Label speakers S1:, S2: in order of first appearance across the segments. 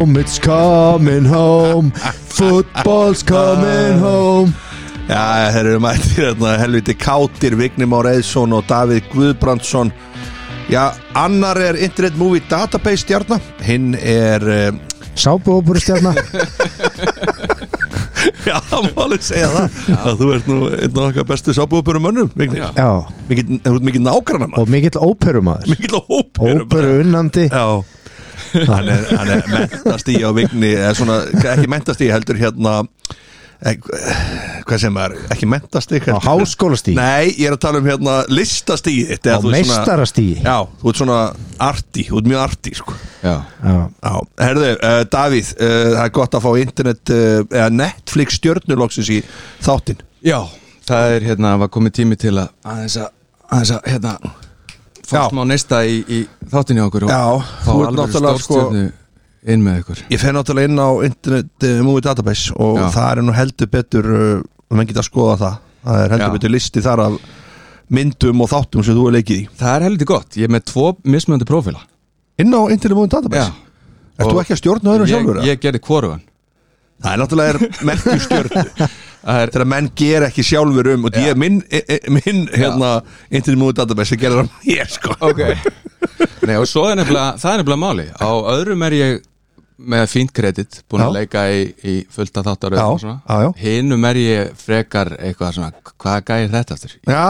S1: home, it's coming home Football's coming home
S2: Já, þeir eru mættir hérna, helviti Kátir, Vignir Már Eðsson og Davíð Guðbrandsson Já, annar er Internet Movie Database stjarnar Hinn er, eh,
S1: Sápuópurustjarna
S2: já, það má alveg segja það að Þú ert nú einn af okkar bestu sábúðbörum mönnum, Vignir
S3: Já.
S2: Já.
S1: Já,
S2: Mikið, þú ert mikið nágrann
S1: og mikill óperumaður
S2: Mikið hóp
S1: Óperu unnandi
S2: Já hann er, hann er mentast í á vigni eða svona, ekki mentast í heldur hérna eh, hvað sem er, ekki mentast í
S1: Á háskólastí
S2: Nei, ég er að tala um hérna listastíð þitt
S1: Á
S2: eða þú ert svona-
S1: meistarastí
S2: Já, þú ert svona arti, þú ert mjög arti sko.
S3: Já.
S2: Já, herðu, uh, Davíð uh, það er gott að fá internet uh, eða Netflix stjörnuloksins í þáttinn
S3: Já, það er hérna, var komið tími til að aðeins að, aðeins að, hérna
S2: Já.
S3: fórstum á neista í, í þáttinni okkur og
S2: Já,
S3: fá
S2: þú ert
S3: alveg
S2: náttúrulega, sko-
S3: stórstjörnu inn með ykkur
S2: Ég fer náttúrulega inn á Internet uh, Movie Database og
S3: Já.
S2: það er nú heldur betur uh, menn geta að skoða það það er heldur
S3: Já.
S2: betur listi þar af myndum og þáttum sem þú er leikið í
S3: Það er heldur gott, ég er með tvo mismöndi prófíla
S2: inn á Internet Movie Database Ert þú
S3: Og
S2: ekki að stjórna öðrum
S3: ég,
S2: sjálfur? eða?
S3: ég gerði kvorugan
S2: Það er náttúrulega er merkju stjórn
S3: Það er
S2: þegar menn ger ekki sjálfur um og ég, minn, e, e, minn hérna, Internet Movie Database gerir það mér sko
S3: Nei, og svo er nefnilega, það er nefnilega máli á öðrum er ég með fínt kredit búin að
S2: Já.
S3: leika í, í fullta þáttar
S2: Já, já, já.
S3: hinnum er ég frekar eitthvað svona, hvað gæði þetta aftur
S2: Já,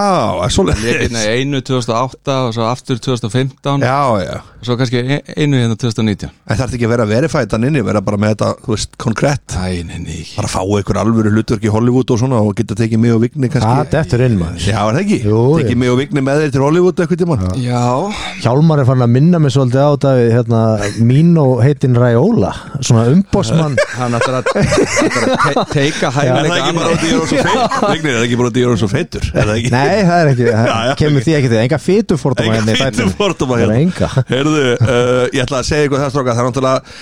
S2: svo
S3: ég
S2: leiðis
S3: hérna einu 2008 og svo aftur 2015
S2: Já, já
S3: og svo kannski e- einu hérna 2019
S2: En það er ekki að vera verifætt hann inni, vera bara með þetta, þú veist, konkrétt
S3: Æ, nei, nei
S2: bara fá einhver alvöru hlutverk í Hollywood og svona og geta tekið mig og Vigni kannski
S1: Ah, Það dettur inn maður
S2: Já, er það ekki?
S1: Jú,
S2: Tekið
S1: ég-
S2: mig og Vigni með þeir til Hollywood eitthvað tímann
S3: Já,
S1: Hjálmar er fann að minna mig svolítið á þetta við, hérna, mín og heitin Ræóla svona umbósmann
S3: hann ætlar að, ætlar að te teika
S2: Er það
S3: hæfileika
S2: ekki bara
S3: annað
S2: út í ég er svo feitur? Vigni, er það ekki bara
S1: Nei, hérna það er ekki, það
S2: út í ég er svo feitur? Er það ekki? Já, já,
S1: kemur
S2: ok.
S1: því ekki til enga fytufordóma
S2: Enga fýtum fordóma
S1: hérna
S2: hérna
S1: Enga
S2: Herðu, uh, ég ætla að segja ykkur það stróka Það er náttúrulega,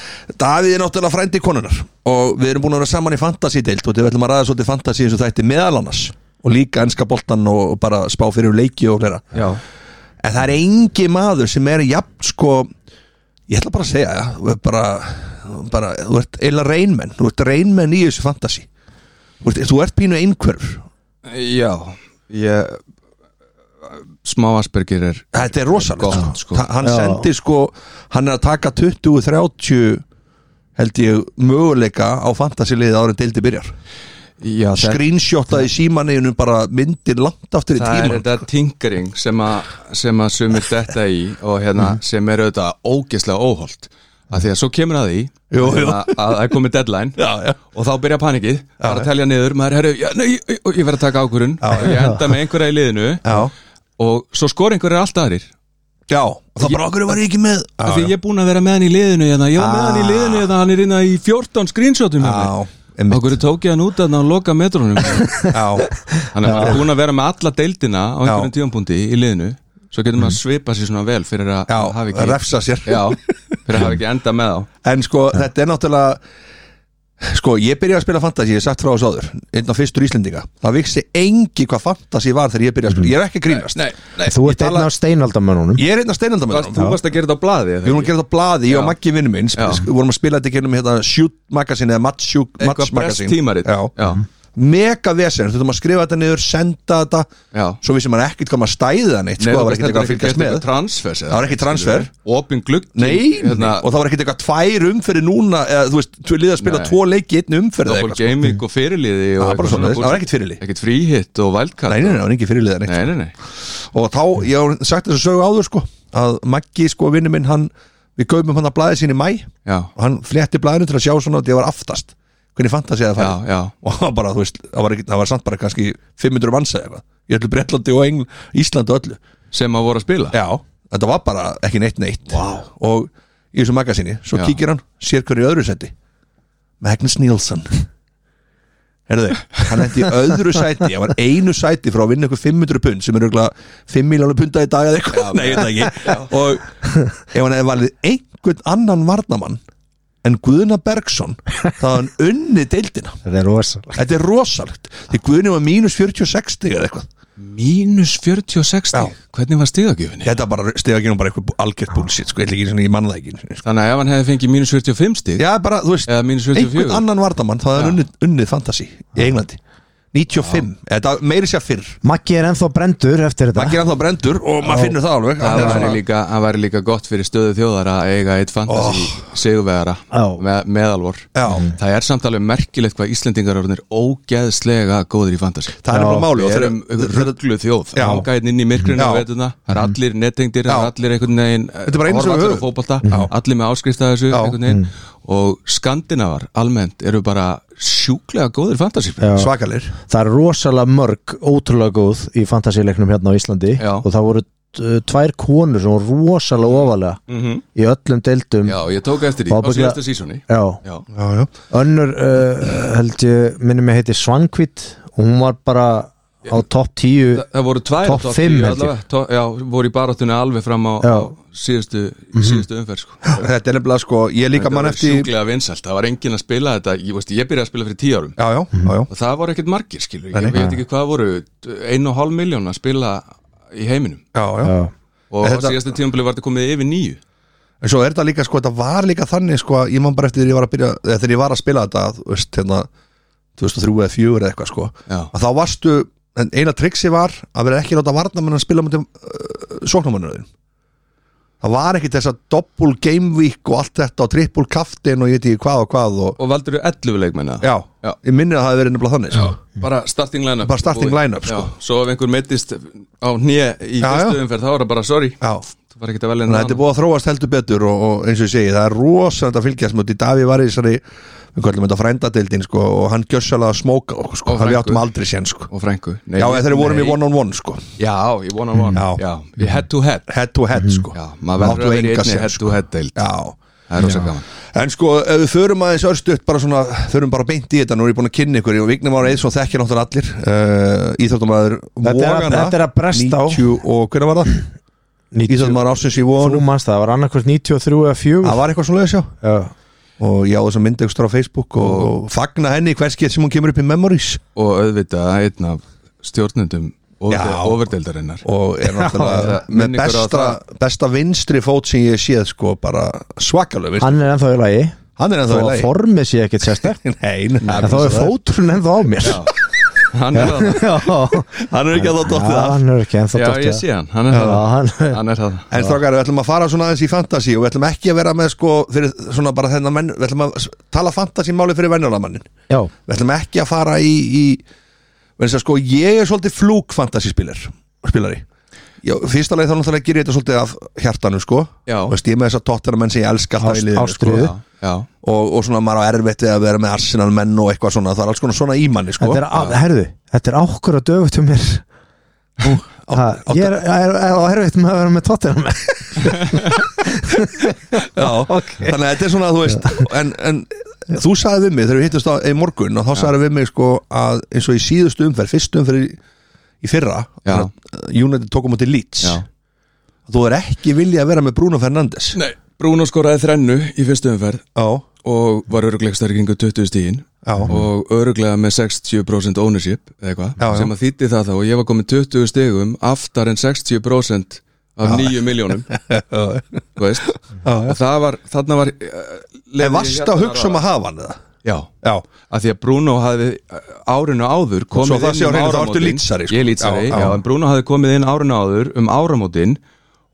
S2: Davíð er náttúrulega frændi konunar Og við erum búin að vera saman í fantasy-deild Og við ætlum að ræða svolítið fantasy eins og þætti meðal annars Og líka enska boltan og og bara spá fyrir um leiki og hlera
S3: Já,
S2: En það er engi maður sem er jafn sko Ég ætla bara að segja það bara, bara, Þú ert eila reynmenn Þú ert reynmenn í þessu fantasi Þú ert, þú ert pínu einhverf
S3: já ég, Smá Asperger er
S2: Þetta er rosalega
S3: Gott, sko.
S2: Hann
S1: Já.
S2: sendir sko Hann er að taka 20-30 held ég möguleika á fantasiliðið árið deildi byrjar
S3: já, þetta-
S2: Screenshotað í símaneginu bara myndir langt aftur í
S3: Það er
S2: tíma
S3: þetta tinkering sem að, sem að sumir þetta í og hérna sem er auðvitað ógeðslega óholt að því að svo kemur að því
S2: Jú,
S3: að,
S2: jú.
S3: hérna að það er komið deadline
S2: Já, já.
S3: og þá byrja panikið, það er að telja niður maður, herru, já, nei, ég, ég verð að taka ákvörun ég enda með einhverja í liðinu
S2: Já,
S3: og svo skor einhverja allt aðrir
S2: já og það bara okkur var ég ekki með
S3: af því ég er búin að vera með hann í liðinu hérna. ég var með hann í liðinu, hérna, hann er innan í 14 screenshotum hérna.
S2: Ah. Já, einmitt
S3: okkur tók ég hann út að hann loka metrónum
S2: Já,
S3: Þannig að maður er búin að vera með alla deildina á einhverjum
S2: Já. Mhm.
S3: tíðanbúndi í liðinu Svo getur maður að svipa sér svona vel fyrir að
S2: Já,
S3: hafa ekki
S2: refsa sér.
S3: Já, fyrir að hafa ekki enda með þá
S2: En sko, þetta er náttúrulega Sko, ég byrjaði að spila fantasy, ég hef sagt frá þessu áður Einn af fyrstur Íslendinga Það viksi engi hvað fantasy var þegar ég byrjaði að spila Ég er ekki að grínast
S3: Nei, nei
S1: Þú ert einn af steinaldamönnunum
S2: Ég er einn af
S3: varst,
S2: steinandamöndunum
S3: Þú varst að gera þetta á blaði
S2: Við vorum að gera þetta á blaði, ég og
S3: Já.
S2: Maggi vinnu minn
S3: Já.
S2: Við vorum að spila þetta gennum hérna Shoot Magazine eða Match Shoot Match
S3: Eitthvað press
S2: Magazine
S3: tímarit
S2: Já. Mhm.
S3: já,
S2: Mega vesen, þurfum að skrifa þetta niður, senda þetta
S3: já.
S2: Svo vissi maður ekkert hvað maður stæði það neitt
S3: Nei,
S2: sko, Það
S3: þú
S2: var
S3: veist,
S2: ekkert
S3: þetta
S2: eitthvað að fylgjast
S3: eitthvað
S2: með
S3: transfer Hérna-
S2: Það var ekki transfer.
S3: Opin glugg
S2: Nei, og það var ekkert eitthvað tvær umferði núna eða, Þú veist, tvö liða að spila
S3: Nei.
S2: tvo leiki í einni umferði eða
S3: Double
S2: eitthvað, sko.
S3: gaming og fyrirliði og
S2: Það var bara
S3: eitthvað
S2: svoleiðis.
S3: svona
S2: Það var ekkert fyrirlið.
S3: Ekkert fríhitt og
S2: sko. Nei,
S3: wildcard
S2: nei, nei, það var ekki fyrirliðan
S3: Nei, nei, nei
S2: og þá, ég hef sagt þess að sögu áður sko að Maggi sko, vinnu minn, hann við kaupum hann að blæði sín í mæ
S3: Já,
S2: og hann flétti blæðinu til að sjá svona að ég var aftast hvernig fant það sé að
S3: já,
S2: fara
S3: já
S2: og hann bara, þú veist, það var, ekki, það var samt bara kannski 500 manns eða eitthvað, ég ætlu Bretlandi og Engl, Íslandi og öllu
S3: Sem að voru að spila
S2: já, þetta var bara ekki neitt neitt wow. og í þessu magasinni, svo
S3: Já.
S2: kíkir hann sér hverju öðru seti Magnus Nílsson Herðu, hann endi í öðru sæti hann var einu sæti frá að vinna ykkur 500 pund sem er auðvitað 5 miljónu punda í dag eða eitthvað, nei, ég veit það ekki og ef hann hefði valið einhvern annan varnamann en Guðna Bergson þá hafði hann unni deildina
S1: Það er rosa
S2: þetta er rosalegt, því Guðni var mínus 46 eða eitthvað
S3: mínus 46 stig. hvernig var stigagjöfinni?
S2: Þetta bara stefa ekki nú bara eitthvað algjört bullshit sko, ég ætla ekki svona, ég manna það ekki sko.
S3: Þannig að ef hann hefði fengið mínus 45 stig
S2: Já, bara, þú veist,
S3: eða mínus 44
S2: einhvern annan vardamann það er unnið, unnið fantasy í Englandi 95, þetta meiri sér fyrr
S1: Maggi er ennþá brendur eftir þetta
S2: maður gerir alltaf brendur og maður finnur það alveg
S3: Það
S2: Hann er
S3: væri,
S2: svona-
S3: líka, það væri líka gott fyrir stöðu þjóðar að eiga eitt fantasi oh. sigurvegara
S1: Já.
S3: með, meðalvor
S2: Já.
S3: Það er samt alveg merkilegt hvað Íslendingar orðnir ógeðslega góðir í fantasi
S2: það er bara máli og
S3: Við
S2: þeir-
S3: erum
S2: þeir-
S3: rugglu þjóð
S2: Já.
S3: Ágæðin inn í myrkrinu
S2: Já. Mm.
S3: og veituna Það er allir netengdir, það
S2: Já.
S3: er allir einhvern veginn eh,
S2: Þetta er bara eins og
S3: horfa
S2: við
S3: allir á
S2: höfum.
S3: fótbolta, allir með áskrift að þessu
S2: Já. Mm.
S3: einhvern veginn Og skandinavar almennt eru bara sjúklega góðir fantasi
S1: Já.
S2: svakalir
S1: Það er rosalega mörg, ótrúlega góð í fantasíleiknum hérna á Íslandi
S3: Já.
S1: og það voru uh, tvær konur sem voru rosalega ofalega
S3: Mhm.
S1: í öllum deildum
S3: Já, ég tók eftir því
S1: Og
S3: á
S1: ábyggilega-
S3: síðasta sísoni
S1: Já.
S3: Já,
S2: já, já.
S1: Önnur uh, held ég minni mig heiti Svangvít og hún var bara á topp 10
S3: Þa, það voru tvær
S1: Topp fimm, held
S3: tíu
S1: ég.
S3: allavega. Top- Já, voru í baráttunni alveg fram á,
S1: Já.
S3: á síðustu, síðustu umferð sko.
S2: þetta er nefnilega sko, ég líka Mhm. mann
S3: var
S2: eftir já,
S3: sjúklega vinsælt, það var enginn að spila þetta ég, veist, ég byrjaði að spila fyrir tíu árum
S2: já, já, já
S3: og það voru ekkert margir skilur,
S2: Nei,
S3: ég
S2: nei.
S3: veit ekki hvað voru einu og hálf miljón að spila í heiminum
S2: Já, já.
S1: Já.
S3: og
S2: Þetta-
S3: á síðasta tímabili var þetta komið yfir nýju
S2: En svo er þetta líka, sko, þetta var líka þannig, sko, að ég man bara eftir þegar ég var að byrja, eða þegar ég var að spila þetta, þú veist, hérna, 2003 eða 4 eða eitthvað, sko,
S3: Já.
S2: að þá varstu, en eina triksi var að vera ekki að láta varnamann að spila mútið uh, sóknamannurðin. Það var ekki þess að doppul game week og allt þetta og trippul kaftin og ég veit ekki hvað og hvað og,
S3: og valdur eru 11 leikmenn eða?
S2: já,
S3: Já.
S2: ég minni að það hefði verið nefnilega þannig, sko.
S3: bara starting line-up
S2: Bara starting
S3: Búið.
S2: line-up, sko.
S3: Já, svo ef einhver meittist á nýja í
S2: Já,
S3: fyrstu
S2: já.
S3: umferð þá er það bara sorry
S2: Já.
S3: það var ekkert að velja
S2: Þannig að þetta
S3: neinn
S2: er
S3: annan.
S2: búið að þróast heldur betur og, og eins og ég segi, það er rosalega að fylgjast með því Daví var í þessari, við kallum þetta frændadeildin sko, og hann gjössalega smóka okkur sko,
S3: Og
S2: það við
S3: frænku.
S2: áttum aldrei sén sko.
S3: og frængu Nei,
S2: Já, eða þeir vorum í
S3: nei.
S2: one on one sko,
S3: Já, í one on one
S2: Já.
S3: Já, í head to head
S2: head to head sko.
S3: Mhm. Já, maður verður
S2: Áttu
S3: að vera í
S2: enga
S3: einni
S2: séns,
S3: head to head deild
S2: Já.
S3: Það er rosa gaman
S2: En sko, ef við förum aðeins örstuðt bara svona, förum bara beint í þetta, nú er ég búin að kynna ykkur og Vignum ára eins og þekkja náttúrulega allir uh, Íþjóttumæður
S1: Þetta er að-
S2: Vógana
S1: þetta er að bresta á.
S2: 90 og hvernig var það? Íþjóttumæður ásins í
S1: Þú
S2: Vóganum
S1: manst það, það var annarkvort 93 eða 4
S2: Það var eitthvað svona leðisjá
S1: Já.
S2: og ég á þess að mynda ykkur á Facebook og, og fagna henni hvers get sem hún kemur upp í memories
S3: Og auðvitað einn af stjórnendum
S2: Já.
S3: overdeildarinnar
S2: og er náttúrulega
S3: Já,
S2: með
S3: minni ykkur á
S2: besta, besta vinstri fót sem ég séð sko bara svakalöf hann,
S1: Hann er ennþá í lagi
S2: hann
S1: Þó
S2: er ennþá í
S1: að
S2: lagi
S1: formið sé ekkit sérstætt
S2: Nei, nei,
S1: En þá er fótrun ennþá á mér
S3: Hann er það
S1: Já,
S2: hann er ekki að þá dottið
S1: Já,
S2: af
S1: hann er ekki ennþá
S3: Já,
S1: dottið
S3: ég
S1: af.
S3: sé hann, hann
S1: Já,
S3: er það
S1: hann
S3: Hann er það
S2: En strákar, við ætlum að fara svona aðeins í fantasy og við ætlum ekki að vera með sko fyrir svona bara þennan menn, við ætlum að s- tala fantasy máli fyrir venjulamannin
S1: Já,
S2: við ætlum ekki að fara í, í verðins að sko ég er svolítið flúk fantasyspilar spilari Já, fyrsta leið þá náttúrulega gerir ég þetta svolítið af hjartanu sko
S3: Já.
S2: Þú veist, ég er með þess að tóttina menn sem ég elska alltaf
S1: Ást-
S2: í liðinu sko.
S1: ástríðu.
S3: Já, já
S2: og, og svona maður á erfitt við að vera með arsenal menn og eitthvað svona, það er alls konar svona í manni sko
S1: þetta er, á, herðu, þetta er ákkur að döfut um mér ha, Ég er, er, er á herfitt með að vera með tóttina með
S2: Já, þannig að þetta er svona, þú veist en, en þú sagði við mig þegar við hittust á í morgun og þá sagði við mig sko að eins og í síðustu umferð, fyrstu umferð í, í fyrra,
S3: Já.
S2: þegar, uh, United tók á móti Leeds
S3: Já.
S2: þú er ekki vilja að vera með Bruno Fernandes
S3: Nei, Bruno skoraði þrennu í fyrstu umferð
S2: Já,
S3: og var öruglega stærkingu 20 stíðin
S2: Já.
S3: og öruglega með 60% ownership eða
S2: Já, já.
S3: eitthvað sem að þýtti það þá og ég var komin 20 stigum aftar en 60% af 9 miljónum þú veist og það var, þarna var eh,
S2: en varst
S3: hérna
S2: að hugsa um að hafa hann eða?
S3: já,
S2: Já,
S3: að því að Bruno hafði eh, árinu áður komið
S2: Svo það sé á
S3: inn um
S2: hreinu, þá ertu
S3: áramótin
S2: lýtsari, sko.
S3: ég lýtsari,
S2: Já,
S3: já,
S2: já.
S3: en Bruno hafði komið inn árinu áður um áramótin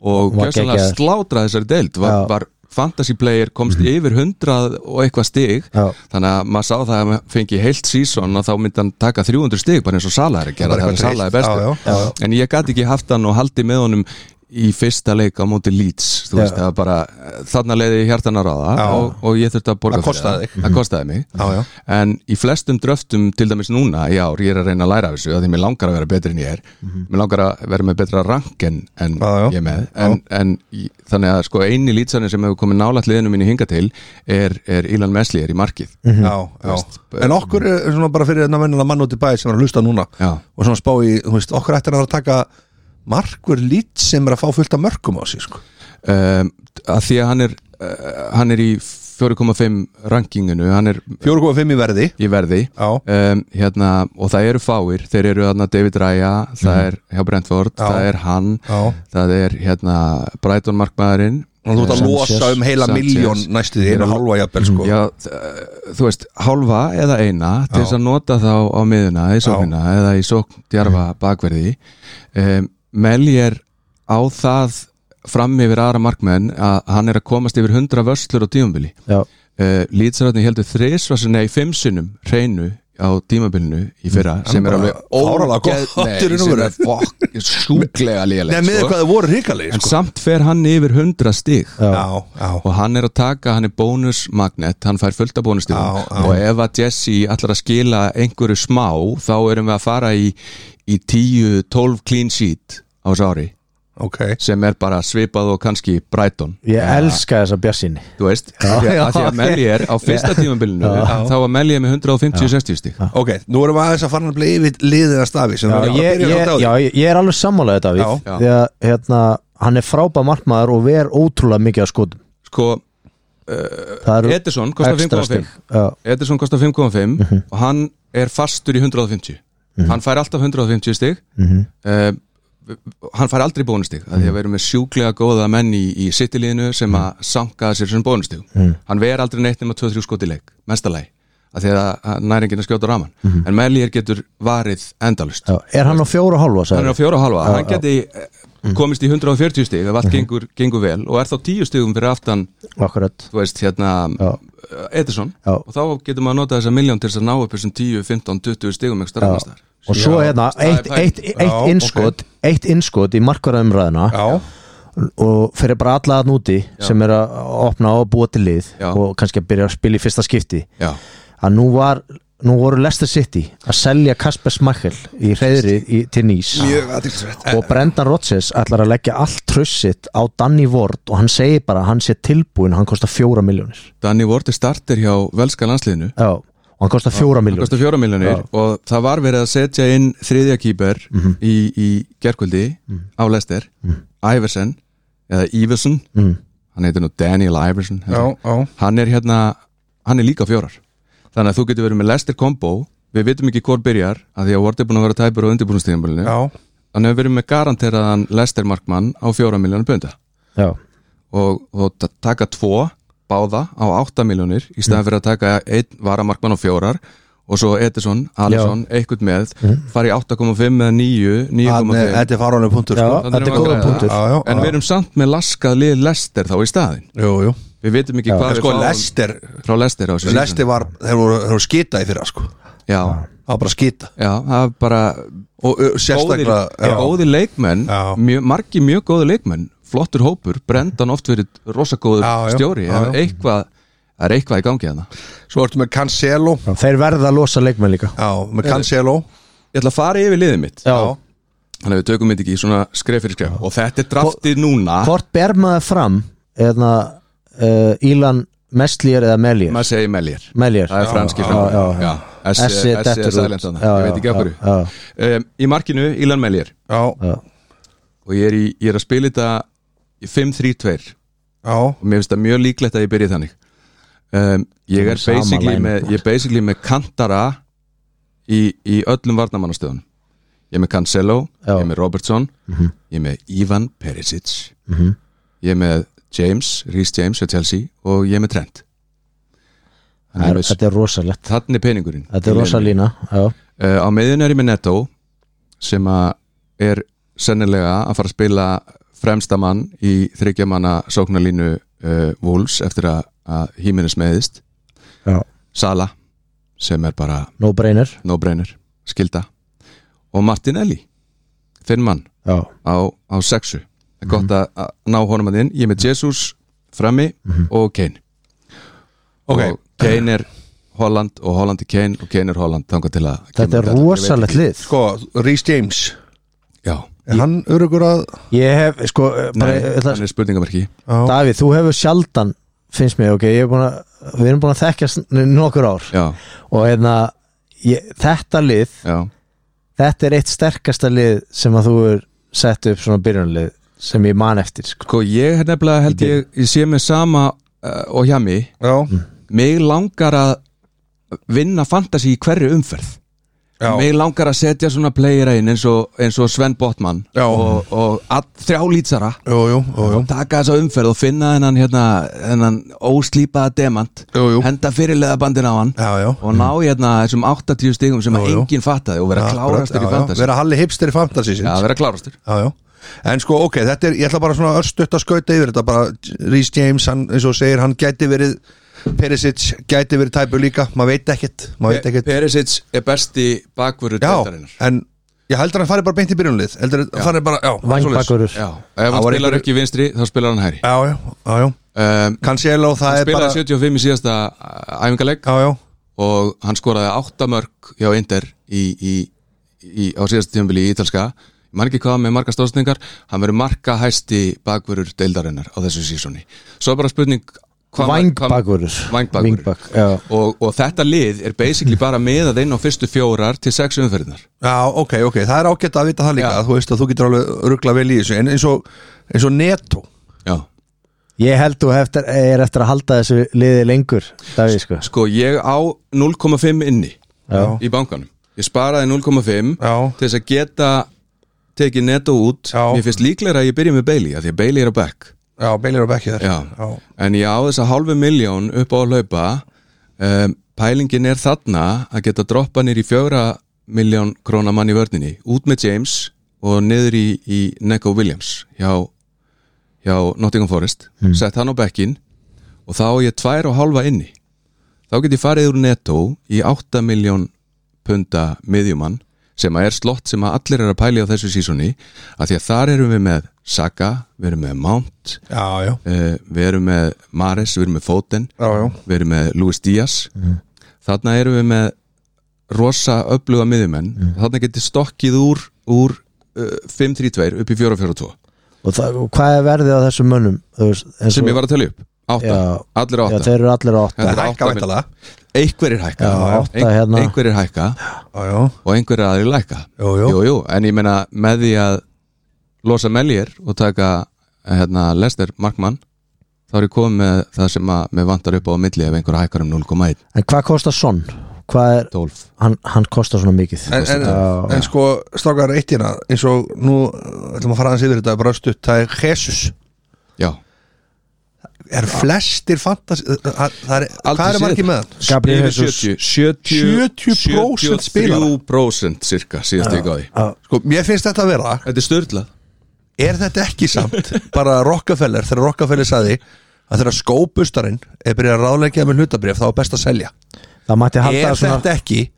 S3: og
S1: Var
S3: gjössanlega
S1: geggjaður.
S3: slátrað þessari deild var,
S1: Já. Mhm.
S3: var fantasy player komst yfir 100 og eitthvað stig
S1: Já.
S3: þannig að maður sá það að maður fengi heilt sísón að þá myndi hann taka 300 stig bara eins og Salah er að gera
S2: Bara
S3: það
S2: eitthvað
S3: er Salah er
S2: dreift,
S3: bestur
S2: já, já, já.
S3: en ég gæti ekki haft hann og haldi með honum í fyrsta leik á móti Leeds þú
S1: Já.
S3: veist, það var bara, eh, þarna leiði ég hjartan að ráða
S2: Já.
S3: og, og ég þurfti að borga
S2: Það kostaði
S3: fyrir það kostaði mig
S2: Já, já.
S3: en í flestum dröftum til dæmis núna í ár, ég er að reyna að læra af þessu af því mér langar að vera betri en ég er mér langar að vera með betra rank en, en
S2: Mhm. Já, já.
S3: ég er með en, en í- þannig að sko eini lýtsanir sem hefur komið nálægt liðinu mínu hinga til er, er Ilan Mesli er í markið
S1: Mhm.
S2: já, já En okkur er svona bara fyrir þennan venjulega mann út í bæ sem er að hlusta núna
S3: Já.
S2: og svona spá í, þú veist, okkur ættir að vera að taka markur lít
S3: Ehm,
S2: sem er að fá fullt af mörkum á sig sko.
S3: um, að því að hann er uh, hann er í 4,5 rankinginu hann er
S2: 4,5 í verði
S3: í verði
S2: Já,
S3: um, hérna, og það eru fáir þeir eru þarna David Raya það er hjá Brentford,
S2: Mhm. Já.
S3: það er hann
S2: já
S3: það er hérna Brighton markmaðurinn
S2: Þannig að þú ert að
S1: Sanchez.
S2: losa um heila
S3: Sanchez.
S2: miljón næstu því, einu
S3: Já.
S2: halva jafnvel sko
S3: Já, þ- þú veist, hálfa eða eina til þess að nota þá á miðuna í sóknina eða í sókn djarfa
S2: Mm.
S3: bakverði um, Melj er á það fram yfir aðra markmenn að hann er að komast yfir 100 vörslur á tímabili
S1: já,
S3: uh, Lítsararni heldur þrisvarsin nei, fimm sinnum hreinu á tímabilinu í fyrra sem er
S2: Mm. bara
S3: alveg
S2: fáránlega
S3: ógeð-
S2: gott
S3: nei,
S2: í raun og
S3: sem
S2: veru.
S3: er fokk- sjúklega
S2: Nei,
S3: lélegt
S2: með
S3: sko.
S2: hvað þau voru hrikalegi
S3: en
S2: sko
S3: samt fer hann yfir 100 stig
S1: já,
S2: Já, já,
S3: og hann er að taka, hann er bónusmagnet hann fær fullt af bónustíðum
S2: Já, já.
S3: og ef að Jesse allar að skila einhverju smá þá erum við að fara í, í 10-12 clean sheet á sári
S2: ok
S3: sem er bara svipað og kannski Brighton
S1: ég elska þessa bjassini
S3: þú veist,
S1: Já,
S3: já,
S1: já.
S3: að því að Melli er á fyrsta tímabilinu þá var Melli með 150-60 stík
S2: Ok, nú erum við aðeins að fara að bli yfir liðina stafi sem
S1: já,
S2: við erum að
S1: ég,
S2: byrja
S1: ég,
S2: að
S1: já,
S2: dáði
S1: ég ég er alveg sammálaðið Davíð
S2: Já.
S3: Já.
S1: því að hérna, hann er frábæð markmaður og ver ótrúlega mikið að skotum
S3: sko,
S1: það eru
S3: Edison kostar
S1: ekstra
S3: 5,5
S1: stig Já,
S3: Edison kostar 5,5 og hann er fastur í 150 hann fær alltaf 150 stig mm hann fær aldrei bónustig af því að við erum með sjúklega góða menn í, í sittiliðinu sem að sankaða sér sem bónustig hann ver aldrei neitt nema 2-3 skot í leik mestalæg, af því að að næringin er skjóta raman, en Mellier getur varið endalust,
S1: já. er hann á fjóra og hálfa
S3: hann er
S1: sagði?
S3: á fjóra og halva hann geti eh, komist í 140 stig ef allt gengur, gengur vel og er þá 10 stigum fyrir aftan
S1: akkurat
S3: þú veist, hérna Edison,
S1: Já.
S3: og þá getur maður að nota þessa miljón til þess að ná upp þessum 10, 15, 20 stigum ekstra
S1: Já.
S3: annars þar
S1: og svo
S2: Já,
S1: hérna
S3: það er
S1: eitt, eitt,
S2: pæling. Já,
S1: eitt innskot eitt innskot í markvaraumræðina
S2: Já,
S1: og fyrir bara alla að núti sem er að opna á að búa til lið
S3: Já.
S1: og kannski að byrja að spila í fyrsta skipti
S3: Já,
S1: að nú var nú voru Leicester City að selja Kasper Smachel í reyðri í, til Nýs
S2: mjög Eh, aðtilsvægt
S1: og Brendan Rodgers ætlar að leggja allt trössitt á Danny Ward og hann segir bara að hann sé tilbúin og hann kostar fjóra miljónir
S3: Danny Ward er starter hjá velska landsliðinu
S1: já, og hann kostar fjóra
S3: hann
S1: miljónir
S3: kostar 4 miljonir
S1: Já. Mhm.
S3: og það var verið að setja inn þriðja kýper í, í gerkvöldi á Lester, Iversen eða Iversen,
S1: mm.
S3: hann heitir nú Daniel Iversen
S2: Já,
S3: held ég.
S2: já,
S3: hann er hérna, hann er líka fjórar þannig að þú getur verið með Lester combo við vitum ekki hvort byrjar að því að Ward er búin að vera tæpur á undirbúinnstíðanbúlinu
S2: já
S3: hann hefur verið með garanteraðan Lester Markmann á 4 miljónum punda
S1: já,
S3: og, og ta- taka tvo báða á 8 miljónir í staðan
S2: Mm.
S3: fyrir að taka einn varamarkmann á fjórar og svo Edison, Alisson, eitthvað með fara í 8,5 eða 9
S2: Mm. Hann, eh,
S3: 9,5
S2: Þetta er faranlega punktur
S1: já
S2: sko
S3: þannig
S1: þetta er
S3: erum við að
S1: góða
S3: græða.
S1: punktur
S2: Já, já,
S3: en
S2: já.
S3: við erum samt með laskað lið Lester þá í staðin
S2: Jú, jú
S3: við vitum ekki hvað við
S2: Sko,
S3: fáum
S2: Lester
S3: frá Lester á þessu
S2: Lester var, þeir voru, þeir voru skita í fyrra sko
S3: já,
S2: Það var bara skita
S3: já, það var bara
S2: Og ö,
S3: góðir,
S2: sérstaklega já.
S3: góðir leikmenn
S2: Já.
S3: mjö, margi mjög góðir leikmenn flottur hópur, brendan oft verið rosagóður
S2: Já, já,
S3: stjóri
S2: já,
S3: ef
S2: já.
S3: eitthvað, það er eitthvað í gangi þarna
S2: Svo ertu með Cancelo
S1: Já, þeir verða að losa leikmenn líka
S2: Já, með Cancelo
S3: ég ætla að fara yfir liðið mitt
S1: já,
S3: þannig að við tökum þetta ekki í svona skref fyrir skref og þetta er draftið núna
S1: hvort ber maður fram eða uh, Ílan Mestlýr eða Melýr
S3: maður segir Mellier
S1: Melýr
S3: það er franski
S1: já, já,
S3: fram
S1: já.
S3: Já, S
S1: Essi
S3: er
S1: dettur út.
S3: silent þarna,
S1: Já, já,
S3: ég veit ekki af
S1: já,
S3: hverju um, í markinu Ilan Mellier
S2: Já,
S1: já,
S3: og ég er, í, ég er að spila þetta í 5-3-2
S2: já,
S3: og mér finnst það mjög líklegt að ég byrja þannig um, ég er
S1: Sama
S3: basically
S1: line.
S3: með, ég er basically með kantara í, í öllum varnamannastöðunum ég er með Cancelo,
S1: Já. Mhm.
S3: ég er með Robertson ég er með Ivan Perisic ég er með James Rhys James og Chelsea og ég er með Trent
S1: Það er-
S3: þannig er,
S1: þetta er rosalegt
S3: þannig er peningurinn
S1: þetta er rosalína já,
S3: uh, á meðin er ég með Neto sem að er sennilega að fara að spila fremsta mann í þryggjamanna sóknarlínu uh, Wolves eftir að, að híminnes meðist
S1: já.
S3: Sala sem er bara
S1: no brainer
S3: no-brainer, skilda og Martinelli, þinn mann
S1: já,
S3: á, á sexu það er gott
S1: Mhm.
S3: að, að ná honum að inn ég er með Jesus, Frammi
S1: Mhm.
S3: og Kane
S2: Ok.
S3: og Kane er Holland og Holland er Kane og Kane er Holland þangað til að
S1: þetta er
S3: kemur
S1: rosalegt lið
S2: sko, Rhys James
S3: já,
S2: Er hann örugur að
S1: ég hef, sko, bara,
S3: Nei,
S1: ég ætla að
S3: hann er spurningamarki
S2: Já,
S1: Davíð, þú hefur sjaldan finnst mér, ok, ég er búin að við erum búin að þekkja nokkur ár
S3: já,
S1: og hérna, ég, þetta lið
S3: já,
S1: þetta er eitt sterkasta lið sem að þú er sett upp svona byrjunarlið sem ég man eftir, sko
S3: sko ég er nefnilega held ég, ég sé með sama uh, og hjá mig
S2: já,
S3: Mm. mig langar að vinna fantasy í hverju umferð
S2: já,
S3: mig langar að setja svona playera inn eins og, eins og Sven Botman
S2: Já.
S3: og, og að, þrjá lýtsara
S2: jú, jú, jú, jú.
S3: taka þessa umferð og finna hennan hérna, hennan óslípaða demant
S2: Jú, jú.
S3: henda fyrirlega bandin á hann
S2: já, já
S3: og ná hérna þessum 80 stigum sem
S2: Jú, jú.
S3: enginn fattaði og vera
S2: Já,
S3: klárastur
S2: já,
S3: í
S2: já.
S3: fantasy
S2: vera halli hipster í fantasy
S3: Já,
S2: síns.
S3: vera klárastur
S2: já, já. en sko ok, þetta er, ég ætla bara svona örstutt að skauta yfir þetta bara, Rhys James, hann, eins og þú segir hann gæti verið, Perisic gæti verið tæpur líka, maður veit ekkert maður veit ekkert,
S3: Perisic er besti bakvöru
S2: já, en ég heldur að hann fari bara beint í byrjunlið, heldur að hann fari bara já, svoleiðis.
S1: Vangbakurur
S3: Já, ef hann
S2: var
S3: spilar
S2: einhver-
S3: ekki vinstri þá spilar hann hæri
S2: já, já, já, já,
S3: um,
S2: Cancelo, það
S3: Hann
S2: er
S3: spilaði
S2: bara
S3: 75 í síðasta uh, æfingaleg
S2: já, já,
S3: og hann skoraði 8 mörg hjá Inder í, í, í, á síðasta tímabili í Ítalska Ég man ekki hvað með marga stóðsningar hann verður marka hæsti bakvörur deildarinnar á þessu sísoni Svo er bara spurning hvað-
S1: Vangbakurur
S3: hvað- Vængbakvörur.
S1: Vingbak, já.
S3: og, og þetta lið er basically bara meðað inn á fyrstu fjórar til sex umferðinar
S2: já, ok, ok það er ágætt að vita það líka,
S3: Já.
S2: þú veist að þú getur alveg ruggla vel í þessu, en eins og eins og Neto,
S3: Já
S1: Ég held þú eftir, er eftir að halda þessu liði lengur Davíð sko
S3: Sko, ég á 0,5 inni
S1: Já.
S3: í bankanum. Ég sparaði 0,5
S2: Já.
S3: til þess að geta tekið netto út.
S2: Já.
S3: Mér finnst líklega að ég byrja með Bailey, af því að Bailey er á back.
S2: já, Beilir og Bekki þar
S3: Já.
S2: já,
S3: En ég á þessa hálfu miljón upp á að hlaupa. Um, pælingin er þarna að geta droppa nýr í fjögra miljón króna mann í vörninni. Út með James og niður í, í Neko Williams hjá, hjá Nottingham Forest. Sett hann á backin og þá á ég tvær og hálfa inni. þá get ég farið úr netto í 8 miljón punda miðjumann sem að er slott sem að allir er að pæli á þessu sísoni að því að þar erum við með Saka, við erum með Mount
S2: já, já,
S3: uh, við erum með Mares, við erum með Foden
S2: já, já.
S3: við erum með Luis Díaz
S1: Mhm.
S3: þarna erum við með rosa öfluga miðjumenn
S1: Mhm.
S3: þarna get ég stokkið úr, úr uh, 5-3-2 upp í 4-4-2
S1: Og það, og hvað er verðið á þessum mönnum? Þú veist, eins og-
S3: sem ég var að tala upp, 8,
S1: Já.
S3: allir
S1: Já,
S3: 8
S1: þeir eru allir á
S3: Þetta
S1: átta
S3: er átta
S2: Hækka
S3: mil-
S2: væntanlega.
S3: einhverjir hækka,
S1: Já, átta
S3: Ein-
S1: hérna.
S3: einhverjir hækka
S2: já, já,
S3: og einhverja aðri lækka
S2: Jú, jú.
S3: jú, en ég meina með því að losa melgir og taka hérna, Lester Markmann þá er ég komið með það sem að mér vantar upp á á milli ef einhverja hækkar um 0,1
S1: En hvað kostar sonn? Hvað er,
S3: 12
S1: hann, hann kostar svona mikið
S2: en, en,
S1: Já.
S2: en sko strákar eitt hérna eins og nú uh, ætlum að fara aðeins yfir þetta bara stutt, það er Jesus
S3: Já,
S2: er flestir fantasi uh, uh, það er, hvað
S3: Aldrei
S2: er margir
S3: séð.
S2: með hann?
S1: Gabriel
S3: Yfir
S1: Jesus
S3: 70
S2: 70% spilara.
S3: 73% cirka síðast ég gáði
S1: Já.
S2: sko, mér finnst þetta að vera
S3: Þetta er störtlað
S2: er þetta ekki samt bara Rockefeller, þegar Rockefeller saði að þegar skóbustarinn er byrjað að ráðleggja með hlutabrif þá er best að selja
S1: Það mætti halda
S2: er
S1: svona Mm.
S2: þetta ekki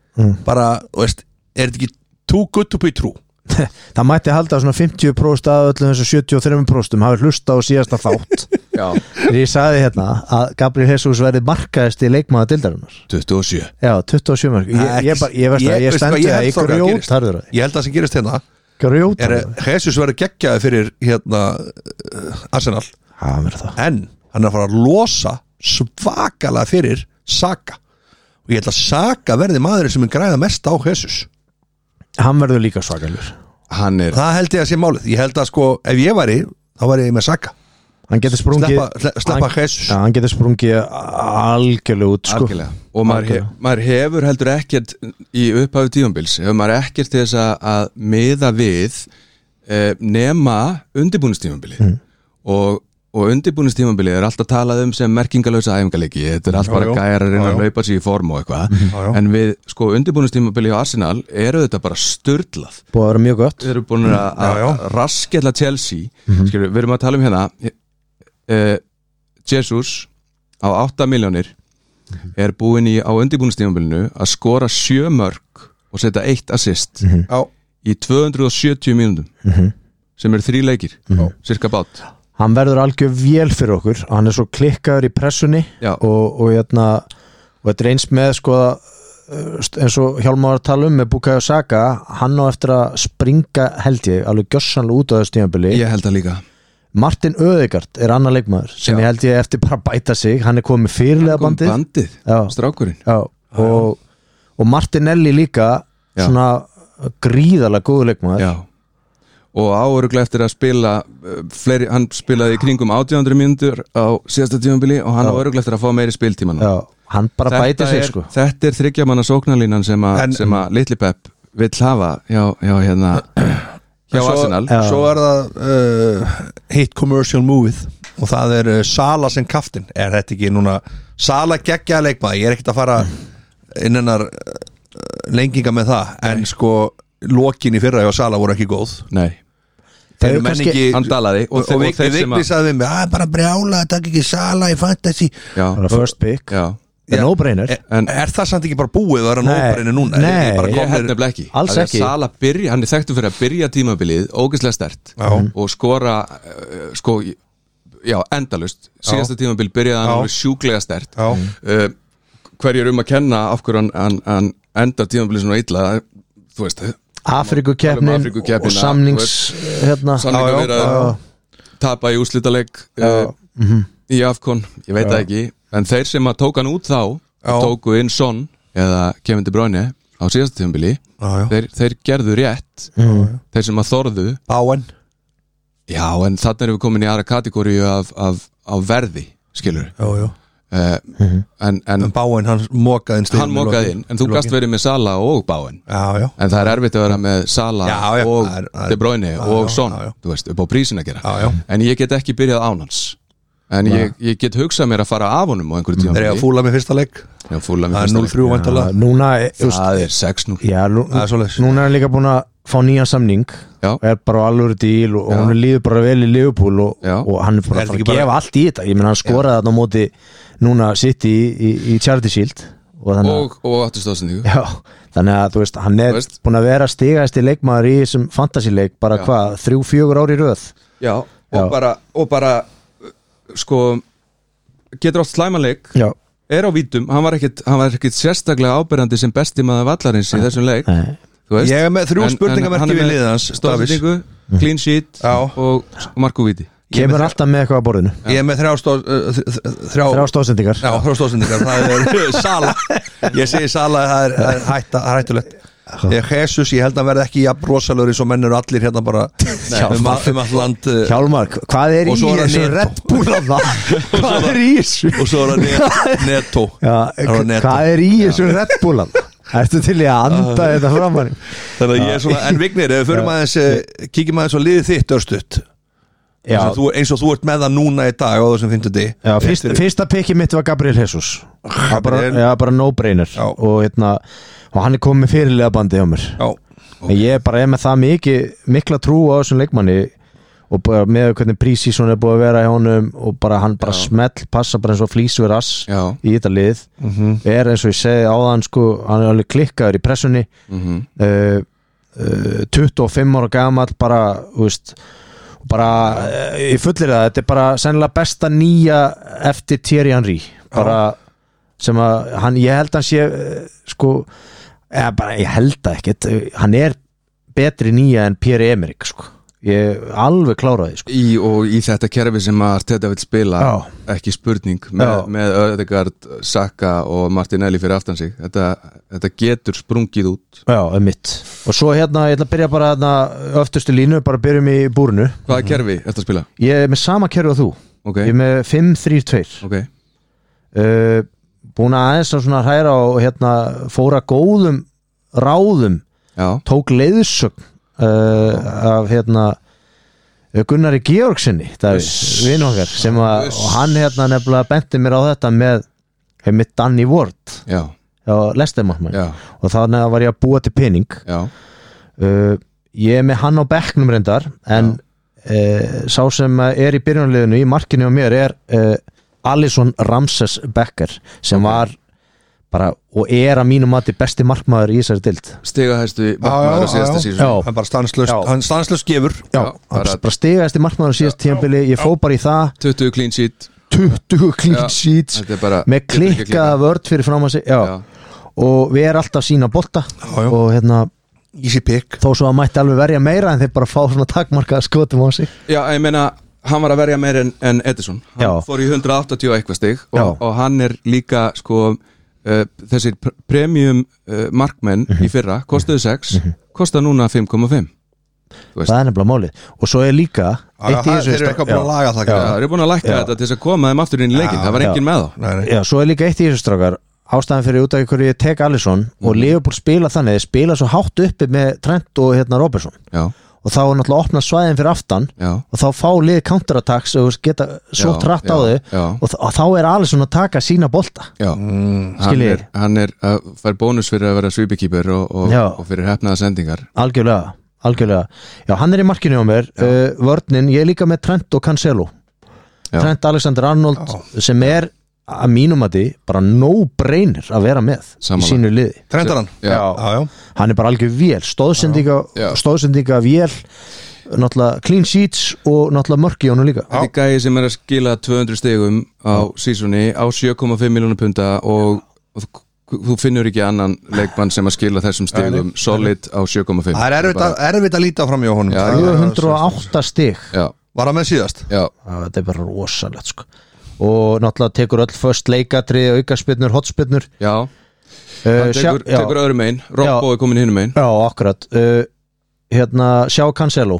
S2: bara, þú veist, er þetta ekki too good to be true
S1: Það mætti halda svona 50% af öllum þessum 73% hafi hlusta á síðasta þátt
S3: Já,
S1: Þegar ég saði hérna að Gabriel Jesus verði markaðist í leikmaða dildarinnar
S3: 27
S1: Já, 27 mörg Ég,
S2: Það er
S1: ég,
S2: ekki-
S1: bara- ég, veist það,
S2: ég-
S1: ég
S2: veistu hvað,
S1: stendi
S2: ég
S1: það
S2: held
S1: í
S2: þá hvað gerist.
S1: grjótarður
S2: ég held að það sem gerist hérna er
S1: Grjótarður
S2: að Jesus verður geggjaði fyrir hérna uh, Arsenal
S1: Það verður það
S2: en hann er að fara að losa svakalega fyrir Saka og ég held að Saka verði maðurinn sem er græða mest á Jesus
S1: Hann verður líka svakalur
S3: Hann er
S2: það held ég að sé málið, ég held að sko ef ég væri, þá væri ég með Saka
S1: Hann getur sprungið
S2: sleppa, sle- sleppa Jesus
S1: Já, hann getur sprungið algjörlega út sko.
S3: Algjörlega. og maður, hef,
S1: Algjörlega.
S3: maður hefur heldur ekkert í upphafi tíðanbils hefur maður ekkert til þess að, að miða við eh, nema undirbúnistíðanbili
S2: Mm.
S3: og, og undirbúnistíðanbili er alltaf talað um sem merkingalösa æfingarleiki þetta er allt
S2: Já,
S3: bara
S2: já.
S3: gæjar að reyna
S2: Já,
S3: að
S2: já.
S3: laupa sig í form og eitthvað
S2: Já, já.
S3: en við sko undirbúnistíðanbili á Arsenal eru þetta bara störlað
S1: Búið að vera mjög gott
S3: við erum búin að
S2: Já, já.
S3: að raskella Chelsea
S1: Mhm.
S3: skilur, við erum að tala um hérna uh, Jesus á 8 miljónir
S1: Mhm.
S3: er búin í á undirbúinustífambilinu að skora 7 mörg og setja eitt assist
S1: Mhm.
S2: Já,
S3: í 270 mínúndum sem eru þrý leikir,
S1: Mhm.
S3: cirka bát
S1: Hann verður algjör vél fyrir okkur Hann er svo klikkaður í pressunni
S3: Já.
S1: og, og, hérna, og þetta er eins með sko, uh, st- eins og Hjálmar var að tala um með Bukayo Saka Hann á eftir að springa held ég alveg gjössanlega út á þessu tímabili
S3: ég held að líka
S1: Martin Öðegard er annar leikmaður sem
S3: Já.
S1: ég held ég eftir bara að bæta sig Hann er komið fyrirlega
S3: Kom
S1: bandið
S3: bandið,
S1: Já.
S3: strákurinn
S1: Já, og, og Martinelli líka
S3: Já.
S1: svona gríðalega góðu leikmaður
S3: Já. og og áuruglega eftir að spila eh, fleiri, hann spilaði í kringum 800 mínútur á síðasta tímanbili og hann áuruglega eftir að fá meiri spiltíma núna.
S1: já, hann bara bæti sig
S3: er,
S1: sko
S3: þetta er þryggjamanna sóknarlínan sem, a,
S2: En-
S3: sem að Little Pep vill hafa hjá, hjá hérna hjá
S2: svo,
S3: Arsenal
S1: Já.
S2: svo er það uh, hitt commercial movie og það er uh, Sala sem kaftin er þetta ekki núna Sala geggjaða leikmaði, ég er ekkert að fara innannar uh, lenginga með það en sko lokin í fyrra hjá Sala voru ekki góð
S3: Nei,
S1: Þeir
S2: Eru
S1: eru
S2: menn
S1: kannski-
S2: ekki-
S3: hann dalaði
S2: og, og, og Vigni
S3: sem
S2: Vigni
S3: að
S2: sagði við mig að bara brjála, takk ekki Sala í fantasy
S1: Bara
S3: já,
S1: first pick,
S3: já.
S1: en óbreynir
S2: er,
S3: En-
S2: er það samt ekki bara búið að vera
S1: Nei.
S2: nóbrinu núna?
S1: Nei.
S2: Er ekki
S3: Ég
S2: bara
S3: held
S2: komnir-
S3: nefnilega ekki
S1: Alls
S3: Af því að
S1: ekki.
S3: Sala byrja, hann er þekktu fyrir að byrja tímabilið ógeðslega stert
S2: Já.
S3: og skora uh, sko, já, endalust síðasta tímabilið byrjaði hann
S2: Já.
S3: alveg sjúklega stert
S2: Já.
S3: uh, hverjir um að kenna af hverju hann, hann, hann endar tímabilið svona illa þú veist,
S1: Afrikukeppnin
S3: Afríkukeppnina,
S1: og samnings hérna,
S3: samlinga
S2: já,
S3: verið
S1: já.
S3: tapa í úrslitaleg uh, í Afkon, ég veit það ekki en þeir sem að tók hann út þá
S2: Já.
S3: og tóku inn Son eða Kevin De Bruyne á síðasta tímabili
S2: Já, já.
S3: þeir, þeir gerðu rétt
S1: Mm.
S3: þeir sem að þorðu
S2: Báen
S3: já en þannig erum við komin í aðra kategóriu af, af, af verði skilur
S2: já, já.
S3: uh, en, en
S2: En Báen, hann mokaði inn stigum
S3: hann
S2: í
S3: mokaði
S2: lokin.
S3: inn en þú
S2: Í
S3: gast
S2: lokin.
S3: verið með Sala og Báin
S2: Já, já,
S3: en það er erfitt að vera með Sala
S2: Já, já,
S3: og
S2: það er- það er-
S3: De Bruyne
S2: já,
S3: og
S2: já,
S3: Son
S2: já, já.
S3: þú veist, upp á prísin að gera
S2: já, já
S3: en ég get ekki byrjað án hans en ég, ég get hugsað mér að fara af honum á einhverju
S1: Mm.
S3: tíma
S2: Þeir eru að fúla með fyrsta leik
S3: já, fúla
S2: Það
S3: mér
S2: er 0-3
S1: Já,
S2: vantala
S1: núna eh, þú veist,
S3: það er 6 nú
S1: já, nú,
S2: Það er svoleiðis.
S1: núna er hann líka búin að fá nýjan samning
S3: Já.
S1: og er bara á alvöru díl og, og hann líður bara vel í Liverpool og,
S3: Já.
S1: og hann er bara að fara
S2: Er þetta
S1: að
S2: ekki
S1: gefa
S2: bara-
S1: allt í þetta ég menn hann skoraði þarna á móti núna sitt í, í, í Charity Shield og þannig að-
S3: og, og 8 stóðsendingu
S1: Já, þannig að þú veist, hann er
S3: Þú veist.
S1: búin að vera stigæðasti leikmaður í þessum fantasíleik bara
S3: Já.
S1: hvað, þrjú, fjögur ári röð
S3: já, og
S1: Já.
S3: bara, og bara uh, sko getur átt slæmanleik
S1: Já,
S3: er á vítum, hann var ekkit, hann var ekkit sérstaklega ábyrjandi sem besti maður vallarins í þessum leik
S1: Nei.
S3: þú veist?
S2: Ég er með þrjú
S3: En- en
S2: spurningamerki
S3: hann er
S2: við
S3: með
S2: liðið hans, Davis.
S3: stóðsendingu,
S1: Mhm.
S3: clean sheet
S2: Já.
S3: og, og markuvíti
S1: kemur alltaf með eitthvað að borðinu
S2: Ég er með þrjá stóð uh, þ- þ- Þrjá
S1: Þrjá stóðsendingar
S2: Já, þrjá stóðsendingar Það er Sala Ég segi Sala, það er, það er, hætta, það er hættulegt Ég, Jesus, ég held að hann verði ekki jafn rosalögur eins og menn eru allir hérna bara um, all- um all land uh,
S1: Hjálmar, hvað er í
S2: Og svo er hann
S1: þessu
S2: Neto.
S1: Red Bull að það? Hvað er í þessu?
S2: og svo er hann net- Neto
S1: Já,
S2: er hann Neto.
S1: hvað er í þessu Red Bull að það? Ertu til í að anda þetta fram hann?
S2: Þannig að ég er svona, en Vignir, ef við förum aðeins eh, kíkjum aðeins á liðið þitt örstutt
S1: Já,
S2: eins og, þú, eins og þú ert með það núna í dag á þessum 50
S1: já fyrst, fyrsta piki mitt var Gabriel Jesus Það bara,
S2: Gabriel.
S1: já, bara no-brainer
S2: Já.
S1: og, hérna, og hann er komið með fyrirlega bandi hjá mér
S2: Já,
S1: okay. ég bara er með það mikið, mikla trú á þessum leikmanni og bara með hvernig prísísson er búið að vera í honum og bara hann bara smell passa bara eins og flýs við rass
S3: Já.
S1: í þetta lið er eins og ég segi áðan sko, hann er alveg klikkaður í pressunni mm
S3: mhm.
S1: -hmm. eh, 25 ára gamall bara, þú veist og bara, uh, ég fullir það þetta er bara sennilega besta nýja eftir Thierry Henry bara sem að hann, ég held hann sé eh, sko, eða bara ég held það ekkit, eh, hann er betri nýja en Pierre Emerick sko. ég alveg klára því sko.
S3: í, og í þetta kerfi sem að Arteta vil spila
S1: Já.
S3: ekki spurning með,
S1: Já.
S3: með Öðegard, Saka og Martinelli fyrir aftan sig þetta, þetta getur sprungið út
S1: já, um mitt og svo hérna, ég ætla að byrja bara hérna, öftustu línu, bara byrjum í búrinu
S3: hvaða kerfi ertu að spila?
S1: ég er með sama kerfi og þú
S3: ok,
S1: ég er með 5-3-2
S3: ok,
S1: uh, búin að aðeins að svona hræra og hérna fóra góðum ráðum
S3: já
S1: tók leiðsögn uh, af hérna Gunnari Georgsinni vinn okkar sem að og hann hérna nefnilega benti mér á þetta með mitt Danny Ward
S3: já,
S1: á Lestemannmann
S3: já,
S1: og þannig að var ég að búa til pening
S3: já,
S1: uh, ég er með hann á bekknum reyndar en uh, sá sem er í byrjunarliðinu í markinu á mér er uh, Alisson Ramses Becker sem var bara og er að mínu mati besti markmaður í þessari dild
S3: stiga hæstu
S2: já,
S3: markmaður á
S2: já,
S3: síðasta
S2: já.
S3: sísun
S1: Já.
S2: hann bara stanslust,
S1: Já.
S2: hann stanslust gefur
S1: Já,
S3: Já,
S1: hann
S3: bara-
S1: bara stigaðist í markmaður síðast tíðanbili, ég fó bara í það
S3: 20 clean sheet
S1: 20
S3: Já,
S1: clean sheets
S3: þetta er bara
S1: með
S3: getur ekki að
S1: klikkaða vörd fyrir fram að sig já.
S3: Já.
S1: og við erum alltaf sína bolta
S2: Já, já.
S1: og hérna,
S2: easy pick
S1: þó svo að mætti alveg verja meira en þeir bara fá svona takmarkaða skotum á sig
S3: já, ég meina hann var að verja meir en, en Edison hann
S1: Já.
S3: fór í 180 og eitthvað stig
S1: Já.
S3: og, og hann er líka sko uh, þessir pr- eh,
S1: Mhm.
S3: premium uh, markmenn í fyrra, kostuðu 6 kosta núna 5,5 Þú veist.
S1: það er nefnilega málið og svo er líka
S2: Já,
S1: eitt í
S2: það-
S1: þessu
S2: Þeir eru eitthvað búin að
S1: já.
S2: laga
S1: Já.
S2: það
S3: Já,
S2: greinilega.
S3: þeir eru búin að lækka
S1: Já.
S3: þetta til þess að koma þeim aftur inn í leikin,
S2: Já,
S3: það var engin með þá
S2: Nei, nei.
S1: Já, svo er líka eitt í þessu strákar ástæðan fyrir út af ykkur ég tek Alisson og
S2: Mhm.
S1: Liverpool spila þannig, þeir spila svo hátt uppi með Trent og hérna Robertson
S3: Já,
S1: og þá er náttúrulega opnað svæðin fyrir aftan
S3: já,
S1: og þá fá lið counterattacks og þú geta svo
S3: Já,
S1: trætt
S3: já,
S1: á þau
S3: já.
S1: og, þ- og þá er Alisson að taka sína bolta
S3: já
S2: Mm.
S3: Hann
S1: Skiljiði.
S3: er, hann er að fær bónus fyrir að vera svipikýpur og, og,
S1: Já.
S3: og fyrir hefnaða sendingar
S1: algjörlega, algjörlega já, hann er í markinu á mér, uh, vörninn ég er líka með Trent og Cancelo
S3: Já.
S1: Trent Alexander Arnold sem er að mínum að því bara no brainer að vera með í
S3: Sammála.
S1: sínu liði
S2: Trendar hann?
S3: Já.
S2: já, já.
S1: hann er bara algjör vél, stóðsendinga
S3: Já.
S1: stóðsendinga vél náttúrulega clean sheets og náttúrulega mörk í honum líka
S3: Þetta er gæði sem er að skila 200 stegum á sísunni á 7,5 miljónu punta og, og þú- þú finnur ekki annan leikmann sem að skila þessum stegum solid á 7,5
S2: Það er erfitt að, erfitt að líta fram hjá honum
S3: Já,
S2: Það-
S1: 208 stig
S3: Já,
S2: Var hann með síðast?
S3: já,
S1: Já, þetta er bara rosalegt sko og náttúrulega tekur öll först leikatrið aukarspinnur, hotspinnur
S3: já
S1: uh,
S3: Hann tekur,
S1: já,
S3: tekur öðrum einn,
S1: Já.
S3: Robbo er komin hinn um einn
S1: já, akkurat uh, hérna, sjá Cancelo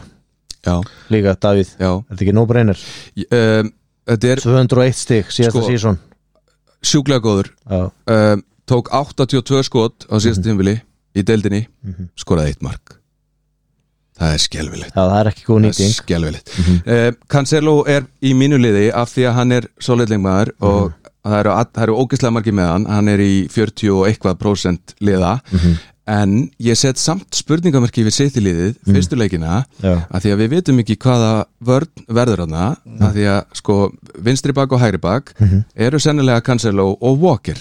S3: Já,
S1: líka, Davíð,
S3: já
S1: er þetta ekki nóbreynir
S3: Ég- um, Þetta er
S1: 201 stig, síðasta
S3: Sko.
S1: sko, sísón
S3: sjúklega góður
S1: já,
S3: um, Tók 82 skot á síðasta tímvili í deildinni skoraði eitt mark Það er skelfilegt
S1: já, það er ekki góð
S3: Það er
S1: nýting
S3: Skelvilegt mm Cancelo er í mínu liði af því að hann er solidlingmaður og það eru, all- það eru ógislega margir með hann hann er í 40 og eitthvað prósent liða en ég set samt spurningamarki við sitt í liðið fyrstu leikina
S1: Já.
S3: af því að við vitum ekki hvaða vörn verður hann af því að sko vinstri bak og hægri bak eru sennilega Cancelo og Walker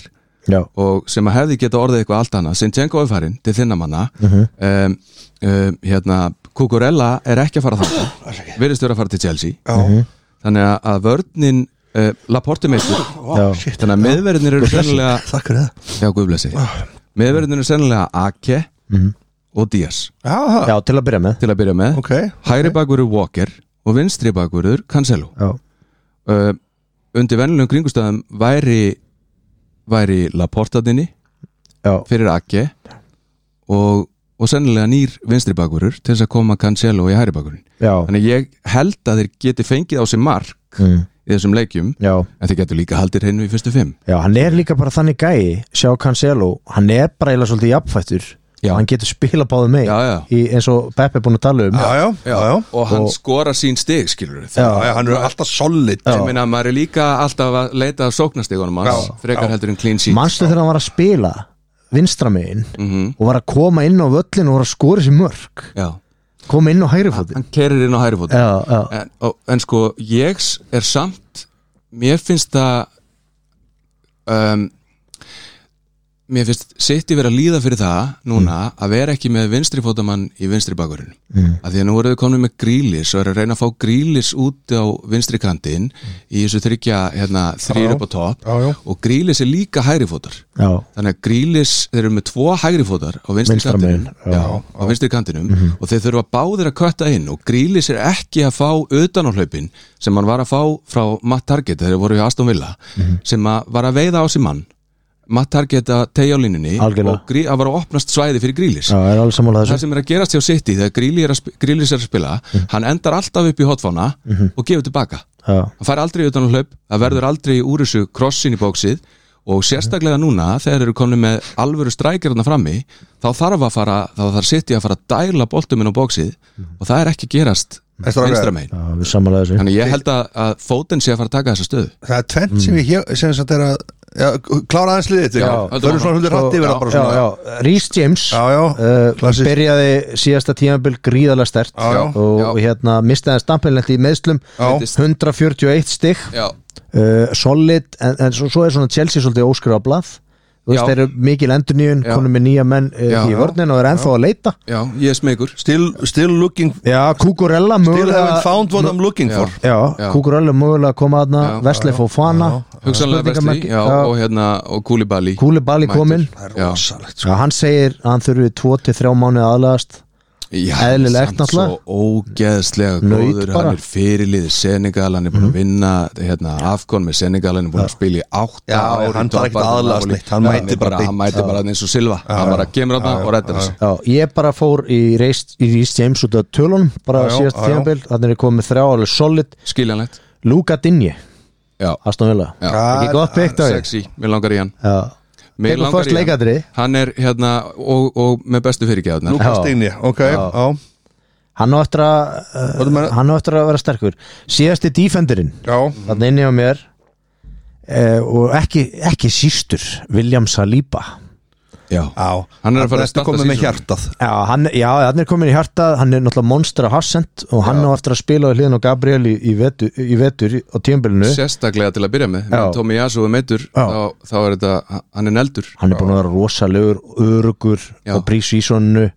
S1: já,
S3: og sem að hefði geta orðið eitthvað allt annað Sinchenko er farinn til þinna manna
S2: Mhm.
S3: um, um, hérna Kukurella er ekki að fara þangað virðist vera að fara til Chelsea
S2: Já,
S3: þannig að- að vörnin uh, Laporte meistur
S1: já,
S3: þannig að meðverðinir eru sennilega
S2: takk fyrir það
S3: já, guðblessi
S2: Ah.
S3: meðverðinir eru sennilega Ake og Díaz
S2: Já, það,
S1: já, til að byrja með
S3: til að byrja með
S2: Mhm. ok
S3: hægri bakverður Walker og vinstri bakverður Cancelo
S1: já,
S3: uh, undir venlunum kringustæðum væri væri Laportadinni
S1: já,
S3: fyrir Ake og, og sennilega nýr vinstri bakvörur til þess að koma Cancelo í hæri bakvörun
S1: já,
S3: þannig að ég held að þeir geti fengið á sig mark
S1: mm,
S3: í þessum leikjum
S1: já.
S3: en þeir getur líka haldið hreinu í fyrstu fimm
S1: já hann er líka bara þannig gæi sjá Cancelo, hann er bara eiginlega svolítið jafnfættur
S3: Já.
S1: hann getur spila báðu með
S3: Já, já.
S1: Í, eins og Beppe er búin að tala um
S2: Já, já, já, já
S3: og hann
S1: Og-
S3: skora sín stig skilur við
S1: Já.
S2: Já, já, hann er alltaf solid
S3: ég meina að maður er líka alltaf að leita að sóknastigunum hans,
S2: Já,
S3: frekar
S2: já.
S3: heldur en clean sheet Mhm.
S1: manstu þegar hann var að spila vinstra megin og var að koma inn á völlin og var að skora sér mörg
S3: já,
S1: koma inn á hægri fóti
S3: hann kerir inn á hæri fótum
S1: já, já,
S3: en, og, en sko, ég s- er samt mér finnst það um, mér finnst sitt í vera að líða fyrir það núna að vera ekki með vinstri fótamann í vinstri bakurinn mm. að því að nú eru þau komin með grílis og eru að reyna að fá grílis út á vinstri kantinn í þessu þryggja hérna, þrýr upp á topp
S2: Já, já.
S3: og grílis er líka hægri fótar
S1: já,
S3: þannig að Grílis, þeir eru með tvo hægri fótar á vinstri
S1: Vinstra
S3: kantinum,
S1: megin, já. Mhm.
S3: já, á vinstri kantinum og þeir þurfa báðir að kötta inn og Grílis er ekki að fá utan á hlaupin sem hann var að fá frá Matt Target þegar þeir voru í Aston Villa
S1: Mhm.
S3: sem að var að veiða á sig mann Matt Target að tegja á línunni
S1: Algjörlega.
S3: og grí, að var að opnast svæði fyrir Grílis
S1: já, er alveg sammála
S3: það
S1: þessu Mhm.
S3: sem er að gerast hjá City þegar Grílis er að, sp- Grealish er að spila hann endar alltaf upp í hotfána og gefur tilbaka
S1: já,
S3: hann fær aldrei utan á hlaup, það verður aldrei úr þessu krossin í bóksið og sérstaklega núna þegar þeir eru komin með alvöru strækjarna frammi, þá þarf að fara þá þarf City að fara að dæla boltuminn á bóksið og það er ekki að gerast
S2: Veistu hvað
S3: vinstra megin,
S1: já, við sammála þessu
S3: þannig ég held að, að fótinn sé að fara að taka þessa stöðu
S2: Það er tvent sem
S3: Mm.
S2: ég hér, sem sagt er að já, klára aðeins liðið til
S1: Já,
S2: Förum svona hundur hatti yfir það bara
S1: já,
S2: svona
S1: já, Rhys James
S2: Já, já,
S1: uh,
S2: klassískt.
S1: byrjaði síðasta tímabil gríðalega stert
S2: Já, já.
S1: og
S3: Já.
S1: hérna mistaði stampinlegt í meðslum
S2: Já.
S1: 141 stig
S3: já,
S1: uh, solid, en, en svo, svo er svona Chelsea svolítið óskrifa blað þú veist,
S3: Já.
S1: þeir eru mikil endurnýjun,
S3: Já.
S1: konum með nýja menn
S3: Já,
S1: uh, í
S3: já.
S1: vörnin og er ennþá að leita
S3: já, ég er smegur
S2: Still, still looking
S1: já, Kukurella
S2: Still haven't
S1: mögulega
S2: found what I'm looking for
S1: já,
S3: Já.
S1: Kukurella mögulega að koma aðna
S3: Já,
S1: Vesleif og Fana
S3: hugsanlega
S1: Spurningamerki,
S3: vesti, já,
S1: já.
S3: og hérna og Kúlibali,
S1: Kúli Bali
S3: Mættur.
S1: komin
S2: Það er
S3: Já.
S1: Sko,
S2: rosalegt
S1: Já, hann segir að hann þurfi 2-3 mánuði aðlagast
S3: Já,
S1: Eðlilegt
S3: samt svo
S1: náttúrulega.
S3: ógeðslega
S1: Naut bara.
S3: góður,
S1: Mhm.
S3: hann er fyrirlið Senegal, hann er búin að vinna hérna, Afkon með Senegal, hann er búin að spila í átta
S2: Já,
S3: ár í
S2: hann þarf ekkert
S3: toppbaráttu
S2: að aðlagast
S3: Napoli.
S2: neitt, hann
S3: Já,
S2: mætir bara beint.
S3: hann mæti bara eins og Silva hann bara kemur hann og rættir þessu
S1: Já, ég bara fór í reist í Rhys James út af tölun bara
S2: Já, já,
S1: síðast
S2: já, já.
S1: tíðanbild, þannig er ég komið með þrjá alveg solid,
S3: skiljanlegt
S1: Luka Dinje
S3: já,
S1: Aston Villa,
S3: já.
S1: ekki gott byggt á ég
S3: sexy, mér langar í hann
S1: Já,
S3: Mig
S1: Tekur
S3: langar
S1: föst
S3: í hann.
S1: leikadrið.
S3: hann er hérna og, og með bestu fyrirgeðarnar
S2: Lukas
S1: Já.
S2: Stigni, ok já.
S1: hann á eftir að uh,
S2: Hvað er maður-
S1: hann á eftir að vera sterkur síðasti defenderinn,
S2: Já.
S1: þannig inni á mér uh, og ekki, ekki sístur, William Saliba
S3: já,
S2: Já.
S3: Hann er að fara að
S2: Ertu
S3: starta
S2: komið með
S3: season.
S2: hjartað
S1: Já, hann, já, hann er komin í hjartað, hann er náttúrulega monster af Hassent og hann á eftir að spila á hliðin og Gabriel í, í, vetur, í vetur á tímabilinu
S3: sérstaklega til að byrja með
S1: Já.
S3: með Tommy Jasu og meitur þá, þá er þetta, hann er neldur
S1: hann er búin að vera rosalegur, örugur
S3: Já. Eh.
S1: og prísvísonu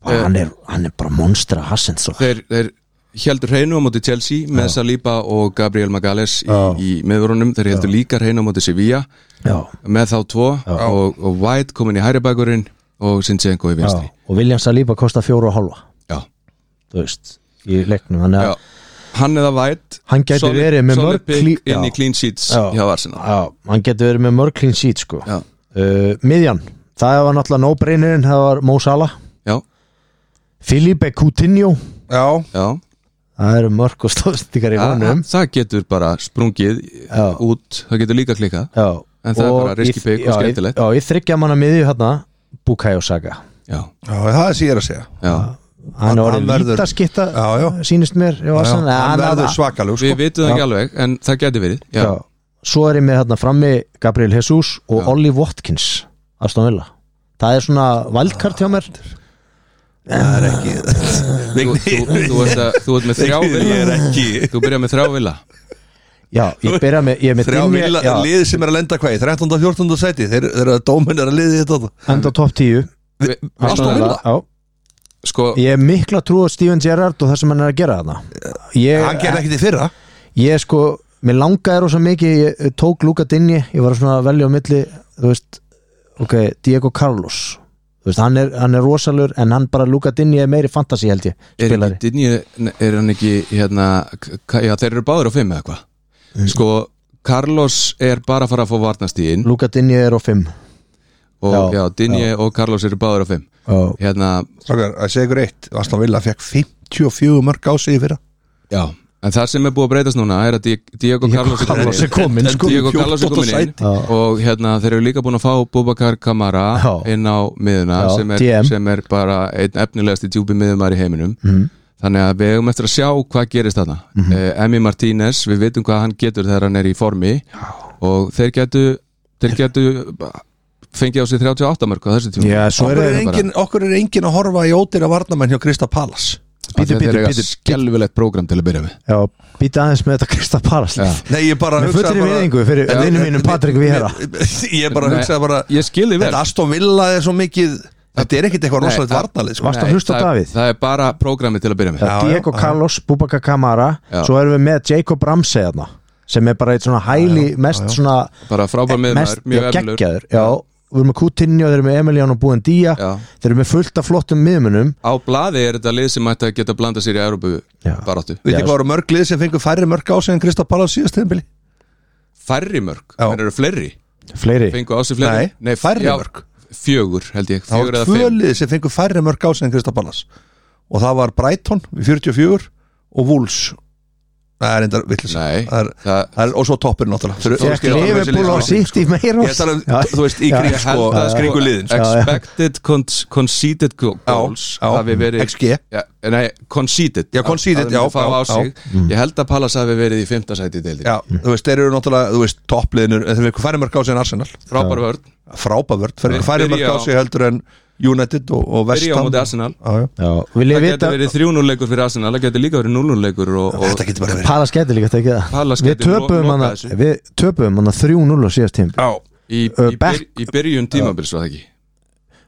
S1: og hann er, hann er bara monstra sko. hassend svo
S3: þeir, þeir heldur hreinu á móti Chelsea með Saliba og Gabriel Magales í, í meðvörunum, þeir heldur líka hreinu á móti Sevilla
S1: já,
S3: með þá tvo og, og White komin í hæri bakurinn og Sinchenko í
S1: já.
S3: vinstri
S1: og William Saliba kostar fjóra og halva
S3: já.
S1: þú veist, í leiknum þannig
S3: Já.
S1: að
S3: hann eða White
S1: Hann gæti verið með mörg
S3: klín,
S1: klí-
S3: inn í
S1: Já.
S3: clean sheets
S1: Já.
S3: hjá Arsenal
S1: já, hann getur verið með mörg clean sheet sko
S3: já,
S1: uh, miðjan, það var náttúrulega no-brainerinn, það var Mo Salah
S3: já,
S1: Filipe Coutinho
S2: Já,
S3: já.
S1: það eru mörg og stóðstíkar í
S3: Það,
S1: honum
S3: það getur bara sprungið
S1: Já.
S3: út, það getur líka klikkað
S1: já,
S3: En það er bara risky pick og
S1: já, í-
S3: skemmtilegt.
S1: já, ég þryggja manna miðju hérna Bukayo Saka
S3: já,
S2: já, það er sér að segja
S3: já.
S1: hann
S2: Hann-
S1: er
S2: hann
S1: orðin
S2: verður-
S1: vítaskitta
S2: Já, já.
S1: sínist mér já,
S2: Já,
S1: hann,
S2: Hann verður
S1: svart
S2: svakalug
S3: við
S2: sko.
S3: vitum það ekki alveg en það getur verið já.
S1: já. svo er ég með hérna frammi Gabriel Jesus og Ollie Watkins Aston Villa það er svona valdkart hjá mér
S2: Það er ekki
S3: Þú, þú, þú, ert að, þú ert með þrjá
S2: Ég er
S3: vila
S2: ekki
S3: þú byrjar með þrjá vila
S1: já, ég byrja með ég er með
S2: Þrjá
S1: Dinje-
S2: vilja,
S1: já,
S2: liðið sem er að lenda hvað í 13. og 14. seti þeir, þeir eru að dómin er að liðið þetta
S1: enda á topp 10
S2: Aston Villa?
S1: já,
S3: sko,
S1: ég er mikla trú á Steven Gerrard og það sem hann er að gera þarna
S2: Hann gerði
S1: ég,
S2: ekki því fyrra
S1: ég sko mér langaði rosa mikið, ég eh, tók Luka Dinni ég var svona að velja á milli þú veist, ok, Diego Carlos þú veist, hann er, hann er rosalur en hann bara Luka Dinni er meiri fantasi held ég
S3: er,
S1: spilari
S3: ekki, Dinje- er hann ekki hérna, k- k- já, þeir eru báður á fimm eða hvað
S1: Mm.
S3: sko, Carlos er bara að fara að fá varnastíðin
S1: Luka Dinni er á 5
S3: og já,
S1: já,
S3: Dinje og Carlos eru báður á fimm hérna,
S2: Strákar, að segja ykkur eitt Aslan Villa fekk 54 mörg á sig í fyrra
S3: já en það sem er búið að breytast núna er að Di- Diego Carlos er
S1: Carlos
S3: kominn
S1: er komin
S3: inn.
S1: sko.
S3: Diego Carlos er komin inn
S2: sæti.
S1: Já.
S3: og hérna þeir eru líka búin að fá Bubakar Kamara
S1: Já.
S3: inn á miðuna
S1: Já,
S3: sem er,
S1: DM.
S3: sem er bara einn efnilegasti djúpi miðumar í heiminum mm.
S1: Mhm.
S3: þannig að við hefum eftir að sjá hvað gerist þarna mm Emi Martínez, við veitum hvað hann getur þegar hann er í formi Já. og þeir getu, þeir getu fengið á sig 38 mörg á þessu tíma
S1: Já, svo
S2: okkur
S1: er
S2: er,
S3: bara-
S2: engin, okkur er engin að horfa í ódýra varnamenn hjá Krista Palas
S1: Bíddu,
S3: þeir
S1: bíddu,
S3: eru
S1: bíddu.
S3: skelvilegt prógram til að byrja með
S1: Já, býta aðeins með þetta Krista Paras
S3: Já.
S2: Nei, ég bara
S1: Með
S2: hugsaði
S1: fullri
S2: bara-
S1: virðingu fyrir
S2: Já,
S1: vinum mínum Patrik Vieira.
S2: Ég bara
S3: Nei,
S2: hugsaði bara
S3: ég skil þig vel.
S2: Þetta Aston Villa er svo mikið Þetta er ekkit eitthvað
S3: Nei,
S2: rosalegt
S3: að-
S2: varnalið sko.
S1: Varstu að hlusta á
S3: það,
S1: Davíð?
S3: það er bara prógrami til að byrja með
S1: Já, Diego
S2: já, já.
S1: Carlos, Bubaka Kamara
S3: Já.
S1: Svo erum við með Jacob Ramsey þarna sem er bara eitt svona hæli mest svona
S3: bara frábær miðumar,
S1: mest, já,
S3: mjög efnilegur
S1: geggjaður Já, við erum með Coutinho, þeir eru með Emiliano Buendía
S3: Já.
S1: þeir eru með fullt af flottum miðmunum
S3: á blaði er þetta lið sem ætti að geta blanda sér í Európu
S1: Já.
S3: baráttu
S2: Við
S1: Já,
S2: þið hvað eru mörg lið sem fengur færri mörg á sig en Krista Palas síðast tíðanbili
S3: færri mörg,
S2: Já.
S3: það eru fleiri
S1: fleiri
S3: fengu á sig fleiri
S2: Nei, færri
S3: já,
S2: mörg
S3: fjögur held ég,
S2: Það
S3: fjögur
S2: var
S3: eða
S2: tvö
S3: fimm
S2: lið sem fengur færri mörg á sig en Krista Palas Og það var Brighton í 44 og Wolves Það er enda villis
S3: Nei,
S2: það er,
S3: það-
S2: það er, Og svo toppurinn náttúrulega Þeir-
S3: Fékk
S2: þú skilur-
S3: Liverpool
S1: Liverpool og City meira
S2: Ég tala um,
S1: Já.
S2: þú veist, í
S1: Já.
S2: kring
S3: Ég held
S2: sko,
S3: að sko,
S2: kringu liðin sko.
S1: já.
S3: expected con conceded go- goals
S2: já.
S3: hafi verið
S2: XG.
S3: ja, nei, conceded,
S2: Já, conceded,
S3: hafi myndi
S2: já,
S3: fá
S2: já, Mm.
S3: á sig. ég held að Pallas hafi verið í fymta sæti í deildin,
S2: Já, þú veist, þeir eru náttúrulega, þú veist, toppliðinur en þeir fengur færri mörg á sig en Arsenal
S3: frábær vörn
S2: frábavörd, fyrir
S3: Þeir
S2: færri
S3: byrja
S2: mörg á
S3: á-
S2: sig heldur en United og, og West
S3: byrja á
S2: Ham
S3: móti Arsenal
S2: Já, já.
S1: Já, vil ég
S3: það
S1: vita
S3: getur verið 3-0 leikur fyrir Arsenal, það getur líka verið 0-0 leikur og, og
S2: Þetta getur bara verið
S1: Palas getur líka tekið það
S3: Palace
S1: Við
S3: gæti lo-
S1: töpuðum
S3: lokað
S1: hana
S3: þessu.
S1: Við töpuðum hana 3-0 á síðast tíma
S2: Já,
S3: í, í,
S1: Uh,
S3: byr,
S1: back-
S3: í byrjun tímabils var það ekki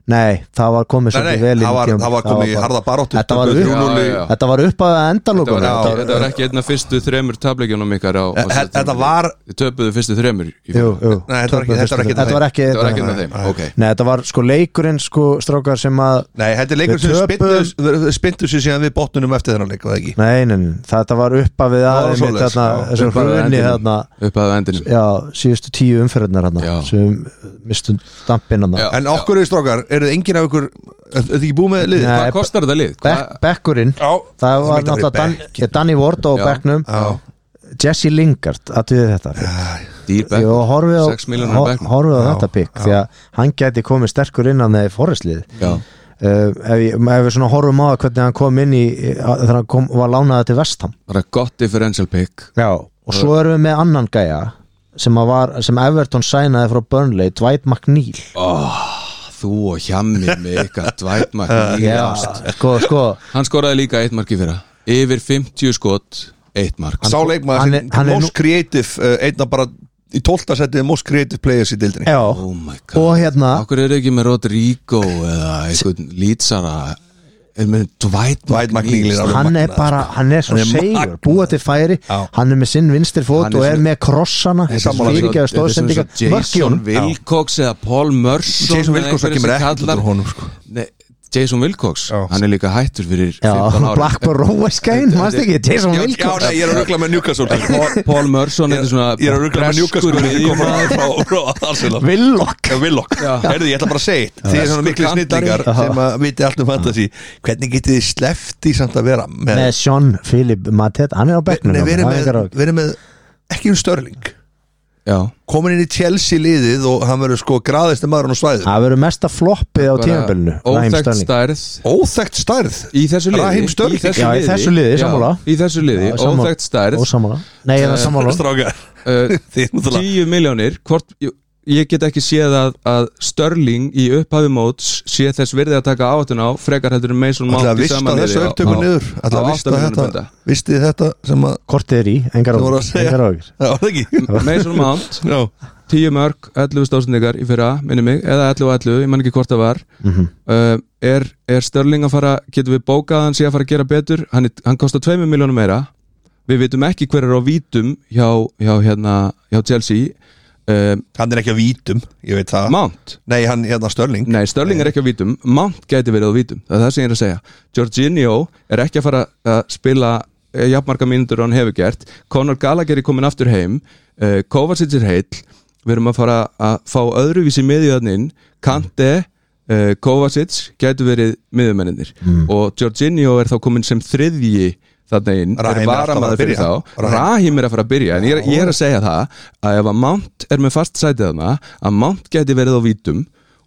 S1: Nei, það var komið
S2: Nei, nei,
S1: svolítið vel inn í
S2: það var,
S1: tímabil.
S2: það var komið í
S1: bara-
S2: harða baróttu
S1: Þetta var upp-
S3: Já.
S1: Þetta var upp að endalókum
S2: Þetta var-
S3: Já, þetta var ekki einna fyrstu þremur tableikjunum ykkar á, á
S2: Þetta þetta var,
S3: Þið töpuðu fyrstu þremur í
S1: Jú,
S3: fyrra.
S1: jú,
S2: Nei, þetta var ekki- þetta var ekki-
S1: Þetta var ekki
S3: Þetta var ekki
S1: þetta-
S3: með þeim,
S2: Nei.
S3: ok
S1: Nei, þetta var sko leikurinn sko strákar sem að
S2: nei, þetta er leikur
S1: Við
S2: sem
S1: töpuðum-
S2: spyndu- þeir spyndu sér síðan við botnunum eftir þennan leik, var það ekki?
S1: Nei, nei, nei, þetta var upp að við
S2: var
S1: aðeins
S2: svoleiðis,
S1: þarna,
S2: já.
S1: þessu
S3: Upp að við
S1: hrunni
S3: endinum.
S1: þarna
S3: upp að endinum
S1: Já, síðustu tíu umferðnar þarna
S3: Já.
S1: sem mistum dampinn
S3: Já.
S1: þarna
S2: En okkur er strókar, eru þið engin af ykkur Er þið ekki búið með liðið?
S1: Nei.
S3: Hvað
S1: eh,
S3: kostar þetta lið? Hvað-
S1: Beck- Bekkurinn,
S2: Já,
S1: það var
S2: mætti að vera
S1: náttúrulega Dan,
S2: bekk.
S1: Danny Ward á
S3: Já.
S1: Becknum
S2: Já.
S1: Jesse Lingard, aðtöðu þetta
S3: Dýr Beck
S1: og horfið á,
S3: 6 milljónir í
S1: hor-
S3: Becknum.
S1: horfið á þetta pikk því að hann gæti komið sterkur innan þegar forrestlið
S3: Já,
S1: Uh, ef, ég- ef við svona horfum á það hvernig hann kom inn í að- þegar hann kom, var lánaði til vestam
S3: bara gott differential pick
S1: Já. og svo erum við með annan gæja sem, að var, sem Everton sænaði frá Burnley Dwight McNeil
S3: Þú og hjammi með ykkar dvætmark
S1: sko, sko
S3: Hann skoraði líka eitt mark í fyrra Yfir 50 skot, eitt mark
S2: Sá
S1: hann
S2: leikmaður
S1: er-
S2: sem
S1: hann er
S2: most creative uh, einna bara í 12. setið most creative players í dildinni
S1: já,
S3: Oh my
S1: og
S3: god
S1: hérna
S3: Akkur eru ekki með Rodrigo eða einhvern lýtsara Er með
S2: Dwight McNeil er
S3: dvætmark
S2: alveg
S1: hann er
S2: magnað,
S1: bara, hann er svo
S2: Hann er
S1: segur
S2: magnaður.
S1: búa til færi,
S2: Já.
S1: hann er með sinn vinstri fót
S3: Hann er
S1: og er
S3: svo-
S1: með krossana
S2: er sammála.
S1: fyrirgeðu stóðsendinga
S3: Jason
S1: mörkjón
S3: Wilcox eða Paul Merson
S2: Jason
S3: eða
S2: Wilcox
S3: einhverjir
S2: kemur
S3: sem
S2: ekkert
S3: kallar-
S2: út úr honum sko.
S3: Nei, Jason Wilcox,
S2: Já.
S3: hann er líka hættur fyrir
S1: Já,
S3: 15 ára
S1: Blackburn Roveskæn, maður ekki, Jason
S2: Já,
S1: Wilcox
S2: já, nei, ég er að ruggla með Newcastle
S3: Paul, Paul Merson er svona
S2: Ég er að ruggla með Newcastle
S3: breskur miðjumaður.
S2: frá, frá Arsenal
S1: Villok
S2: Já, Willock,
S3: Já.
S2: herðu ég ætla bara að segja eitt Þið er svona miklu
S3: Kantari.
S2: snillingar
S1: Já.
S2: sem að viti allt um fantasy Hvernig getið þið sleppt í samt að vera með
S1: Nei, Sean Philip Matet, hann er á bekknum
S2: Nei,
S1: þarna,
S2: verið
S1: það er engar
S2: með,
S1: áhyggjur.
S2: verið með ekki um Störling
S3: Já,
S2: komin inn í Chelsea liðið og hann verður sko graðist maðurinn á svæðum
S1: Það verður mesta floppið á
S3: bara
S1: tímabilinu Raheem
S3: Óþekkt
S1: Sterling.
S3: stærð
S2: Óþekkt stærð
S3: Í þessu liði
S2: Raheem Sterling.
S3: í þessu
S1: Já, í
S3: liði,
S1: þessu liði,
S3: já,
S1: sammála.
S3: Í þessu liði,
S1: Já, sammála.
S3: óþekkt stærð
S1: Ósammála Nei, ég er
S2: Eh,
S1: það sammála
S2: Strákar
S3: uh,
S2: Þið er náttúrulega
S3: 10 miljónir hvort, ég- Ég get ekki séð að, að Störling í upphafi móts sé þess virði að taka áttun á frekar heldur en Mason Mount
S2: Alltaf
S3: í
S2: vist
S3: sama
S2: að
S3: liði
S2: þessu
S3: á-
S2: upptöku
S3: á-
S2: niður
S3: á
S2: Alltaf vist
S3: átta
S2: að
S3: milljónir
S2: þetta
S3: punda.
S2: Vistið þið þetta sem að
S1: Kortið er í, engar
S2: Þú
S1: águr
S2: voru að segja.
S1: Engar águr
S2: Það var það ekki
S3: Mason Mount,
S2: Já
S3: 10 mörg, 11 stóðsendingar í fyrra, minni mig, eða 11 og 11, ég man ekki hvort það var
S1: Mhm.
S3: uh, er, er Störling að fara, getum við bókað hann sé að fara að gera betur, hann, er, hann kostar 2 miljónum meira, við vitum ekki hver er á vítum hjá, hjá, hérna, hjá Chelsea uh,
S2: Hann er ekki á vítum Ég veit það
S3: Mount,
S2: Nei, hann hérna Störling
S3: nei Störling er ekki á vítum Mount gæti verið á vítum, það er það sem ég er að segja Jorginho er ekki að fara að spila eh, jafnmarga mínútur og hann hefur gert Conor Gallagher er komin aftur heim uh, Kovacic er heill við erum að fara að fá öðruvísi miðjöðaninn Kante, uh, Kovacic gætu verið miðjumennir
S2: Hmm.
S3: og Jorginho er þá komin sem þriðji þarna inn,
S2: Raheem er
S3: er varamaður
S2: alltaf að
S3: fyrir
S2: byrja.
S3: þá
S2: Raheem.
S3: Rahim er að fara að byrja en ég er, ég er að segja það að ef að Mount er með fast sætið hana að Mount gæti verið á vítum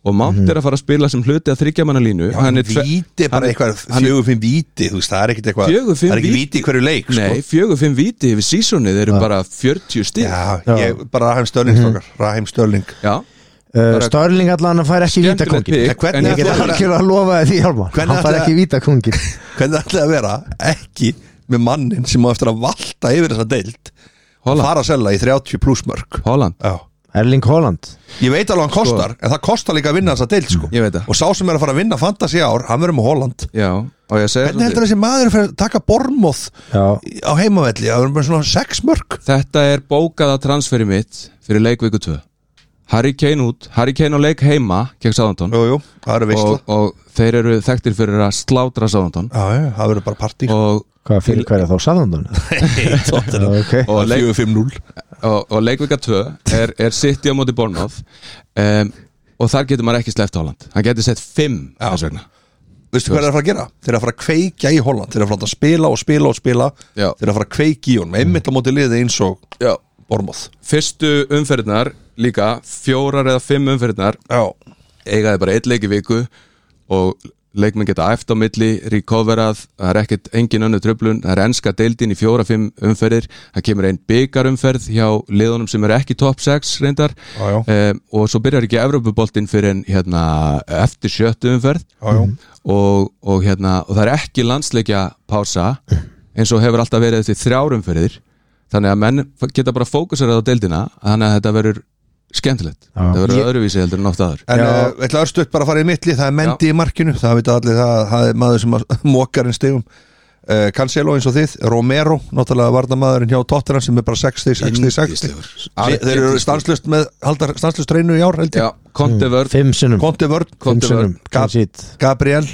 S3: og Mount er að fara að spila sem hluti að þryggjamanna línu
S2: Hann er Mhm. víti
S3: hann
S2: bara
S3: er-
S2: eitthvað
S3: hann er-
S2: Fjögur fimm víti Þú veist, það er ekkit eitthvað
S3: Fjögur, fimm
S2: Það er ekki
S3: víti.
S2: víti í hverju leik sko.
S3: Nei, fjögur fimm víti yfir sísonið eru bara 40 stíl
S2: Já, Mhm. ég, bara Raheim Störling strókar Raheim Störling
S3: Já.
S1: Uh, Störling allan að færa ekki
S3: Skemmtilegt
S1: vítakongin
S3: pick,
S2: En hvernig
S3: en
S1: Ég
S3: sko, ég
S1: get
S2: ætlar-
S3: get-
S1: algjörlega að lofa því Hjálmar
S2: Hvernig
S1: Hann fær
S2: ætlar-
S1: ekki vítakongin
S2: Hvernig ætlaði að vera ekki með mannin sem á eftir að valta yfir þessa deild og
S3: Holland,
S2: fara að selja í 30 pluss mörg
S3: Holland
S2: Já
S1: Erling Haaland
S2: Ég veit alveg hann
S3: Sko-
S2: kostar, en það kostar líka að vinna þessa deild sko.
S3: Ég veit það.
S2: Og sá sem er að fara að vinna fantasy ár, hann verður með Holland
S3: Já, og ég segja
S2: Hvernig
S3: svolítið.
S2: heldur þessi maður fyrir að taka bormóð
S1: Já,
S2: á heimavelli, það verður með svona sex mörg
S3: Þetta er bókaða transferi mitt fyrir leikviku 2 Harry Kane út, Harry Kane á leik heima gegn Sáðantón
S2: Jú, jú, það verður veistla
S3: og, og þeir eru þekktir fyrir að slátra Sáðantón
S2: Já, já, það verður bara partí
S3: og,
S1: hvað fyrir hverja þá saðundun okay.
S3: og, leik,
S2: 4-5-0
S3: og, og leikvika 2 er, er City á móti Bornhoff um, og þar getur maður ekki sleppt Holland hann getur sett 5
S2: Já.
S3: þess vegna
S2: Veistu hvað er að fara að gera? Þeir eru að fara að kveikja í Holland Þeir eru að fara að spila og spila og spila
S3: Já.
S2: Þeir eru að fara að kveikja í honum Einmitt á móti liði eins og
S3: Já.
S2: bormóð
S3: fyrstu umferðnar líka fjórar eða 5 umferðnar
S2: Já,
S3: eigaði bara eitt leik í viku og leikmenn geta æft á milli recoverað, það er ekkert engin önnu tröflun, það er enska deildin í fjóra-fimm umferðir, það kemur einn byggarumferð hjá liðunum sem eru ekki top 6 reyndar
S2: Já, já.
S3: Em, og svo byrjar ekki Evrópuboltin fyrir en hérna, eftir sjöttu umferð
S2: já,
S3: Mhm.
S2: já
S3: og, og, hérna, og það er ekki landsleikja pása eins og hefur alltaf verið eftir þrjárum fyrir þannig að menn f- geta bara fókusarað á deildina þannig að þetta verður skemmtilegt
S1: Já.
S3: það verður
S1: Ég-
S3: öðruvísi heldur en oft aður
S2: En
S1: Já.
S2: uh, ætla örstuðt bara að fara í mittli Það er Mendy í markinu, það vita allir það, það er maður sem að- mokar en stegum uh, Cancelo eins og þið, Romero náttúrulega varnamaðurinn hjá Tottenham sem er bara 6 stig, 6 stig, 6 stig
S3: Yndislegur.
S2: Þeir þeir eru stanslust með, haldar stanslust reynu í ár held
S3: Já,
S2: ég
S1: Mm.
S3: Conte vörð
S1: Fimm sinnum
S2: Konti Vörn,
S1: Fimm
S3: Conte
S1: sinnum
S3: vörð
S1: clean sheet.
S2: Gabriel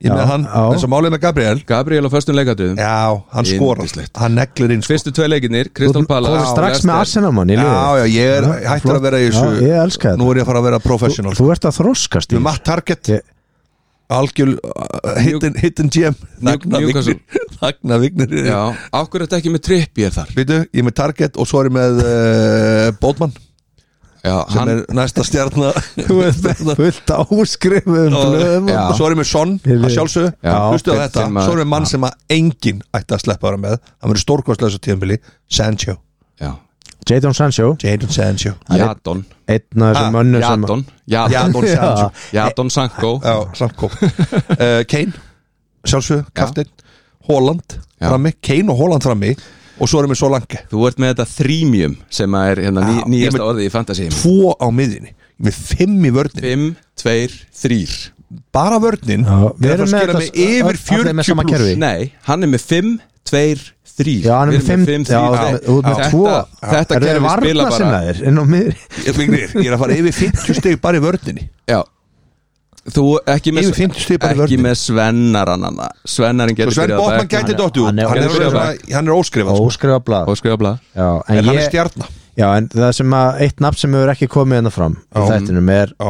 S2: Ég
S1: Já,
S2: með hann,
S1: já.
S2: eins og málið með Gabriel
S3: Gabriel á föstum leikadöðum
S2: Já, hann skorar,
S3: Yndislegt.
S2: hann neglir inn sko.
S3: Fyrstu tvei leikinir,
S1: Þú
S3: Crystal
S1: ert
S3: Palace
S1: kominn strax með
S3: Leicester.
S1: Arsenal mann í
S2: Já,
S1: liðið.
S2: já, ég er
S1: Já,
S2: hættur
S1: flott.
S2: að vera í þessu
S1: Já, ég elska þetta.
S2: Nú er ég að fara að vera professional
S1: Þú ert að þroskast í
S2: Með
S1: þessu.
S2: Matt Target,
S1: Ég-
S2: algjör uh, hidden, hidden gem Þagna
S3: Newcastle.
S2: vignir Þagna vignir
S3: Já, ákveður þetta ekki með tripp ég þar
S2: Vítu, ég er með Target og svo er ég með uh, Bótmann
S3: Já,
S2: sem
S3: hann,
S2: er næsta stjarnar
S1: Þú ert með fullt áskrifuðum blöðum
S2: um og
S1: og-
S2: svo er ég með Son
S1: Ég
S2: að
S1: veit.
S2: sjálfsögðu,
S3: Já.
S2: hlustu á
S3: Sem
S2: þetta
S3: að-
S2: svo er ég mann sem að enginn ætti að sleppa að vera með hann verður stórkostlega þessu tíðanbili Sancho,
S3: já
S1: Jadon Sancho
S2: Jadon Sancho
S3: Jadon,
S1: Einn af þessum
S2: Ha,
S1: mönnum sem
S3: Jadon Jadon,
S2: Jadon Sancho
S3: Jadon Sanko
S2: Já, Sanko uh, Kane, sjálfsögðu, kaftin Holland,
S3: Já.
S2: frammi Kane og Holland frammi og svo erum við svo langi
S3: Þú ert með þetta þrýmjum sem að er hérna, ný,
S2: Já, ég
S3: nýjasta
S2: með-
S3: orðið í fantasy
S2: tvo á miðinni með fimm í vörninni
S3: 5, 2, 3
S2: bara vörnin
S1: Já, við
S2: er að
S1: erum
S2: fara að
S1: með
S2: skila
S1: þetta
S2: með yfir
S1: öll- allir
S2: 40
S1: með sama
S2: plús.
S1: kerfi.
S3: Nei, hann er með 5, 2, 3
S1: Já, hann er með fimm- já, þú ert með tvo.
S3: Þetta, þetta
S1: Eru þeir
S3: kerfi
S1: varna
S3: spila bara Sko,
S1: sinnaðir inn á miðri?
S2: Ég Vignir, ég er að fara yfir 50 stig bara í vördinni
S3: Já Þú ekki með,
S2: Yfir 50 stig bara í
S3: ekki
S2: vörninni.
S3: með svennaran hana. Svennarin getur
S2: Sven
S3: byrjað að
S2: Bóttmann
S3: bekk.
S2: gæti
S1: Hann er-
S2: dottu
S1: hann
S2: hann,
S1: er
S2: hann, er
S3: óskrifað.
S2: svona- hann er óskrifað sko.
S1: Óskrifa blað
S3: Og skrifa blað
S1: Já, en,
S2: En hann er
S1: ég,
S2: stjarna
S1: já, en það sem að eitt nafn sem hefur ekki komið hennar fram í þættinum er
S2: Já,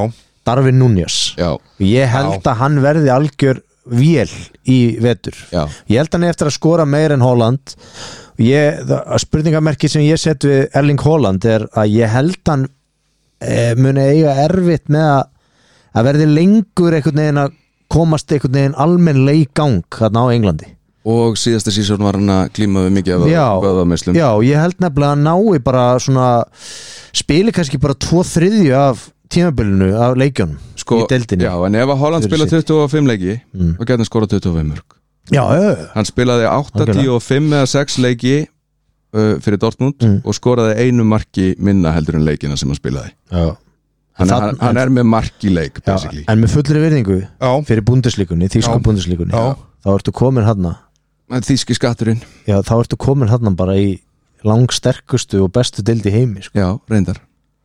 S1: Darvin Núñas
S3: Já,
S1: Ég held að hann verði algjör vél í vetur
S3: já
S1: Ég held að hann eigi eftir að skora meir en Holland ég, það, Spurningamerki sem ég set við Erling Holland er að ég held hann e, muni eiga erfitt með að, að verði lengur einhvern veginn að komast einhvern veginn almennlega í gang þarna á Englandi
S3: Og síðasta sísón var hann að glíma við mikið
S1: Já.
S3: af vöðamislum
S1: Já, ég held nefnilega að nái bara svona spili kannski bara tvo þriðju af tímabilinu af leikjunum í deildinni
S3: Sko- Já, en ef að Holland
S1: Fyrir
S3: spila
S1: sitt.
S3: 25 leiki mm. og getur skora 25 mörg
S1: já, já,
S3: Hann spilaði 8,
S1: Algjörlega.
S3: 10 og 5 eða 6 leiki uh, fyrir Dortmund
S2: Mm.
S3: og skoraði einu marki minna heldur en leikina sem hann spilaði
S1: já.
S3: Hann,
S1: Þarna-
S3: hann, hann er með marki leik
S1: Já,
S3: basically
S1: en með fullri virðingu
S2: já,
S1: fyrir búndislíkunni, þýsku
S2: Já.
S1: búndislíkunni
S2: Já.
S1: þá ertu komin hann
S3: En Þýski skatturinn
S1: já, þá ertu komin hann bara í langsterkustu og bestu deildi heimi sko.
S3: Já, reyndar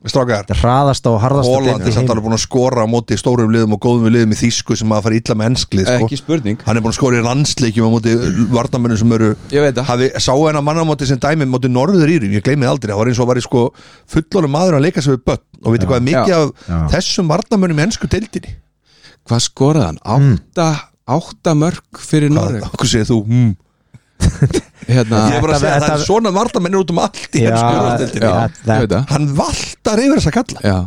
S2: strákar
S1: þetta hraðasta og harðasta
S2: Holland er samt alveg búin að skora á móti stórum liðum og góðum liðum í þýsku sem að fara illa með ennskli sko.
S3: Ekki spurning
S2: Hann er búin að skora í landsleikjum á móti varnamönnum sem eru
S3: Ég veit það
S2: hafi, sá hennar mannamóti sem dæmi móti norður írum, ég gleymið aldrei, það var eins og var í sko fullónum maður að leika sér við börn og veitir hvað er mikið
S3: Já.
S2: af
S1: Já.
S2: þessum varnamönnum í ennsku deildinni
S3: Hvað skoraði hann? Átta, átta mörg fyrir
S2: Mm. Hvað
S3: Noreg
S2: hvað segir þú? Mm.
S3: Hérna
S2: Ég er bara að segja
S1: Þetta-
S2: að það er
S1: þetta-
S2: svona varnamennir út um allt í
S1: Já,
S2: ennsku
S3: Já,
S2: úrvalsdeildinni
S3: ég veit það
S2: Hann valtar yfir þessa kalla
S3: Já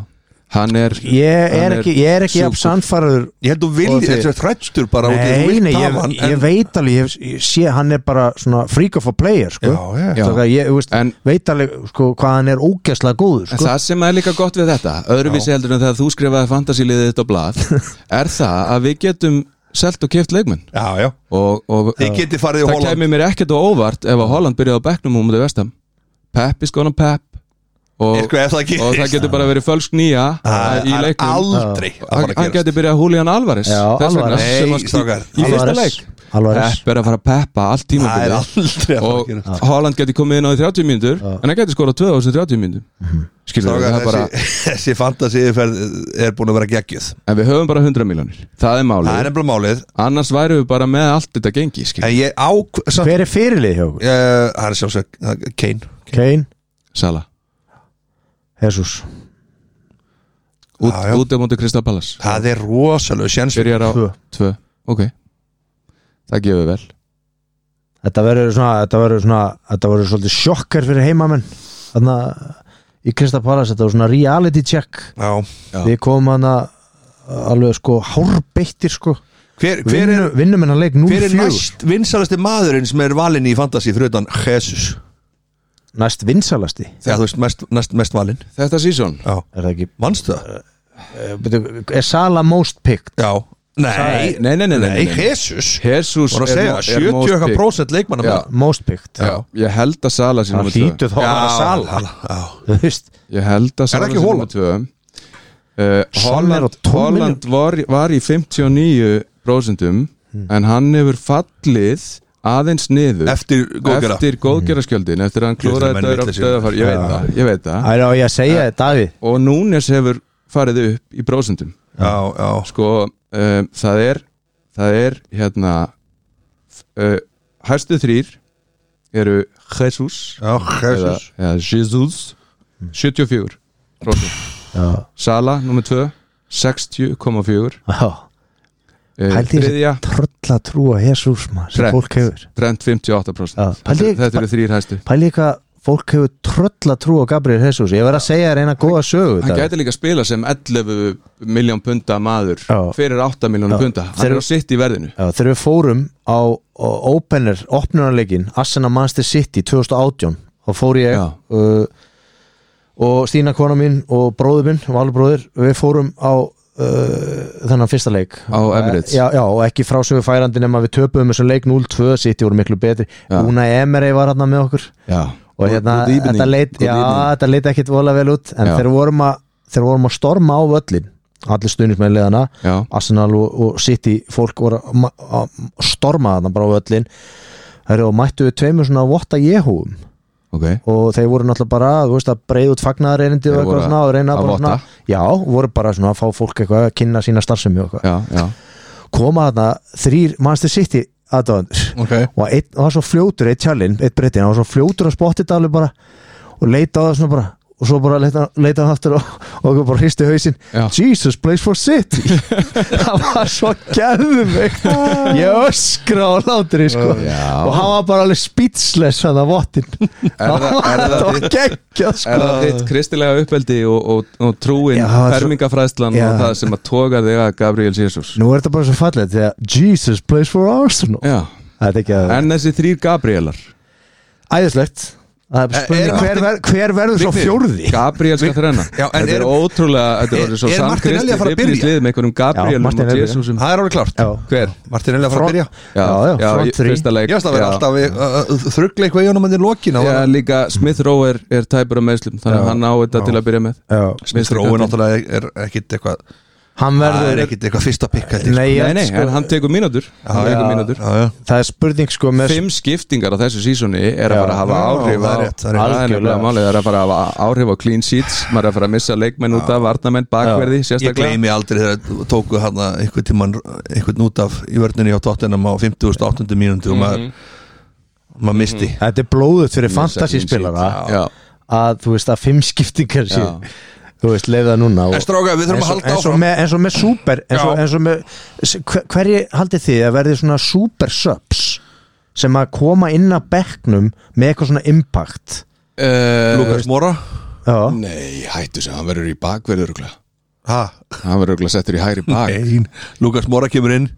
S3: Hann er
S1: ég
S3: Hann
S1: er
S3: er
S1: ekki, ég er ekki
S3: sjúkur.
S1: jafn sannfæraður
S2: Ég held þú
S1: Og
S2: viljið
S1: þið-
S2: þessu þrættur bara út af því að þú
S1: Nei,
S2: vilt
S1: nei, ég,
S2: hafa hann,
S1: ég
S2: en-
S1: veit alveg ég, ég sé hann er bara svona freak of a player sko.
S2: Já, já.
S3: Já.
S1: Þannig að ég þú veist,
S3: En-
S1: veit alveg sko, hvað hann er ógeðslega góður
S3: En
S1: sko.
S3: það sem er líka gott við þetta öðruvísi heldur en þegar þú skrifaði fantasíliðið þitt á blað er það að við getum selt og keft leikmenn
S2: Já, já
S3: og, og
S2: Þið getið farið í
S3: það
S2: Holland
S3: kemur mér ekkert á óvart ef að Holland byrjaði á bekknum og mútið vestam Pep is gonna pep og,
S2: Eitthvað ef sko, það gerist.
S3: og það getur bara verið fölsk nýja
S2: Það
S3: í
S2: er
S3: leiknum
S2: aldrei að fara
S3: Hann,
S2: að
S3: hann
S2: gerast
S3: getur byrjað Julian Alvarez
S1: Já,
S3: þess vegna,
S1: Alvarez.
S3: sem að
S2: Nei,
S3: í-
S2: strákar.
S3: í fyrsta
S1: Alvarez.
S3: leik
S1: Alvarez.
S3: Pep er að fara að peppa allt
S2: Það er
S3: tímabilið
S2: aldrei að fara
S3: og
S2: að gerast
S3: Holland getur komið inn á í 30 mínútur en hann getur skorað 2030 mínútur
S2: Mhm.
S3: skilur við,
S2: Strákar,
S3: það er bara
S2: þessi, þessi fantasiðferð er búin að vera geggjöð
S3: en við höfum bara 100 miljónir, það er
S2: Það er
S3: málið
S2: nefnilega málið
S3: annars væru við bara með allt þetta gengi skilur við,
S2: En ég ák samt,
S1: hver er fyrirlið hjá okkur?
S2: uh, Það er sjálfsög uh, Kane
S1: Kane,
S3: Sala,
S1: Jesus
S3: út,
S2: Já, já.
S3: út á móti Krista Ballas
S2: Það er rosalega sjens
S3: byrjar á
S1: Tvö.
S3: 2 ok, það gefur vel
S1: Þetta verður svona, þetta verður svona, þetta verður svolítið sjokkar fyrir heimamenn Þannig að í Krista Palace, þetta var svona reality check
S2: Já
S3: Já.
S1: Við komum hann alveg sko hárbeittir sko
S2: Hver, hver er,
S1: Vinnum vinnum hennar leik nú
S2: hver er
S1: fjögur
S2: næst vinsalasti maðurinn sem er valinn í fantasi fyrir utan Jesus
S1: Næst vinsalasti,
S2: Þegar þú veist mest, næst mest valinn
S3: þetta sísón
S2: Já
S1: er það ekki
S2: Manstu það?
S1: Eh, byrju, Er Sala most picked?
S2: Já Nei,
S3: Nei, nei, nei, nei, nei, nei.
S2: Jesus
S3: Jesus
S2: Var að segja, 70 eitthvað prósent leikmanna
S3: Já.
S2: með.
S1: most picked
S3: Já, ég held að Sala sé
S1: það
S3: nummer 2
S1: hlýtur þá að vera sala
S2: Já,
S1: þú veist
S3: Ég held að
S2: það
S3: Sala
S2: ekki
S3: sé
S2: Holland?
S3: nummer 2 uh,
S1: Son er á
S3: Holland,
S1: 12
S3: Holland var, var í 59 prósentum en hann hefur fallið aðeins niður
S2: Eftir góðgerða.
S3: eftir góðgeraskjöldin eftir að hann
S2: Ég veit að
S3: klúraði
S2: menn
S3: þetta
S2: vitleysir.
S3: döðafar ég veit
S1: Já.
S3: það, ég veit það
S1: það er á ég að segja þið Davíð
S3: og Núnes hefur farið upp í prósentum
S2: já, já
S3: sko, um, það er það er hérna uh, hæstu þrýr eru Jesus
S2: Já, Jesus
S3: eða, eða Jesus
S1: Mm.
S3: 74 prósent.
S1: já
S3: Sala, nummer 2 60,4
S1: já
S3: Eh,
S1: Pældi í
S3: Þriðja,
S1: tröll að trúa Jésús maður sem
S3: Trent.
S1: fólk hefur
S3: Trent 58%
S1: Já, pældi-
S3: Þetta þetta eru þrýr hæstu
S1: pæli hvað fólk hefur tröll að trúa Gabriel Jésús ég verð að segja þér eina góða sögu
S3: Hann
S1: Davíð.
S3: gæti líka að spila sem 11 miljón punda maður
S1: Já.
S3: fyrir 8 miljón
S1: Já.
S3: punda Hann
S1: Þeir-
S3: er á sitt í verðinu
S1: Já, þegar við fórum á á opener, opnunarleikin Arsenal Manchester City 2018 þá fór ég
S3: Já.
S1: uh, og Stína kona mín og bróður minn, valbróður, við fórum á uh, þennan fyrsta leik
S3: Á Emirates.
S1: Já, já og ekki frásögu færandi nema við töpuðum þessum leik 0-2, City voru miklu betri
S3: Já.
S1: Una Emery var hérna með okkur
S3: Já.
S1: og hérna,
S3: Good evening.
S1: þetta leit,
S3: Good
S1: já,
S3: evening.
S1: þetta leit ekkit vola vel út en
S3: Já.
S1: þegar vorum, að, þegar vorum að storma á völlin allir stuðnismæliðana
S3: Já.
S1: Arsenal og, og City fólk voru að ma- að storma þarna bara á völlin Heru, og mættu við tveimur svona votta jehúum
S3: ok
S1: og þeir voru náttúrulega bara þú veist, að breyða út fagnaðareynindi og
S3: Þeir
S1: eitthvað
S3: voru
S1: svona og reyna
S3: að
S1: bara svona
S3: votta.
S1: já, voru bara svona að fá fólk eitthvað að kynna sína starfsemi og eitthvað
S3: Já, já,
S1: koma þarna þrýr Manchester City aðdóðan
S2: Ok
S1: og einn var svo fljótur, einn tjallinn, einn breytin hann var svo fljótur að spotti þetta alveg bara og leita á það svona bara og svo bara leita, leita hann aftur og, og bara hristi hausinn
S3: Já.
S1: Jesus plays for City það var svo gæðum ég öskra á látri sko.
S3: Já.
S1: og hann var bara alveg speechless hann að vottin
S3: það- er það
S1: það var
S3: þitt-
S1: geggjað
S3: Er
S1: sko.
S3: það þitt kristilega uppeldi og, og, og trúin,
S1: Já, það er svo-
S3: fermingafræðslan
S1: Já.
S3: og það sem að toga þig að Gabriel Jesus
S1: nú er þetta bara svo fallið þegar Jesus plays for Arsenal
S3: Já,
S1: þetta er ekki að
S3: en þessi þrýr Gabrielar
S1: æðislegt það er bara spurning
S2: er-
S1: hver, ver, hver verður svo
S2: Vignir,
S1: fjórði
S3: Gabriel skal þrenna
S2: Já, en
S3: Þetta er
S2: erum-
S3: ótrúlega, þetta er orðið svo
S2: er Martin Elí að fara að
S3: samkristi
S2: byrja?
S3: lið með einhverjum
S1: Já,
S3: Gabrielum
S1: Martin
S3: og
S1: Elí, já.
S3: Jesusum
S2: Það er alveg klart
S1: Já.
S2: Hver? Martin Elja að fara að byrja
S1: já, já, front three.
S3: fyrsta leik
S2: Ég veist að vera
S3: Já.
S2: alltaf við, uh, uh, þrugla eitthvað í honum en í lokin á
S3: Já,
S2: honum.
S3: líka Smith Rowe er, er tæpur af meðslum þannig að hann á þetta til að byrja með
S1: Já.
S2: Smith Rowe náttúrulega er ekkit eitthvað
S1: hann
S2: Það er
S1: verður
S2: ekkit eitthvað fyrsta pikk
S1: Nei,
S2: heldur
S3: Nei,
S1: ég,
S3: nei,
S1: sko,
S3: en hann tekur mínútur Hann
S1: já.
S3: tekur mínútur
S2: Já, já
S1: það er spurning sko með
S3: Fimm skiptingar á þessu sísoni er að
S1: Já.
S3: fara að hafa
S2: Já,
S3: áhrif
S2: það
S3: á
S2: er rétt, það er rétt.
S3: Það er nefnilega
S1: Algjörlega.
S3: málið, það er að fara að hafa áhrif á clean sheets maður er að fara að missa leikmenn út af varnamenn, bakverði,
S2: Ég
S3: sérstaklega
S2: gleymi aldrei þegar þeir tóku hann einhvern tímann, einhvern út af í vörninni á tóttunum á 50.800 mínúndu og maður,
S1: Mhm.
S2: maður misti
S1: þetta er blóðut fyrir
S3: Já.
S1: fantasyspilara
S3: Já.
S1: að þú veist að fimm skiptingar sé þú veist leiða núna og,
S2: En stráka, við
S1: eins
S2: þurfum að
S1: og-
S2: halda
S1: eins og
S2: áfram
S1: með, eins og með super eins og,
S2: Já.
S1: eins og með, s- hver- hverju haldið þið að verði svona super subs sem að koma inn að bekknum með eitthvað svona impact
S3: Eh,
S2: Lukas Mora
S1: já,
S3: Nei,
S2: sko.
S3: hættu sem, hann verður í bakverði örugglega.
S2: Ha,
S3: hann verður örugglega settur í hægri bak
S2: ein Lukas Mora kemur inn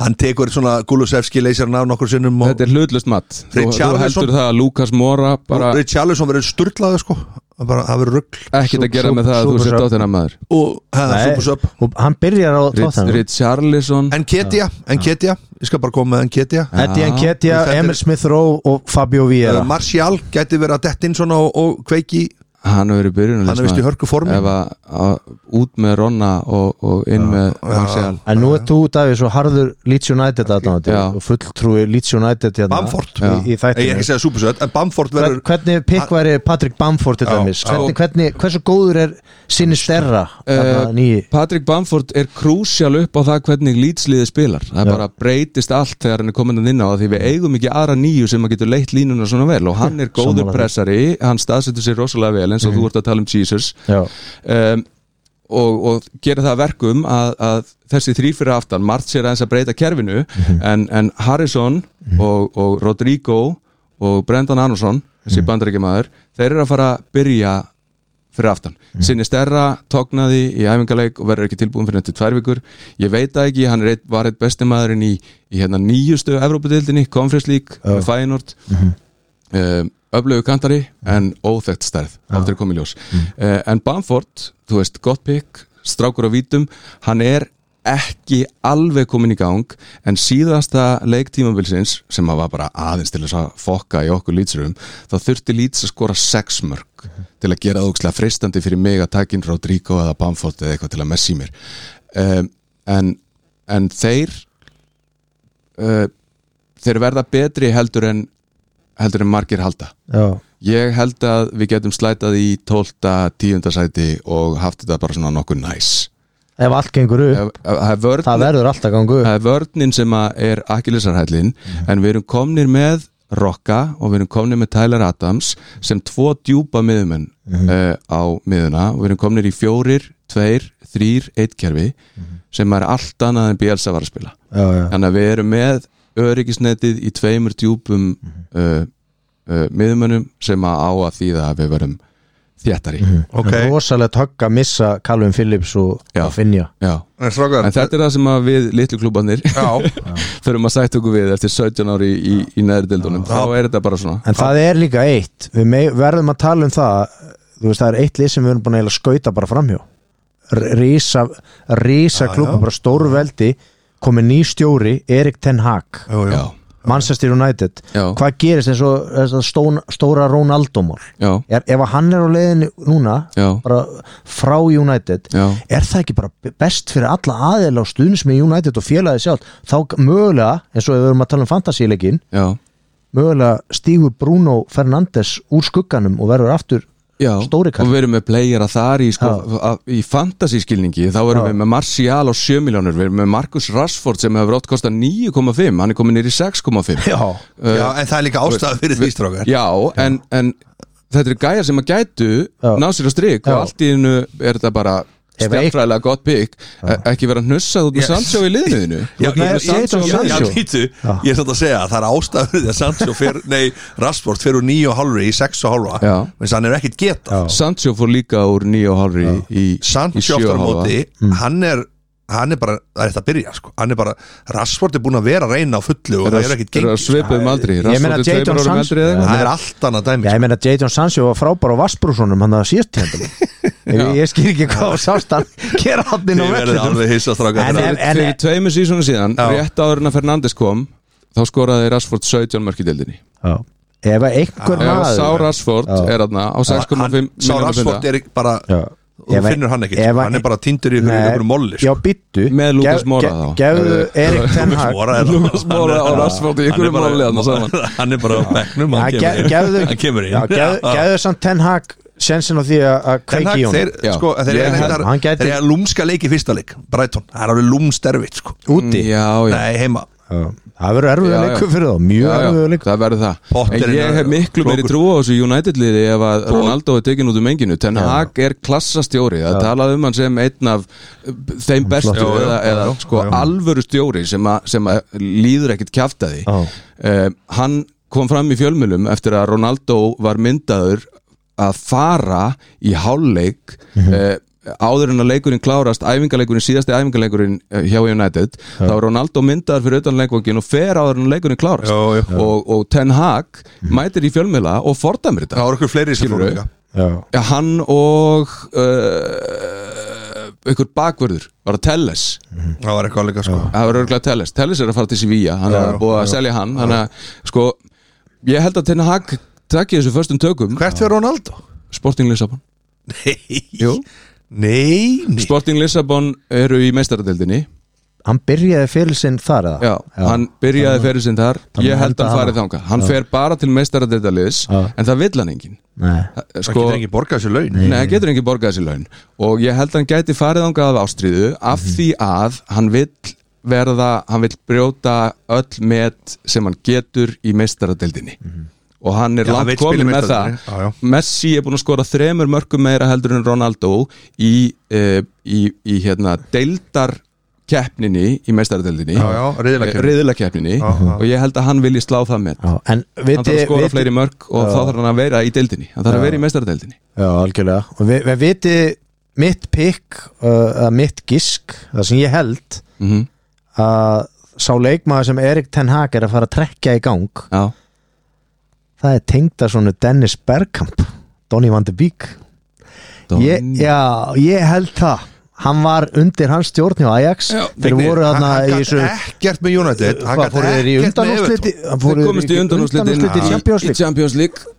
S2: Hann tekur svona Gulusevski leysarinn af nokkur sinnum og
S3: Þetta er hlutlust mat Þú, þú
S2: Richarlison-
S3: heldur það að Lukas Mora bara
S2: Richarlison verður sturlaður sko Það bara, það verður rugl
S3: ekkert að gera með það að þú
S1: Super-
S3: sett á þennan maður
S2: og hæða
S1: Nei,
S2: súpersöp
S1: og hann byrjar á þáttan
S3: Richarlison
S2: Enketia, Enketia, ég skal bara koma með Enketia
S1: Eddie
S3: Já.
S1: Enketia,
S2: Þetta er-
S1: Emil Smith Rowe og Fabio Vieira
S2: Martial gæti verið að dett inn svona og, og kveiki
S3: hann hefur verið byrjun
S2: Hann er vist í hörku formi
S3: ef að, að út með Ronna og, og inn með Marcial
S1: En nú er þú Davíð svo harður Leeds United aðdáðandi
S3: Já.
S1: og fulltrúi Leeds United hérna
S2: Bamford.
S1: í, í
S2: Eh, Ég er ekki
S1: þættinu
S2: að segja súpersöp, en Bamford
S1: Hvern-
S2: verður
S1: Hvernig pikk væri Patrick Bamford til
S2: Já.
S1: dæmis?
S2: Já.
S1: Hvernig, hvernig, hversu góður er sinni stærra
S2: Eh,
S1: uh, nýji?
S3: Patrick Bamford er krúsjál upp á það hvernig lýtsliðið spilar það bara breytist allt þegar hann er komin að inn á það því við eigum ekki aðra nýju sem að getur leitt línuna svona vel og hann er
S1: Mm.
S3: góður
S1: Sammála því. Mhm.
S3: pressari hann staðsetur sér rosalega vel eins og þú ert að tala um Jesus
S1: Já,
S3: um, og, og gera það að verkum að, að þessi þrý fyrir aftan margt sér aðeins að breyta kerfinu en, en Harrison og, og Rodrigo og Brendan Anderson þessi mm þeir eru að fara að byrja fyrir aftan sinni stærra tóknaði í æfingarleik og verður ekki tilbúin fyrir þetta tvær vikur ég veit það ekki, hann er eitt, var eitt besti maðurinn í, í hérna nýjustu Evrópudildinni, Conference League,
S1: Já.
S3: með Feyenoord um, öflögu kantari en óþekkt stærð aftur Eh, komið ljós mm. en Bamford, þú veist, gott pick strákur á vítum, hann er ekki alveg komin í gang en síðasta leiktímabilsins sem að var bara aðeins til þess að fokka í okkur lýtsurum, þá þurfti lýts að skora sex mörg til að gera þókslega freistandi fyrir mig að takin Rodrigo eða Bamford eða eitthvað til að messi mér um, en, en þeir uh, þeir verða betri heldur en heldur en margir halda
S1: já,
S3: Ég held að við getum slætað í 12. 10. sæti og haft þetta bara svona nokkuð næs
S1: ef allt gengur upp
S3: Ef- ef- Það er
S1: það
S2: Eh,
S3: vörn-
S1: verður alltaf gangu upp Mhm.
S3: það er vörnin sem að er akkilesarhællin en við erum komnir með Rocka og við erum komnir með Tyler Adams sem tvo djúpa miðumenn
S1: Mhm.
S3: uh, á miðuna og við erum komnir í fjórir, tveir, þrýr, eitt kerfi
S1: Mhm.
S3: sem er allt annað en Bielsa var að spila
S2: Eh,
S1: já, já,
S3: þannig að við erum með öryggisnetið í tveimur djúpum
S1: Mhm.
S3: uh, uh, miðumönnum sem að á að þýða að við verum þjættari
S1: Mhm.
S2: Ok,
S1: rosalegt högg að missa Calvin Phillips og
S3: Já.
S1: og Finja
S3: Já.
S2: en strákar
S3: en þetta er það sem að við litlu klúbanir
S2: Já,
S3: þurfum að sætt okkur við eftir 17 ári í, í, í neðri deildunum þá er þetta bara svona
S1: en það er líka eitt við mei- verðum að tala um það þú veist það er eitt lið sem við erum búin að eiginlega skauta bara framhjá R- rísa, rísa
S2: Já,
S1: klubba,
S2: já.
S1: bara stóru veldi komið ný stjóri, Erik Ten Hag
S2: jú, jú.
S3: já,
S1: Manchester United
S3: Já.
S1: hvað gerist eins og eins og stón, stóra Ronaldo-mál
S3: já,
S1: er, ef að hann er á leiðinu núna
S3: já,
S1: bara frá United
S3: já.
S1: er það ekki bara best fyrir alla aðeila og stuðnis með United og félagið sjálf þá g- mögulega, eins og ef við erum að tala um fantasíleikin,
S3: já.
S1: mögulega stígur Bruno Fernandes úr skugganum og verður aftur
S3: Já,
S1: Stóri kall.
S3: og við erum með playera þar í, sko, að, í fantasískilningi þá erum
S1: Já.
S3: við með Martial á 7 miljónur við erum með Marcus Rashford sem hefur átt kosta 9,5 hann er komin nýr í 6,5
S1: já,
S3: Eh,
S2: Já, en það er líka ástæða fyrir því strákar
S3: Já, en, en þetta eru gæjar sem að gætu
S1: Já.
S3: ná sér á strik
S1: Já.
S3: og allt í hennu er þetta bara
S1: Ef eitt-
S3: stjartfræðilega gott bygg ekki vera hnussað út með
S2: Yes.
S3: Sancho í liðinu þínu.
S2: Já,
S3: Þú ert með
S1: ég- ég- ég-
S3: Sancho í
S1: ég-
S3: liðinu.
S2: Já,
S1: Sancho.
S2: býtu,
S1: Já.
S2: ég er samt að segja að það er ástæða fyrir því að Sancho fer, nei, Rashford fer úr 9,5 í 6,5
S3: Já.
S2: þannig að hann er ekkit geta
S1: já,
S3: Sancho fór líka úr 9,5 í, í, í
S2: Sancho
S3: 7,5.
S2: aftur á móti, hann er hann er bara, það er þetta að byrja sko. hann er bara, Rashford er búin að vera að reyna á fullu og það er ekkit
S3: Er að
S2: gengið sko.
S3: svipa um aldri
S1: Ég meina
S3: Rashford er
S1: Jadon
S3: tveimur árum
S1: Sancho-
S3: eldri eða eitthvað.
S2: það er allt annað dæmi sko.
S1: já ég meina Jadon Sancho var frábær á Vassbrúsunum hann að síðast tíðandum ég, ég skil ekki hvað sást hann gera hann inn á
S2: Þið verður
S1: vellinum
S2: alveg hissa strákar
S1: En- en-
S2: Það er-
S3: Fyrir fyrir tveimur sísónu síðan
S2: Já.
S3: rétt áður en að Fernandes kom þá skoraði Rashford 17 mörk í deildinni
S1: Já. ef að einhver
S3: Ef að Sá
S1: maður
S3: Rashford
S1: Já.
S3: er aðna á 6,5
S2: hann- Sá
S3: milljóna
S2: Rashford
S3: punda.
S2: er ekki bara
S1: Já.
S2: þú
S1: Ef að-
S2: finnur hann ekkit
S1: ef
S2: sko.
S1: að-
S2: hann er bara tindur í
S1: Nei.
S2: einhverju molli sko.
S1: já byttu
S3: Með Lucas Moura þá.
S1: gefðu
S3: Ef-
S1: Erik Ten Hag
S3: Lucas Moura og Rashford í einhverju máli þarna saman.
S2: hann er bara á bekknum
S1: Já,
S2: hann
S1: ge-
S2: kemur inn.
S1: gefðu-
S2: Hann kemur
S1: Já, gefðu-
S2: inn
S1: gefðu samt Ten Hag sensin á því að- að
S2: Ten
S1: kveiki
S2: Hag,
S1: í honum
S2: þeir,
S3: Já.
S2: sko, þeir
S3: Ég
S2: eru
S3: held-
S2: reyndar-
S1: hann
S2: þeir
S1: gæti-
S2: eru að lúmska leik í fyrsta leik Brighton, það er alveg lúmsterfitt sko.
S1: úti
S3: Já, já
S2: nei, heima
S1: Já. það verður
S3: Já,
S1: erfiður
S3: já.
S1: leikur fyrir þá mjög
S3: Já, já,
S1: erfiður leikur
S3: það verður það
S2: Potterinn
S3: en ég
S2: er
S3: hef miklu meiri
S2: klókur.
S3: trú á þessu United liði ef að Ronaldo er tekin út um enginu Ten Hag er klassastjóri það talað um hann sem einn af uh, þeim bestu
S2: Flottur. Já,
S3: eða,
S2: já,
S3: eða
S2: já,
S3: sko
S2: já.
S3: alvöru stjóri sem, að- sem að líður ekkit kjaftaði
S1: Já.
S3: uh, hann kom fram í fjölmjölum eftir að Ronaldo var myndaður að fara í hálfleik mm
S2: Mhm.
S3: áður en að leikurinn klárast æfingarleikurinn, síðasti æfingarleikurinn eh, hjá United, þá er Ronaldo myndaður fyrir utan leikvangin og fer áður en að leikurinn klárast
S2: Jó, jó.
S3: Og, og Ten Hag mætir í fjölmjöla og
S2: það
S3: fordæmir þetta
S2: voru okkur fleiri sem
S3: Skilurðu?
S2: fóru líka.
S1: Já.
S3: ja, hann og uh, ykkur bakvörður var að Telles
S2: það var eitthvað líka sko.
S3: það var örgulega Telles, Telles er að fara til Sevilla hann er
S2: já,
S3: búið að selja hann þannig að sko, ég held að Ten Hag takki þessu förstum tökum
S2: hvert fyrir Ronaldo?
S3: Sporting Lissabon
S2: nei, Sko,
S3: Jú.
S2: nei, nei.
S3: Sporting Lissabon eru í meistaradeildinni
S1: hann byrjaði fyrir sinn þar eða
S3: já, hann byrjaði ferið sinn þar
S1: Þannig
S3: ég held
S1: henda
S3: að hann farið
S1: hana.
S3: þangað hann fer bara til meistaradeildaliðs
S1: Já.
S3: en það vill hann engin
S1: Nei.
S2: það getur ekki borgað sér laun
S3: Nei, hann getur ekki borgað þessi laun og ég held að hann gæti farið ángað af ástríðu af
S2: Mhm.
S3: því að hann vill verða, hann vill brjóta öll met sem hann getur í meistaradeildinni og hann
S2: Mhm.
S3: er
S2: Já, hann
S3: langt
S2: vill spila í
S3: komin með það
S2: meistaradeildinni. Já, já.
S3: Messi er búin að skora þremur mörgum meira heldur en Ronaldo í, e, í, í hérna deildar keppninni í meistaradeildinni
S2: Já, já, riðlakeppninni.
S3: riðlakeppninni.
S2: já.
S3: og ég held að hann vilji slá það met
S1: Já, en
S3: hann þarf að
S1: viti,
S3: skora
S1: viti
S3: fleiri mörg og þá þarf hann að vera í deildinni hann þarf að vera í meistaradeildinni
S1: já, algjörlega og við, við viti mitt pikk uh, að mitt gisk, það sem ég held
S3: mm
S1: að sá leikmaður sem Erik Ten Hag er að fara að trekja í gang
S3: já
S1: það er tengda svona Dennis Bergkamp Donny van de Beek ég,
S3: Donny.
S1: já, ég held það hann var undir hans stjórn hjá Ajax
S3: Já,
S1: þeir
S2: Vignir,
S1: voru hann
S2: hann
S1: í
S2: gat
S1: þessu
S2: ekkert með United hann
S1: hvað
S2: gat
S1: fóru þeir í
S2: ekkert með
S1: undanúsliti
S2: Everton
S3: Þeir komist í undanúslitin
S1: í Champions
S3: í
S1: League
S3: Champions League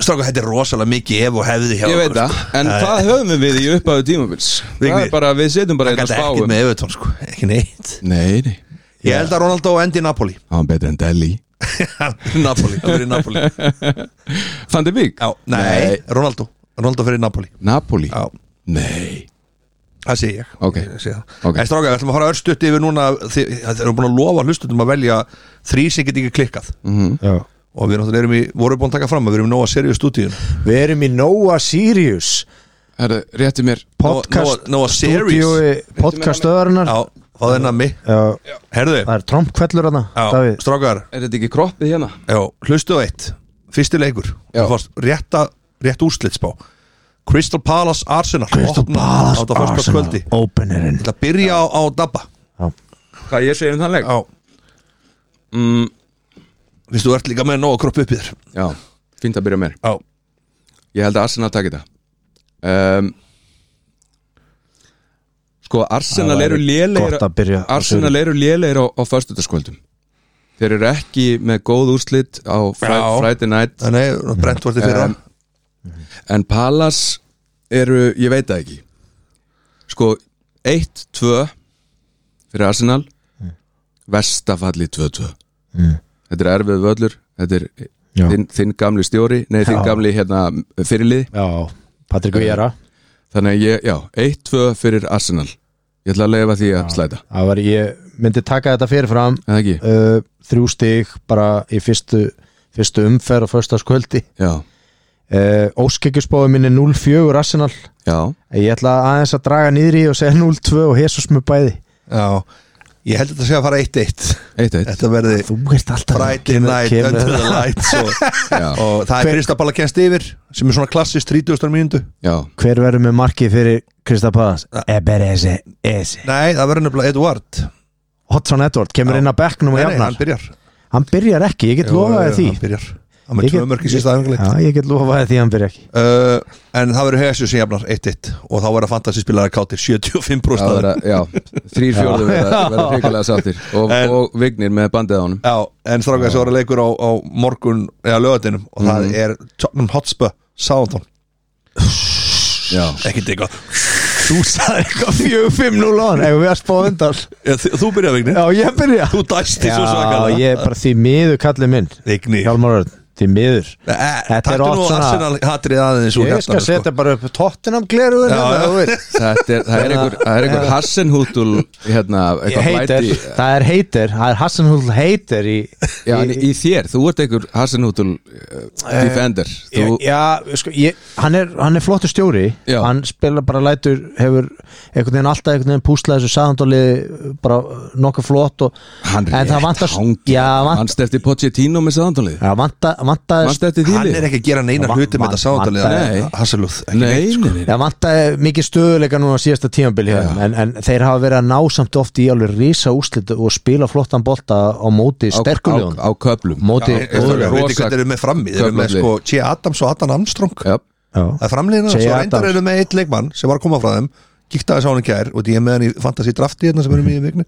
S2: Stráka, þetta er rosalega mikið ef og hefði hjá
S3: Ég
S2: okkur,
S3: veit það,
S2: sko.
S3: en
S2: Það-
S3: hvað höfum við í upphæðu tímabils? Það
S2: Vignir,
S3: er bara, við setjum bara hérna
S2: hann
S3: einn að
S2: gat
S3: spáum
S2: ekkert með Everton sko. ekki neitt
S3: Nei, nei,
S2: ég held að Ronaldo endi í Napoli
S3: hann betur en Deli
S2: Napoli, hann fyrir Napoli já,
S3: Fandi Vík?
S2: nei, Ronaldo Ronaldo fyrir Napoli
S3: Napoli?
S2: já,
S3: Nei
S2: það sé ég
S3: Ok.
S2: Ég sé það.
S3: Ok.
S2: en stráka, við ætlum að fara örstutt yfir núna þið þið eru búin að lofa hlustundum að velja þrý sem get ekki klikkað
S3: Mhm.
S1: Já.
S2: og við náttúrulega erum í, vorum búin að taka fram að við erum í nóga seriðu stúdíun
S1: við erum í Nóa Sirius
S3: Herðu, rétti mér
S1: podcast
S2: Nóa- Nóa Sirius.
S1: stúdíói podcastöðarinnar
S2: já, fá þeir nammi
S1: Já,
S2: herðu,
S1: það er trompkvellur hana
S2: já, strákar
S3: Er þetta ekki kroppið hérna?
S2: Já, hlustu á eitt Fyrsti leikur
S3: Já.
S2: Þú fórst rétta, rétt úrslitsbá Crystal Palace Arsenal
S1: Crystal
S2: Opna á
S1: Palace
S2: þetta fyrsta
S1: Arsenal
S2: kvöldi Ég
S1: Openerinn
S2: ætla að byrja á, á Dabba
S1: Já.
S3: Hvað ég segi um þann leik?
S2: Já,
S3: Mm,
S2: finnst þú ert líka með nóg að kroppa upp í þér
S3: já, fínt að byrja mér
S2: Já,
S3: Ég held að Arsenal taki það um, Sko, Arsenal
S1: Það væri
S3: eru lélegir
S1: gott að byrja á
S3: Arsenal eru lélegir á, á föstudagskvöldum Þeir eru ekki með góð úrslit á fri,
S2: Já.
S3: Friday night
S2: þannig að brent vorti fyrir
S3: Um, En Palace eru, ég veit það ekki Sko, 1-2 fyrir Arsenal Vestafalli 2-2 Þetta er erfið völlur Þetta er
S1: Já.
S3: þinn, þinn gamli stjóri Nei, þinn
S1: Já.
S3: gamli hérna fyrirlið
S1: Já, Patrik Viera
S3: Þannig að ég, já, 1-2 fyrir Arsenal Ég ætla að leifa því að slæta
S1: Það var, ég myndi taka þetta fyrirfram
S3: En það ekki?
S1: uh, Þrjú stig bara í fyrstu, fyrstu umferð og föstaskvöldi
S3: Já,
S1: uh, Óskekjusbóði minni 0-4 Arsenal
S3: já
S1: Ég ætla aðeins að draga niðri og segja 0-2 og Jesus með bæði
S2: Já, ég held að þetta sé að fara 1-1
S3: 1-1
S2: Þetta verði
S1: Þú ert alltaf
S2: Friday night
S1: kemur,
S2: under the lights og,
S3: Já,
S2: og það er Crystal Palace kennst yfir sem er svona klassist 30. mínútu
S3: já,
S1: Hver verður með markið fyrir Kristapadas?
S2: Ah.
S1: Eberese Ese
S2: Nei, það verður nefnilega Edward
S1: Hotson Edward kemur
S2: Já.
S1: inn að bekknum og
S2: Nei, nei,
S1: jafnar
S2: hann byrjar
S1: Hann byrjar ekki, ég get lofaði því
S2: Hann byrjar Hann með
S1: Ég
S2: tvö
S1: get-
S2: mörg í sísta
S1: Já,
S2: æfingarleik
S1: ég get lofaði því að hann byrja ekki
S2: uh, En það verður Hessu sem jafnar 1-1 Og þá verður fantasy spilarar kátir 75% af
S3: það vera,
S2: þeim.
S3: já Þrýr fjórðu verða verða hrikalega sáttir og,
S2: En-
S3: og Vignir með bandið á honum
S2: Já, en þrákaði svo verður leikur á, á morgun Eða lögatinum Og það er Tottenham Hotspur Southampton
S3: Já,
S2: Ekki digga
S1: Þú sagði eitthvað 4-5-0 á hann Eða við að spáða undan
S2: Þú byrjar vigni
S1: Já, ég byrja
S2: Þú dæsti svo
S1: Já,
S2: svakalega
S1: ég er bara því miður kallið minn
S2: Vigni
S1: Hjálmar Örn, því miður Þetta
S2: Þetta
S1: er
S2: er
S1: oft
S2: nú
S1: svona-
S2: Arsenal hatrið aðeins úr
S1: Ég skal
S2: hjartanu, sko.
S1: setja bara upp tottenham hérna, gleruðin
S2: Já, já.
S3: þetta er, það er einhver, það er einhver Hassenhútul hérna, eitthvað
S1: Heitir,
S3: blæti
S1: það er heitir Það er Hassanhull heitir í,
S3: Já, en
S1: í,
S3: í þér, þú ert einhver Hassenhútul uh, defender þú,
S1: Ég- Já, sko, ég, hann, er, hann er flottur stjóri
S3: Já.
S1: Hann spilar bara lætur hefur einhvern veginn alltaf einhvern veginn púslað þessu saðandóliði bara nokkuð flott og,
S3: Hann
S1: en það
S3: rétt
S1: vantar
S3: hangir.
S1: Já, vant,
S3: Manst eftir Pochettino með saðandalið
S1: já, vanta, vanta,
S3: Manst eftir því
S2: Hann
S3: lið?
S2: er ekki að gera neina
S1: Van-
S2: hluti
S1: van-
S2: með þetta sáðanlega
S3: Nei.
S2: Hasselúð
S3: Nei, nei, nei,
S1: Já, vantaði mikið stöðuleika núna á síðasta tímabil hjá þeim, en, en þeir hafa verið að ná samt oft í alveg risa úslit og spila flottan bolta á móti
S3: á,
S1: sterkulegum
S3: á, á köplum
S1: móti
S2: Ég veit
S1: góðulegum
S2: ekki hvað þeir eru með frammi Þeir eru með
S3: Köflandi.
S2: sko T. Adams og Adam Armstrong
S3: Já,
S1: Já.
S2: Það er framliðina,
S1: Jay
S2: svo reyndar
S1: Adams.
S2: eru með eitt leikmann sem var að koma frá þeim kíkta þess á hann í kær og því ég er með hann í fantasy drafti hérna sem erum í vikni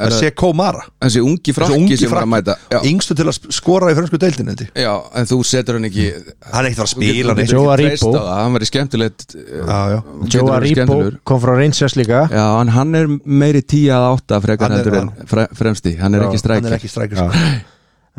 S2: það sé Komara,
S3: þessi ungi
S2: þessi
S3: frakki
S2: ungi
S3: sem var að mæta Já,
S2: frakki yngstu til að sp- skora í fransku deildin held ég.
S3: já en þú setur hann ekki
S2: hann er ekkert að fara að
S3: þú getur-
S2: spila
S3: þú
S2: neitt
S1: Joe
S3: getur
S1: Aribo.
S3: treyst á það, Hann verið skemmtilegt eh,
S2: Já, já.
S1: Joe Aribo kom frá Rangers líka
S3: Já, en hann er meiri 10 að 8 frekar
S2: Hann er-
S3: heldur en fre, fremsti Hann er ekki
S2: hann er
S3: strækir
S2: ekki strækir sko.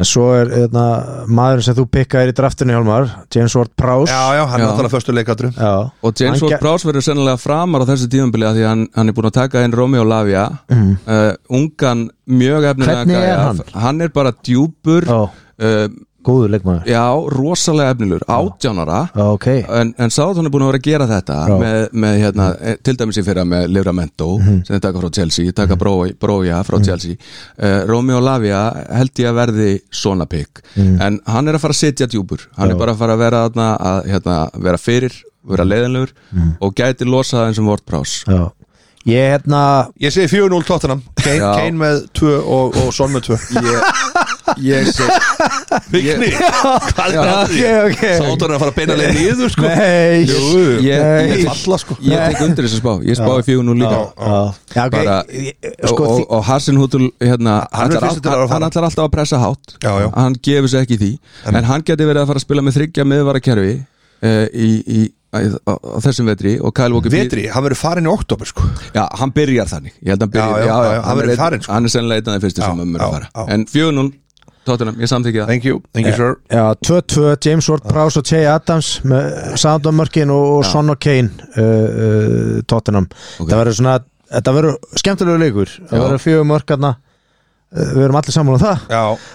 S1: en svo er eðna, maður sem þú pikkaðir í draftinu Hjálmar, James Ward-Prowse
S2: já, já, hann er
S3: Já.
S2: náttúrulega förstu leikadru
S1: Já.
S3: Og James
S1: Hann
S3: Ward
S1: ge-
S3: Prowse verður sennilega framar á þessu tíðumbili að því hann, hann er búin að taka inn Romeo Lavia uh, ungan mjög efnilega
S1: Mhm. Hvernig er
S3: gæja.
S1: hann?
S3: Hann er bara djúpur
S1: Já,
S3: uh,
S1: góður leikmaður
S3: Já, rosalega efnilur, átjánara
S1: Já, ok,
S3: En, en Sáðan er búin að vera að gera þetta
S1: Já.
S3: með, með hérna, eh, til dæmis í fyrra með Livramento
S1: Mhm.
S3: sem þeir taka frá Chelsea, taka mm. Brója frá Chelsea uh, Romeo Lavia held ég að verði svona pikk
S1: Mhm.
S3: en hann er að fara að sitja djúpur hann er bara að fara að vera, þarna að, hérna, vera fyrir, vera leiðinlegur
S1: Mhm.
S3: og gæti losa það eins og Ward Prowse
S1: já Ég hérna,
S2: ég segi 4-0 tóttunum Kane,
S3: Já.
S2: Kane með 2 og, og Son með 2
S3: ég, ég seg
S2: Vigni, hvað er það?
S1: ok, ok.
S2: Sátur að fara að beina leið niður sko
S1: Nei
S2: Jú, jú.
S1: Nei.
S2: Ég
S3: ég,
S2: er falla sko
S3: ég tek undir þessu spá ég spáði fjögur nú líka
S1: Já, já ok
S3: Bara-
S1: ég-
S3: og,
S1: Sko,
S3: og, og Hassan Hútul hérna,
S2: Hann er
S3: ætlar
S2: fyrstur
S3: all-
S2: að fara.
S3: hann ætlar alltaf að pressa hátt
S2: Já, já.
S3: hann gefur sér ekki í því en, hann geti verið að fara að spila með þryggja meðvarakerfi uh, í, í, í, á, á þessum vetri og Kyle Walker býr-
S2: Vetri, hann verður farin í oktober sko
S3: Já, hann byrjar þannig Ég held að hann
S2: Já,
S3: byrjar
S2: já, já, hann
S3: er
S2: verður
S3: einn-
S2: farinn, sko.
S3: Hann er sennilega einn af þeim fyrstu
S2: Já,
S3: sem hann verður að
S2: já,
S3: fara
S2: já.
S3: En 4-0, Tottenham, ég samþykja það
S2: Thank you, thank you sir
S1: Já, 2-2, James Ward Prowse og Jay Adams með Soundamörkin og, og Son og Kane uh, uh, Tottenham Það verður svona, þetta verður skemmtilegu leikur
S3: Já.
S1: Það verður fjögur mörkarna Við erum allir saman á það
S2: Já,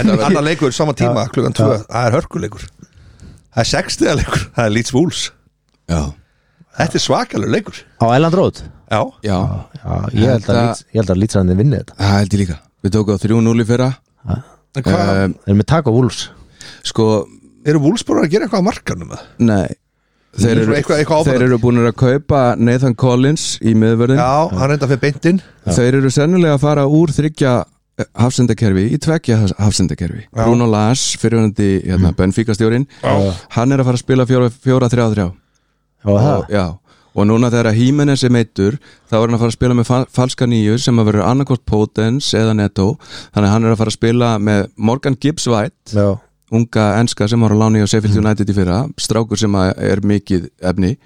S2: en annar leikur sama tíma klukkan 2, það er hörkuleikur Það er sextiða leikur, það er Leeds Wolves
S3: Já,
S2: Þetta er svakalur leikur
S1: Á Elland Road
S2: Já,
S3: já,
S1: Já, ég held að,
S3: Þetta-
S1: Leeds- ég held að lítræðinni vinni þetta
S3: það held ég líka Við tókum á 3-0 í fyrra
S2: en hvað,
S1: Þeir
S3: um,
S1: eru með Taco Wolves
S3: Sko,
S2: eru Wolves bara að gera eitthvað á markanum eða?
S3: nei Þeir
S2: Svo
S3: eru,
S2: eitthvað- eitthvað
S3: þeir
S2: áfram.
S3: eru búin að kaupa Nathan Collins í miðvörðin
S2: Já, hann reynda fyrir beintinn
S3: Þeir eru sennilega að fara úr þryggja eh, hafsendakerfi í tveggja haf- hafsendakerfi
S2: Já.
S3: Bruno Lars, fyrirhundandi hérna, Benfica stjórin Hann er að fara að spila 4-3-3
S1: Já, það
S3: og, já, og núna þegar að Hímenes er meittur þá er hann að fara að spila með fa falska nýju sem að vera annarkort Potens eða Netto þannig að hann er að fara að spila með Morgan Gibbs White
S1: Já,
S3: unga enska sem var á láni á Sheffield United í fyrra strákur sem að er mikið efni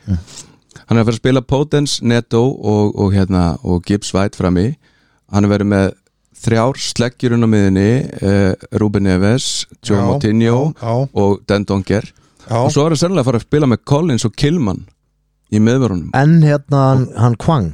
S3: hann er að fara að spila Potens, Netto og, og, hérna, og Gibbs White frammi hann er verið með þrjár sleggjurinn á miðinni eh, Ruben Neves, Joe
S2: Já, já,
S3: Moutinho
S2: já.
S3: og Den Donger
S2: Já,
S3: og svo er það sennilega að fara að spila með Collins og Kilman í miðvörunum
S1: en hérna hann, hann Kwang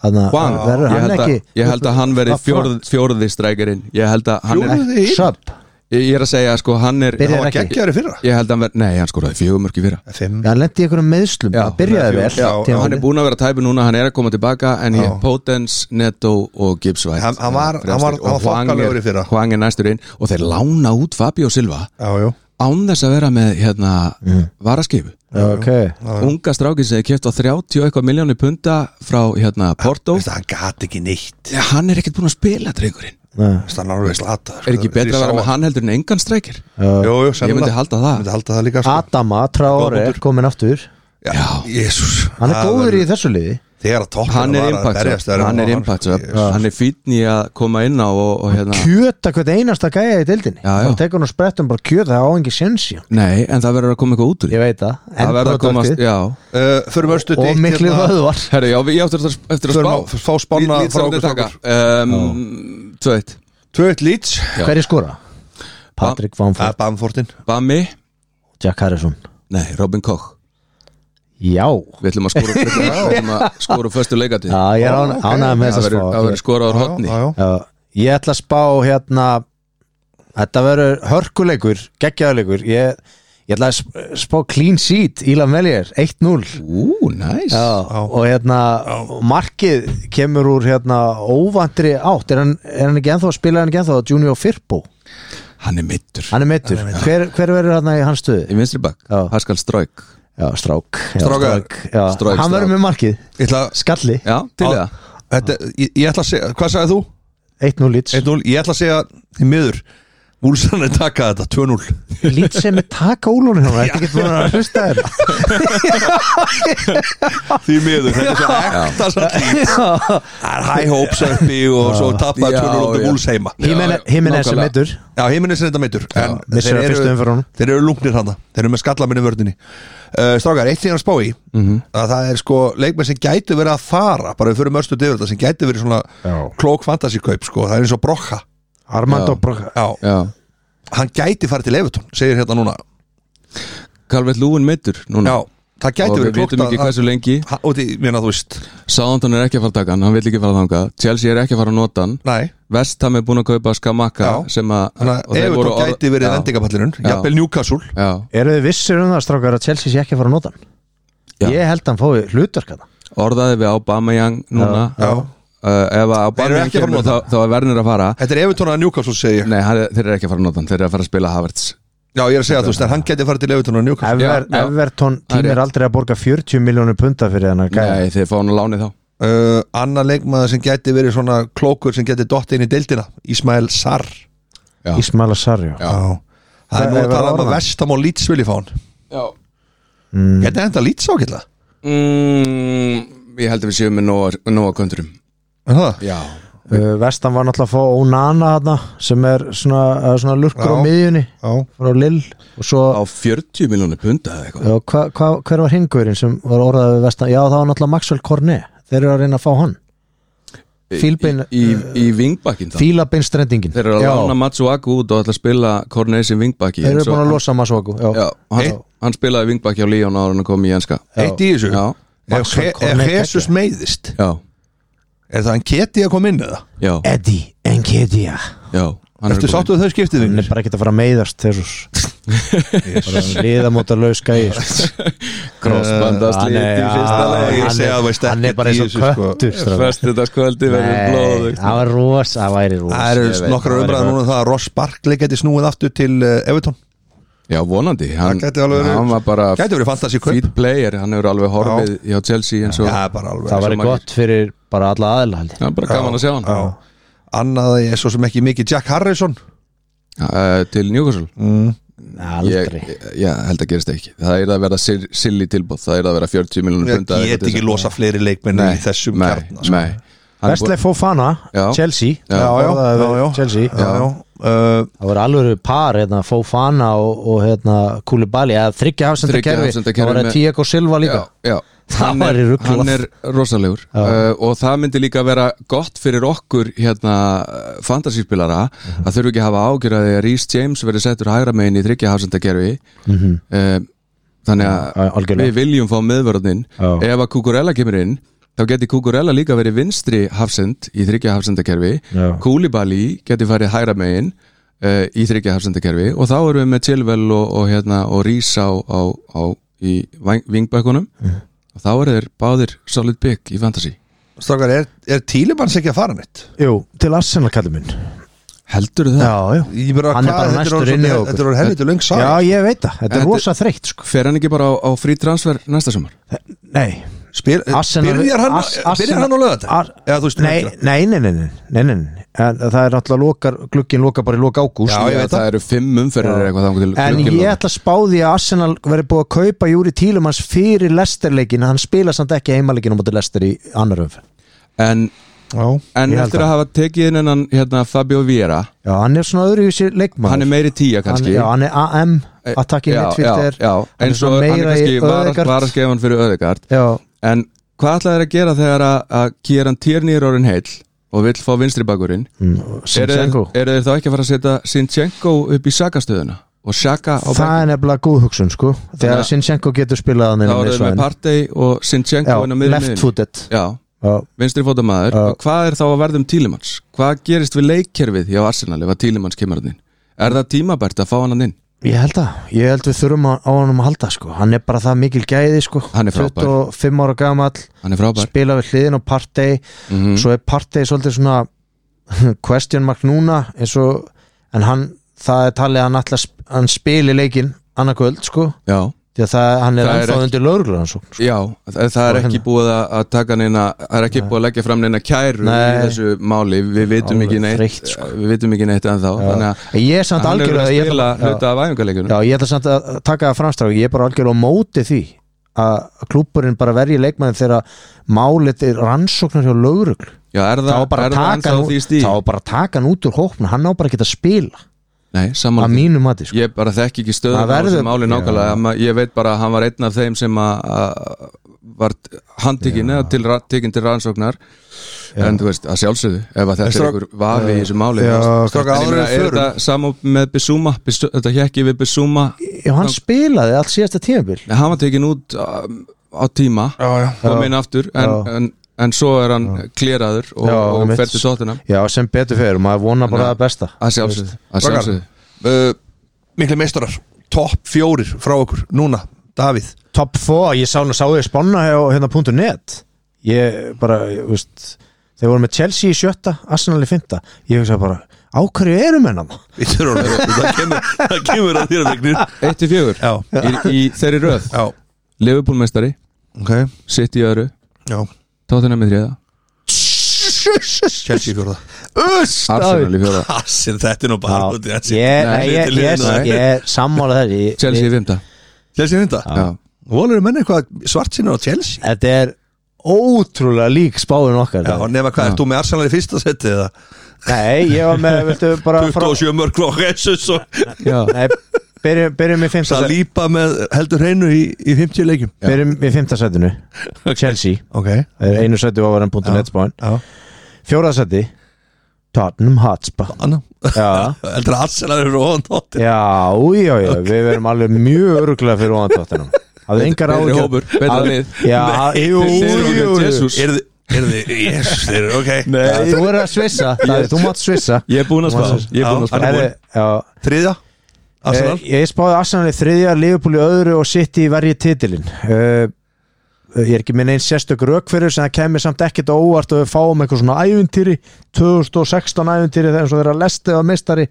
S1: Þarna-
S3: Hwang,
S1: verður
S3: ég,
S1: hann
S3: held að,
S1: ekki
S3: ég held að hann verði
S1: Up front?
S3: fjórð, fjórði strækirinn ég held að hann er,
S2: Fjórði inn?
S1: Sub,
S3: ég ég er að segja sko hann er,
S1: Byrjar
S2: það var
S1: ekki.
S2: geggjæri fyrra
S3: ég held að hann verði, nei hann skoraði fjögumörk í fyrra
S2: Fimm,
S1: Já, hann lendi í einhverjum meðslum
S3: Já,
S1: Það byrjaði vel
S2: já, já,
S1: tímabilið.
S3: hann er búin að vera tæpi núna, hann er að koma tilbaka en ég,
S2: Já.
S3: Potens, Netto og Gibbs White
S2: Hann- hann var-
S3: eh, fremstir.
S2: hann var- hann var
S3: Og Hwang er-
S2: þokkalegur í fyrra.
S3: Hwang er næstur inn og þeir lána út Fabio Silva
S2: já, já
S3: án þess að vera með hérna varaskifu
S1: Já, ok
S3: unga strákin sem er keft á 30 og eitthvað miljónu punta frá hérna Porto
S2: Veistu, Hann gat ekki neitt
S3: hann er ekkert búin að spila drengurinn
S1: Nei,
S2: Veistu, Hann alveg slata
S3: er ekki betra að vera með hann heldur en engan strækir
S1: já.
S2: Jú, jú,
S3: ég myndi
S2: sennilega.
S3: halda
S2: Ég
S3: það
S2: myndi halda það líka sko.
S1: Adama Traore
S2: Góð
S1: er komin aftur
S3: já,
S2: Jésús
S1: Hann er góður í þessu liði
S2: Þegar að toppin
S3: hann er
S2: berjast
S3: impact sko.
S2: þegar
S3: hann er
S2: var-
S3: impact
S2: Jesús.
S3: hann er fítn í að koma inn á og, og hérna
S1: Kjöta hvert einasta gæja í dildinni
S3: Já, já.
S1: Bara tekur hann og sprettum bara kjöta Það á engi sensi
S3: nei, en það verður að koma eitthvað út úr því.
S1: Ég veit það
S3: það verður að komast, hérna.
S1: Endproductið.
S3: já
S2: Uh, Förum örstuð
S1: Og miklu
S2: hérna.
S1: vöðvar
S3: herru, já, við- ég áttur eftir, að- eftir að
S2: Förum
S3: spá
S2: að f- fá spána
S3: Lít-
S2: frá
S3: Lít-
S2: okkur
S3: taka.
S2: strákar.
S3: Um, tvö eitt
S2: Tvöitt Leeds
S3: Já.
S1: Hver er skora? Patrick Vamford
S2: Bamfortin
S3: Bami,
S1: Jack Harrison
S3: nei, Robin Koch
S1: Já
S3: við ætlum að skora hérna. við ætlum að skora fyrstu leikati
S1: Já, ég er án- ánægð með
S3: það
S1: þess að
S3: verður- það verður
S1: spá
S3: skora á hotni
S1: Já, Ég ætla að spá hérna Þetta verður hörkuleikur Geggjaðuleikur Ég ég ætla að sp- spá clean sheet Ílan Veljer 1-0
S3: ú, næs
S1: Já, og hérna markið kemur úr hérna óvandri átt er hann, er hann ekki ennþá að spila hann ekki ennþá Junior Firpo,
S3: hann er mittur
S1: hann er meittur hver, hver verður hann í hans stöðu?
S3: í vinstri bak,
S1: Já.
S3: Pascal Stroik
S1: Já, strák, já,
S2: Strákar.
S1: já,
S3: Strák,
S1: hann verður
S3: strák.
S1: með markið
S2: Ég ætla að
S1: skalli,
S3: já, til
S2: Á-
S3: það
S2: Þetta, ég, ég ætla að segja, hvað sagði þú?
S1: 1-0 lít
S2: 1-0, ég ætla að segja í miður Úlsan er takað þetta, 2-0
S1: lít sem er taka úlunum hann þetta getur búin að hlusta þér
S2: Því miður, þetta er svo ekta samt líf. Það er high hopes uppi og svo tappaði
S3: Já,
S2: 2-0 og
S3: já.
S2: Úls heima
S3: Já, já,
S1: Himine sem
S3: nákvæmlega.
S1: meittur
S2: Já, heiminn er sem þetta meitur En
S1: missir að fyrstu umferðunum.
S2: þeir eru lungnir hana Þeir eru með skallaminni vördinni uh, Strákar, eitt þín að spá í að það er sko leikmenn sem gætu verið að fara bara við fyrir mörstu dyrir þetta sem gætu verið svona
S1: Já.
S2: klók fantasíkaup sko, það er eins og brokka
S1: Armando
S3: Já.
S1: Broca
S2: Já,
S3: já
S2: hann gæti farið til Evertón segir hérna núna
S3: Calvert Lúin meittur núna
S2: Já, það gæti
S3: og
S2: verið
S3: við
S2: klókt
S3: vitum ekki hversu lengi
S2: Ha- og því, mér að þú veist
S3: Southampton er ekki að fara að taka hann, hann vil ekki fara að þanga Chelsea er ekki að fara að nota hann
S2: Nei,
S3: Vestham er búin að kaupa Skamaka
S2: Já.
S3: sem að
S2: þannig
S3: og
S2: að
S3: þeir
S2: Evertón
S3: voru orð-
S2: gæti verið
S3: Já,
S2: vendingapallinun
S3: Já.
S2: jafnvel Newcastle
S3: já,
S1: eru þið vissir um það strákar að Chelsea sé ekki að fara að nota hann?
S3: Já.
S1: ég held að hann fái hlutverk hann
S3: orðaði við Aubameyang núna
S2: Já.
S3: Uh, ef að
S2: Þeir eru
S3: Aubameyang
S2: ekki að fara að
S3: kemur þá,
S2: nota.
S3: þá er verðinir að fara
S2: Þetta er Evertón að Newcastle segi ég
S3: Nei, hann, er- þeir eru ekki að fara að nota hann, þeir eru að fara að spila Havertz
S2: Já, ég er að segja þú veist, en hann gæti farið til Evertón að Newcastle
S1: Ever,
S3: já.
S1: Everton
S3: Það er
S1: tímir
S3: rétt.
S1: aldrei að borga 40 miljónu punta fyrir hann að gæja
S3: Nei, þeir fá hann að láni þá
S2: uh, Anna leikmaður sem gæti verið svona klókur sem gæti dott inn í deildina Ismael Sarr
S3: Já.
S1: Ismaila Sarri
S3: Já.
S2: Það Mm. er
S1: Það
S2: nú
S1: er
S2: að tala um
S1: orðan.
S2: að vestam og lýts vilji fá hann
S3: Já
S1: Mm.
S2: Gæti enda lýts ákveðlega
S3: mm, Ég held að við séum með nóga, nóga köndurum
S2: Er það?
S3: Já
S1: uh, Vestan var náttúrulega að fá Onana hana, sem er svona, eða svona lurkur
S2: Já.
S1: á miðjunni
S2: Já
S1: frá Lill og svo
S3: Á 40 miljónu punda eða eitthvað
S1: Já, hva, hva, hver var hingurinn sem var orðað við vestan? Já, það var náttúrulega Maxwell Cornet Þeir eru að reyna að fá hann Fílbein-
S3: Í, í, í vingbakkin það
S1: Fílabinstrendingin
S3: Þeir eru að
S1: Já,
S3: lána Matsu Aku út og ætla að spila Kornei sem vingbakki
S1: Þeir eru
S3: eins og
S1: búin að
S3: hann-
S1: losa Masóku
S3: Já, hann,
S1: Eitt-
S3: hann spilaði vingbakki á Líón ára en að koma í enska
S2: Eitt í þessu
S3: Já,
S2: Ef
S1: Maxwell
S2: He-
S1: Cornet
S2: ef Jesus
S1: geggjaður.
S2: meiðist
S3: já,
S2: Er það hann keti að koma inn eða?
S3: já,
S1: Eddie Enkedia
S3: já hann er
S2: Ertu
S3: kominn.
S2: sáttu að þau skiptið
S1: Hann
S2: þín?
S1: er bara ekkert að fara að meiðast Jesus Bara liðamóta laus gæi sko.
S3: Krossbandast
S1: Hann er-
S3: lítið í fyrsta
S1: já,
S3: lagi
S2: Ég
S1: hann
S2: segi að þú
S1: er-
S2: veist
S1: Hann er
S2: ekkert
S1: bara
S2: í
S1: eins og
S2: þessu, sko.
S1: köttur strákar.
S3: Föstudagskvöldi verður
S1: Nei,
S3: blóðugt
S1: það var rosa, það væri rosa
S2: Það
S3: Ég
S2: eru
S3: veit,
S2: nokkrar
S1: það er
S2: umræðar
S1: bara-
S3: sko,
S2: núna um það að Ross Barkley geti snúið aftur til eh, Everton
S3: Já, vonandi
S2: Það
S3: Hann,
S2: gæti alveg verið-
S3: hann var bara
S2: Gæti verið fantasy kaup
S3: fýt player Hann hefur alveg horfið hjá Chelsea eins og
S2: Já, bara alveg
S1: Það
S3: svo
S1: væri
S3: margir.
S1: gott fyrir bara alla aðila held ég.
S3: Það er bara gaman að sjá hann
S2: Já. Annað að ég er svo sem ekki mikið Jack Harrison
S3: Eh, Til Newcastle
S1: Mm.
S3: ég,
S1: Aldrei
S3: Já, held að gerist ekki Það er að vera sil- silly tilbúð Það er að vera 40 miljonur
S2: Ég get ekki losa fleiri leikmenn í þessum
S3: nei,
S2: kjarna sko.
S3: nei. Hann er
S1: Vestleif Fofana,
S3: Já.
S1: Chelsea
S3: Já.
S1: Orðaður við
S2: já, já.
S1: Chelsea
S2: Já, já. Uh,
S1: Það voru alveg par, hérna, Fofana og, og hérna, Koulibaly, eða þryggja hafsenda
S3: Þriggja
S1: kerfi,
S3: hafsendakerfi
S1: það voru
S3: með-
S1: Tiago Silva líka
S3: já, já.
S1: Það
S3: Hann
S1: væri
S3: er-
S1: ruglað.
S3: Hann er rosalegur uh, og það myndi líka vera gott fyrir okkur hérna fantasíspilara að þurfi ekki að hafa ágjur að því að Rhys James verði settur hægra megin í þryggja hafsendakerfi uh, þannig
S1: Mhm. Já,
S3: að
S1: algjörlega.
S3: við viljum fá miðvörðnin
S1: Já.
S3: ef að Kukurella kemur inn þá geti Kukurella líka verið vinstri hafsend í þryggja hafsendakerfi
S1: Já.
S3: Kúlibali geti farið hægra megin uh, í þryggja hafsendakerfi og þá erum við með Chilwell og, og, hérna, og Rís á, á, á í vingbækunum
S1: Mhm.
S3: og þá eru þeir báðir solid pick í fantasy
S2: Strákar, er, er Tílimanns ekki að fara nýtt?
S1: Jú, til Arsenal kallum minn
S3: heldur það?
S1: Já, já
S2: Ég bara,
S1: Hann er
S2: hvað,
S1: bara
S2: þetta
S1: næstur
S2: orðið
S1: inn í
S2: svo-
S1: okkur.
S2: Þetta er helviti löng sá
S1: Já, ég veit það, þetta
S3: Þetta-
S1: er rosa þreytt sko.
S3: Fer hann ekki bara á, á frí transfer næsta sumar?
S1: Nei,
S2: Spyr,
S1: Arsenal
S2: byrjar hann,
S1: Ars-
S2: As, byrjar hann á lögata?
S1: Ar-
S2: Eða þú veist
S1: nei,
S2: helgina?
S1: nei, nei, nei, nei, nei, nei, nei. En Það er náttúrulega lokar, glugginn lokar bara í loka ágúst
S2: Já, ég veit
S3: það eru fimm umferðir eða eitthvað þangur til
S1: En
S3: gluggalok.
S1: ég ætla að spáði að Arsenal verið búið að kaupa Júri Tílumans fyrir lesterleikin hann spila samt ekki heimaleikinu mútið lester í annar öf
S3: en,
S2: Já,
S3: en
S1: Ég held
S3: eftir
S1: það.
S3: að hafa tekið inn hennan hérna, Fabio Viera
S1: Já, hann er svona öðru í sér leikmann
S3: hann er meiri tíja
S1: hann,
S3: kannski
S1: já, hann er AM
S3: Eh,
S1: attacking
S3: já,
S1: midfielder
S3: já, já.
S1: hann er
S3: eins og
S1: svona
S3: hann er
S1: meira í
S3: kannski
S1: öðegard
S3: varaskefan fyrir öðegard
S1: já,
S3: en hvað ætla þeir að gera þegar að, að Kieran Tierney er orðin heill og vill fá vinstri bakurinn eru þeir,
S1: Mm, Sinchenko
S3: eru þeir þá ekki að fara að setja Sinchenko upp í Saka-stöðuna og Saka á
S1: það er nefnilega góð hugsun sko þegar
S3: að-
S1: Sinchenko getur spilað hann
S3: þá
S1: inn á
S3: eru þeir með
S1: miðsvæðinu.
S3: Partey og Sinchenko inn á
S1: já,
S3: miðri
S1: left
S3: miðjunni.
S1: footed
S3: já,
S1: já,
S3: vinstri fótamaður
S1: Já.
S3: og hvað er þá að verðum Tílimanns hvað gerist við leikkerfið hjá Arsenal ef að Tílimanns kemur hann inn er það tímabært að fá hann hann inn
S1: ég held að ég held við þurfum á, á hann að halda sko hann er bara það mikil gæði sko
S3: Hann er frábær.
S1: 25 ára gamall
S3: hann er frábær Mhm. Mm.
S1: spila við hliðin og partey svo er partey svolítið svona question mark núna eins og en hann, það er talið að hann, ætla, að sp- hann spili leikin annarkvöld sko
S3: já,
S1: því að það, hann er
S3: Það er
S1: ennþá
S3: ekki-
S1: undir lögreglan sko.
S3: já það, það er
S1: Og
S3: ekki
S1: hérna.
S3: búið að að taka neina það er ekki búið að leggja fram neina kæru í
S1: Nei.
S3: þessu máli við vitum
S1: Alveg
S3: ekki neitt
S1: þreytt, sko.
S3: við vitum ekki neitt ennþá þannig að
S1: ég er samt
S3: hann er
S1: algjörlega
S3: að
S1: ég
S3: spila
S1: ætla-
S3: hluta af æfingarleikunum
S1: já, ég ætla samt að taka það framstráð ég er bara algjörlega á móti því að klúpurinn bara verji leikmannin þegar málið er rannsóknar hjá lögrugl
S3: já, er
S1: þá
S3: það,
S1: er bara að
S3: er það
S1: taka
S3: ennþá
S1: hann
S3: því
S1: út-
S3: stíl
S1: þá er bara að taka hann út úr hópna hann á bara ekki að spila
S3: nei, saman
S1: að mínu mati sko.
S3: ég bara þekki ekki stöðum
S1: Það
S3: á þessu
S1: verður-
S3: máli nákvæmlega Ma- ég veit bara að hann var einn af þeim sem að- að var handtekinn eða til, tekin til rannsóknar en þú veist, að sjálfsögðu ef að þetta er
S2: strák-
S3: ykkur vafi í þessu máli
S2: Já,
S3: En ég
S2: strákar, áður en
S3: meina,
S2: við
S3: er
S2: förum.
S3: þetta samá með Bissúma þetta hjekki við Bissúma
S1: já, hann spilaði allt síðasta tímabil
S3: hann var tekin út á, á tíma
S2: já, já
S3: kom inn aftur en, en, en svo er hann kleraður og,
S1: Já,
S3: og
S1: einmitt.
S3: fer til tóttina
S1: já, sem betur fyrir, maður vonar bara
S3: Nei.
S1: það besta
S3: að sjálfsögðu að
S2: Strákar,
S3: sjálfsögðu
S2: uh, Mikli meistarar, topp fjórir frá okkur Núna, Davíð
S1: top 4, ég sá nú sá ég spanna hjá hérna punktu net ég bara, ég, veist þeir voru með Chelsea í sjötta, Arsenal í fymta ég hugsa bara, á hverju eru menn hann?
S2: Bíddu, Rónar, Það kemur, það kemur að þér vegnir
S3: eitt til fjögur
S2: Já,
S3: í, í þeirri röð
S2: já,
S3: Liverpoolmeistari,
S2: ok
S3: sitt í öðru
S2: Já,
S3: tóttina með þriða
S2: Chelsea fjóra Uss,
S3: Arsenal í fjóra
S2: Kassin, þetta er nú bara út í
S1: Já,
S2: þessi
S1: ég, nei, ég,
S2: Þetta er
S1: ég,
S2: liðinu,
S1: ég, ég sammála þær ég,
S3: Chelsea í fymta
S2: Chelsea er þetta
S3: Já.
S2: Volur menn eitthvað svart sinna á Chelsea
S1: Þetta er ótrúlega lík spáðun okkar
S2: Já, nema hvað, ert þú með Arsenal í fyrsta seti eða
S1: Nei, ég var með, viltu bara frá
S2: 27 mörg og Jesus og
S3: Já.
S1: Nei, byrjum, byrjum í fymta sæ-
S2: Saliba með heldur hreinu í, í 50 leikjum
S1: Byrjum í fymta sætinu Chelsea,
S2: Ok,
S1: það er einu sæti ofar en punktu netspáin
S2: já,
S1: Fjóra sæti Tottenham Hotspur
S2: annan
S1: Já,
S2: Heldur að Arsenal eru ofan tótt
S1: já, já, já Við verum alveg mjög öruglega fyrir ofan Tottenham Hafðu engar
S3: Betri
S1: áhugjur
S3: hópur, betra lið.
S1: Já,
S2: Ah,
S1: jú,
S3: þeir eru
S1: jú,
S3: ekki með
S1: jú
S3: Jesus.
S2: Er þið, er þið, yes, þeir eru, ok
S1: Já, Þú er að svissa, Daði, þú mátt svissa
S3: Ég er búinn að spá Ég er búinn
S2: Hann
S3: að spá
S2: er
S1: Herri, já,
S2: Þriðja, Arsenal
S1: Eh, Ég spáði Arsenal í þriðja, Liverpool í öðru og City í verji titilin uh, Ég er ekki minn einn sérstök rauk fyrir þessu, en það kemur samt ekkert á óvart og við fáum eitthvað svona ævintýri 2016 ævintýri þegar eins og þeirra lestið að mistari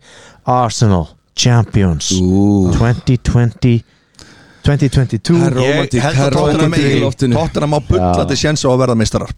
S1: Arsenal Champions
S3: Ú.
S1: 2020 2022
S3: Það er rómantík,
S2: Ég held að
S3: það er
S2: Tottenham
S3: rómantík í
S2: megi-
S3: loftinu.
S2: Tottenham má bullandi séns á að verða meistarar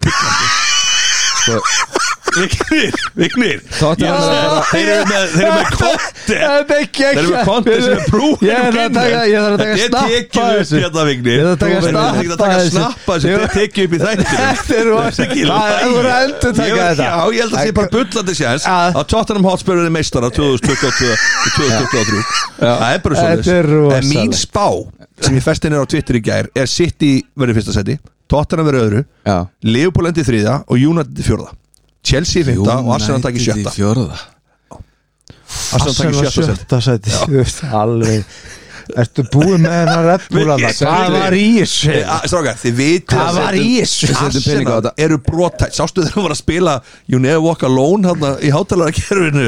S2: Vignir, Vignir
S3: Tottenham
S2: Ég-
S3: er að fara-
S2: Þeir eru með, þeir eru með konti
S1: Þetta er ekki
S2: Þeir eru með konti sem er brú
S1: Ég þarf að taka- ég þarf að taka
S2: Þetta er
S1: snappa
S2: tekið
S1: þessu.
S2: upp hérna, Vignir
S1: Ég þarf að taka
S2: Þú verður
S1: snappa
S2: ekki að taka
S1: þessu.
S2: snappa þessu
S1: Jú.
S2: Þetta er tekið upp í þættinu
S1: Þetta er rosa-
S2: ekki í
S1: Það
S2: lagi.
S1: er að endur
S2: Ég-
S1: taka þetta
S2: Já, ég held að það sé bara bullandi séns
S1: Já.
S2: að Tottenham Hotspur er meistar á 2022 og 2023 Það er bara svoleiðis.
S1: Þetta er
S2: En mín
S1: rosalegt.
S2: spá sem ég festi nýra á Twitter í gær er City verið fyrsta seti Tottenham verið öðru
S3: Já
S2: Liverpool endi þriða og United í fjórða Chelsea í fymta og Arsenal takk í sjötta
S3: Fjörða
S2: Arsenal takk í sjötta seti
S1: sjötta sæti Þú veist, alveg Ertu búið með hennar Red Bull að
S2: Virkilega,
S1: það? Hvað
S2: sæti.
S1: var í þessu?
S2: Eh, a- Strákar, þið vitið
S1: Hvað
S2: að
S1: var í
S2: setjum-
S1: þessu?
S2: Við setjum pening á þetta. eru brotætt Sástu þegar hann var að spila You Never Walk Alone hann í hátalarakerfinu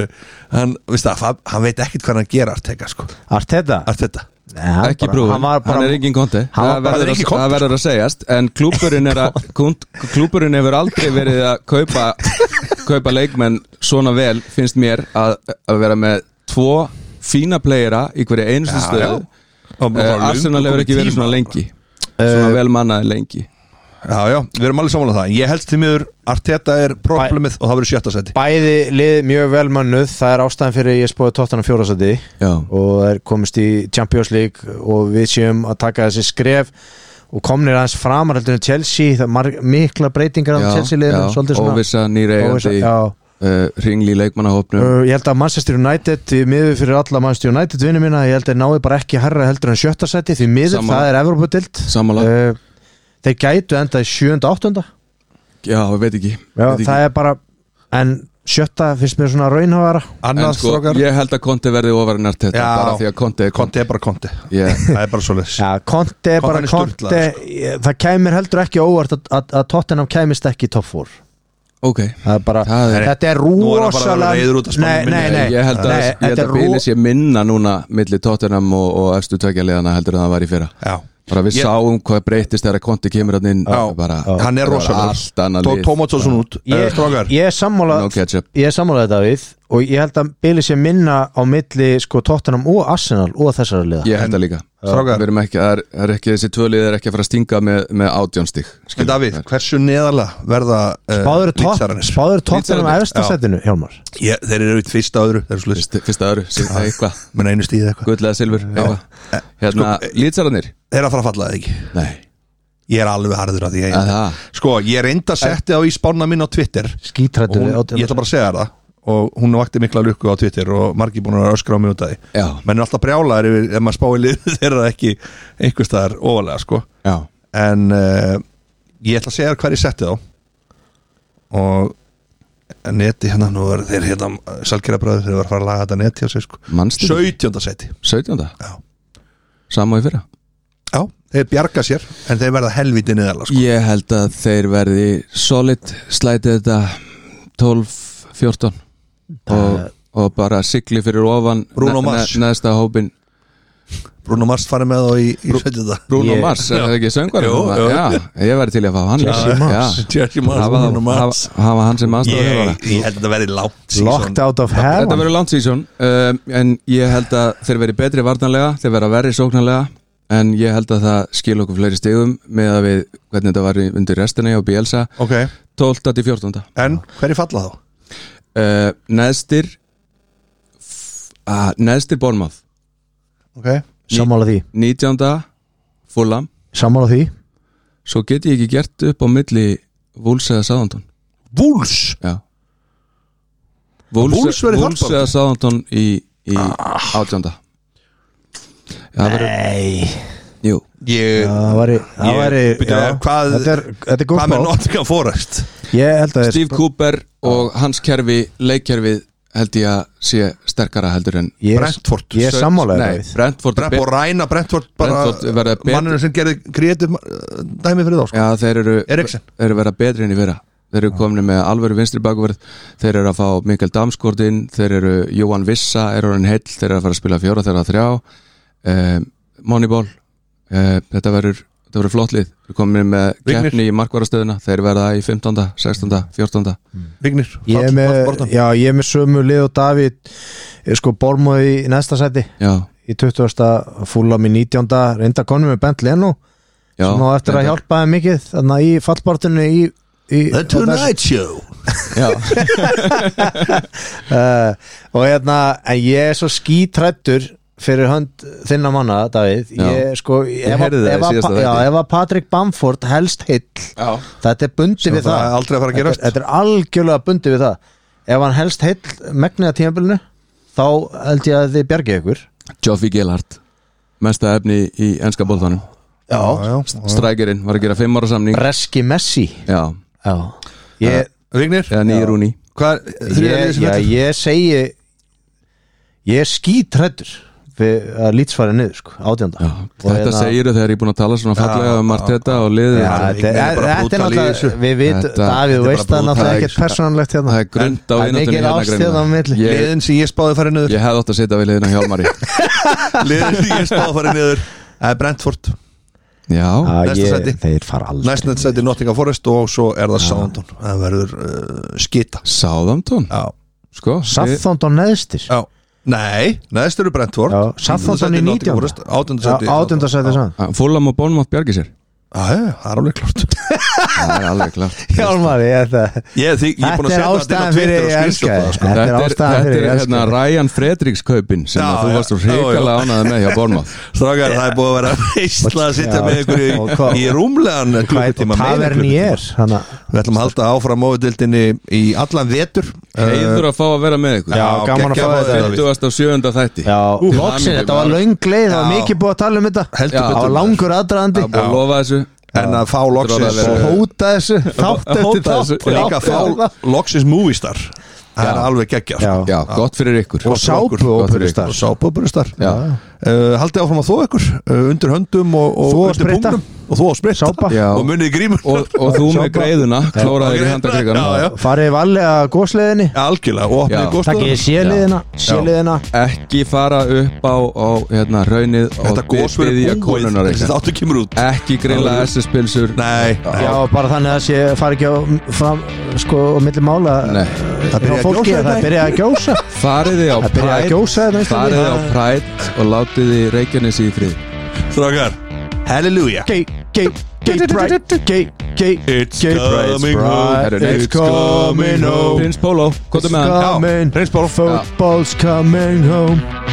S2: hann, veist það, hann- hann veit ekkit hvað hann gera Arteta sko
S1: Arteta?
S2: Arteta
S1: Nei, hann
S3: Ekki
S1: bara-
S3: brúin
S1: Hann var bara
S3: er engin konti
S1: Hann var
S3: Það
S1: bara-
S2: hann er
S3: verður að-
S2: engin konti.
S3: það verður að segjast En klúburinn er að kúnt- Klúburinn hefur aldrei verið að kaupa Kaupa leikmenn svona vel Finnst mér að, að vera með Tvo fína playera Í hverju einustu
S2: Já,
S3: stöðu
S2: já. Og eh, bara
S3: Eh,
S2: löngu
S3: Arsenal hefur
S2: komið
S3: ekki verið
S2: tíma.
S3: svona lengi Svona vel mannaði lengi
S2: Já, já, við erum alveg samanlega það En Ég helst því miður Arteta er problemið og það verður sjötta seti
S1: Bæði lið mjög vel mönnuð Það er ástæðan fyrir ég spóði tóttanum fjórasæti
S3: Já
S1: Og það er komist í Champions League Og við séum að taka þessi skref Og komnir aðeins framar heldur en Chelsea Það er mar- mikla breytingar á Chelsea liðinu Svolítið svona
S3: Óvissa, nýri
S1: Óvissa,
S3: eigandi
S1: já.
S3: uh, Ringli í leikmannahópnum
S1: Uh, ég held að Manchester United því miður fyrir alla Manchester United vinnu mína ég held að þeir náði bara ekki herra heldur en sjötta seti því miður
S3: Sammála.
S1: það er Evropadild
S3: Sammála.
S1: uh, þeir gætu enda í sjönda áttunda já,
S3: Já, ég veit ekki, veit ekki.
S1: það er bara en sjötta finnst mér svona raunhavara
S3: En
S2: Annars
S3: sko,
S2: strókar
S3: ég held að Conte verði ofar en Arteta
S2: Já.
S3: bara því að Conte er
S2: Konti Eh, er bara konti
S3: yeah.
S2: Það er bara svoleiðis
S1: já, Conte er
S2: Conte
S1: bara
S2: er
S1: Conte
S2: sturlaður,
S1: ég- það kæmir heldur ekki óvart að, að, að Tottenham kæmist ekki í topp fór
S3: Ok,
S1: það er bara
S3: Það er-
S1: þetta er
S2: Nú er hann bara að vera reiður út af
S1: rosalega
S2: spánni
S1: nei,
S2: minni.
S1: nei, nei,
S3: ég held að,
S1: nei,
S3: ég held
S1: þetta
S3: að
S1: er ro-
S3: bílið sé minna núna milli Tottenham og, og efstu tökjaliðana heldur en það var í fyrra
S2: Já
S3: bara við
S2: Ég-
S3: sáum hvað breytist þegar Conte kemur hann inn
S2: Já.
S3: bara,
S2: Hann er
S3: bara
S2: rosalur
S3: allt annað lið
S2: Tók Tómatsson út
S1: Ég,
S2: Strókar
S1: ég er sammála
S3: No ketchup.
S1: Ég er sammála þetta við og ég held að bíli sé minna á milli sko Tottenham og Arsenal og þessara liða
S3: Ég held að líka
S2: Strákar.
S3: Við erum ekki, það er, það er ekki, þessi tvölið er ekki að fara að stinga með, með átjónstig
S2: En Davíð, hversu neðarlega verða uh,
S1: Spáður Tot-
S2: Leeds-Aranis?
S1: Spáður Tottenham
S3: Leeds-Aranis,
S1: efsta
S2: já.
S1: setinu Hjálmar
S2: Ég, þeir eru eitt fyrsta öðru, þeir eru sluðist
S3: Fyrsta öðru, sí- eitthvað,
S2: Menn einu stíð eitthvað
S3: gull eða silfur eitthvað. Hérna, lýtsararnir?
S2: Þeir eru að fara að falla eða ekki
S3: Nei
S2: Ég er alveg harður að því ég,
S3: Aha.
S2: Sko, ég reynda að setja á í spána mín á Twitter og
S1: Skítrættur
S2: hún, Ég ætla bara að segja þér það og hún vakti mikla lukku á Twitter og margir búin að öskra á mig út af því
S3: Já.
S2: Menn er alltaf brjálaðir yfir ef maður spáir lið þeirra ekki einhvers staðar ofalega sko
S3: Já,
S2: en uh, ég ætla að segja þér hver ég setti þá og neti hérna, nú er þeir hérna salgerabræður þeir var að fara að laga þetta neti á sig sko
S3: mannstu
S2: 17. seti
S3: 17.
S2: Já.
S3: Sama og í fyrra
S2: Já, þeir bjarga sér en þeir verða helviti neðala sko.
S3: Ég held að þeir verði solid slætið þetta 12-14 og, og bara sigli fyrir ofan
S2: Bruno
S3: ne-
S2: Mars.
S3: ne- neðsta hópin
S2: Bruno Mars farið með þá í, í sjötunda
S3: Bruno
S1: Ég-
S3: Mars, er það ekki söngvar
S2: Jú, jú.
S3: ég verði til í að fá hann
S1: Jesse
S3: líka.
S1: Mars.
S3: Já.
S2: Jesse Mars,
S3: Hafa-
S2: Bruno Mars.
S3: hafa- hafa hann sem
S2: ég,
S3: aðstofað
S2: ég held að þetta verði látt
S1: Locked out of
S3: Þetta
S1: heaven
S3: verður langt season um, En ég held að þeir verði betri varnanlega Þeir verða verri sóknanlega En ég held að það skil okkur fleiri stigum Með að við hvernig þetta var í- undir restina hjá Bielsa
S2: Ok,
S3: 12. til 14.
S2: en hverju falla þá?
S3: uh, neðstir f- uh, neðstir Bormað
S2: okay.
S1: sammála því
S3: 19. Fulham
S1: sammála því
S3: svo get ég ekki gert upp á milli Wolves eða Southampton
S2: Búls
S3: já Wolves,
S2: Wolves verið
S3: Wolves
S2: þarna.
S3: eða Southampton í, í ah. 18. Já, verið,
S1: Nei,
S3: jú
S2: Ég
S1: það væri, það
S2: Ég-
S1: væri
S2: byrju,
S1: já,
S2: hvað-
S1: þetta er, þetta er góð
S2: Hvað með
S1: spá
S2: Nottingham Forest?
S1: Ég held að
S3: Steve
S1: Steve,
S3: Cooper og hans kerfi leikkerfið held ég að sé sterkara heldur en
S1: ég,
S2: Brentford.
S1: Ég er sammála þér
S3: Nei,
S1: Davíð.
S3: Brentford, er
S2: Brepp og
S3: be-
S2: Ræna Brentford bara
S3: Brentford verða betri.
S2: manninu sem gerði kreatív dæmi fyrir þá sko.
S3: Já, þeir eru,
S2: Eriksen.
S3: þeir eru vera betri enn í fyrra Þeir eru komni með alvöru vinstri bakverð Þeir eru að fá Mikael Damskort inn Þeir eru Jóhann Vissa, er orðin heill Þeir eru að fara að spila fjóra, þeir eru að þrjá um, Moneyball um, Þetta verður Þetta verður flott lið, við komum með
S2: Vignir.
S3: keppni í markvarastöðuna, þeir verða í 15. 16. 14.
S2: Vignir,
S1: Ég er
S2: Fall-
S1: með,
S2: Fall- Fall-
S1: já, ég er með sömu lið og Davíð er sko Bormóð í næsta sæti
S3: Já,
S1: í 20. fúlam í 19. reynda konum með Bent Lenú
S3: já
S1: sem á eftir að
S3: reyndar.
S1: hjálpa þeim mikið þannig að í fallbortinu í, í
S2: The
S1: á þessu.
S2: Tonight Show
S3: Já,
S1: Eh, og hérna, en ég er svo skítrættur fyrir hönd þinna manna, Davíð
S3: Já.
S1: ég sko, ef, að-
S3: heyrði það í
S1: ef, að
S3: síðasta
S1: Pa- já,
S3: þætti.
S1: ef að Patrick Bamford helst heill
S3: já.
S1: þetta er bundið við
S2: það
S1: það
S2: er aldrei að fara að
S1: þetta,
S2: gerast.
S1: þetta er algjörlega bundið við það ef hann helst heill megniða tímabilinu þá held ég að þið bjargið ykkur
S3: Joffi Gellhardt mesta efni í enska bóltanum
S1: já,
S3: Strækirinn var að gera 5 ára samning
S1: Breski Messi
S3: Já,
S1: já. Ég,
S2: Vignir,
S3: eða nýjur úr ný
S2: hvað þrýða liðið
S1: ég,
S2: sem
S1: já,
S2: þetta?
S1: ég segi ég er skítrættur við að lýtsfæri niður sko, átjönda
S3: Þetta segir þegar ég er búin að tala svona fallega um Arteta og liðið
S1: hérna- Já,
S3: hans.
S1: þetta er
S2: Ég er bara
S1: þetta er
S2: brútal í
S1: náttúrulega,
S2: þessu.
S1: við vitum,
S3: Þetta-
S1: Davíð, þú
S2: þetta er
S1: veist
S2: bara
S1: það er náttúrulega
S3: brútal.
S1: ekkert persónanlegt hérna
S3: Það er grund á
S1: Það er
S3: vinnatunni
S1: mikil ást hérna á milli.
S3: ég,
S2: liðin sem ég spáði farið niður
S3: ég hefði átt að setja við liðin á Hjálmari
S2: liðin sem ég spáði farið niður Það er Brentford,
S3: Já,
S1: Já,
S2: Næsta sæti.
S1: ég- Þeir fara aldrei
S2: næstnætt sæti Nottingham Forest og svo er það Soundon það verður uh, skita
S3: Sáðamtón
S2: Já,
S3: Sko, við-
S1: Saffþóndon neðstir
S2: já Nei, neðst eru Brentford
S1: Já, Southampton í 19.
S2: Átundasæti
S1: Átjönda sæti sann
S3: Fulham og Bónmátt bjargi sér
S2: Það er alveg klart
S3: Það er alveg klart
S1: Hjálmari, ég þetta
S2: Ég, því, ég er
S1: Þetta
S2: búin að
S1: er
S2: setja
S1: ástæðan
S2: þetta
S1: fyrir
S2: inn á Twitter og
S1: ég
S2: screenshot
S1: elska þig
S2: það, sko.
S1: Þetta er
S3: Þetta
S1: ástæðan fyrir
S3: er, þetta er
S1: ég
S3: hérna
S1: elska þig
S3: Ryan Fredriks kaupin sem
S2: Já,
S3: að þú
S2: já,
S3: varst svo
S2: já, já.
S3: hrikalega ánaði með hjá Bónmátt
S2: Strákar, það er búið að vera reysla að sitja
S1: Já,
S2: með ykkur
S1: og
S2: í,
S1: hvað-
S2: í rúmlegan klukkutíma meira en
S1: Taverni
S2: klukkutíma.
S1: er hana,
S2: Við ætlum að halda áfram móðutildinni í allan vetur
S3: Heiður að fá að vera með ykkur
S1: Eh, Já, gaman að
S2: geggjað
S1: fá
S2: mót,
S1: þetta
S2: Davíð.
S3: 27. þætti
S1: Já,
S3: Til
S1: loksin,
S3: hamingju,
S1: þetta var
S3: maður.
S1: löng leið Það var
S2: Já.
S1: mikið búið að tala um þetta
S2: Heldur
S1: Það
S2: betur.
S1: var langur aðdraðandi
S3: Það er búið að lofa þessu
S2: En að fá
S3: að
S2: loksins
S3: vera-
S1: Og hóta þessu, þátt
S3: Hóta
S1: eftir
S3: þessu,
S1: þátt
S2: og líka
S1: þátt
S2: fá
S1: eftir þátt.
S2: loksins movistar Það er
S3: Já.
S2: alveg sko. geggja
S1: Já.
S3: Já, gott fyrir ykkur
S1: Og sápuóperistar.
S2: Sábúburistar
S3: Já.
S2: Eh, Haldið áfram að þó ykkur uh, undir höndum og, og
S1: Þvo og
S2: undir
S1: spritta.
S2: punktum og þó að spritta
S1: Sápa.
S3: Já.
S2: og munið í grímun
S3: og, og þú með
S1: Sápa.
S3: greiðuna klóraði þér í
S2: Já, já.
S3: handakrigan
S1: Farið valega gósleiðinni
S2: Algjörlega, og opnið
S3: Já.
S2: góðstofuna.
S1: Takkið séliðina, séliðina
S3: ekki fara upp á, á hérna, raunnið og
S2: Þetta gós verður
S3: byðja
S2: búið
S3: konunar
S2: Þessi
S3: ykkar.
S2: þáttu kemur út
S3: ekki grilla SS-pilsur
S2: Nei,
S1: Já, bara þannig að sé fari ekki á fram, sko, á milli mála
S3: Nei.
S1: Það
S2: byrjaði að
S1: fólki,
S2: gjósa í
S1: Það
S2: dag.
S1: byrjaði að gjósa
S3: fariði á
S1: Það byrjaði að
S3: Pride
S1: gjósa hérna, þetta
S3: fariði á Pride og látiði Reykjanes í frið
S2: Strákar, halleluja
S1: Gay, gay, gay pride Gay, gay,
S2: It's
S1: gay
S2: coming home.
S1: pride It's coming home
S3: Prins Pólo, hvað er
S1: It's
S3: með hann?
S1: coming
S2: Hreins Pálf.
S1: Football's coming home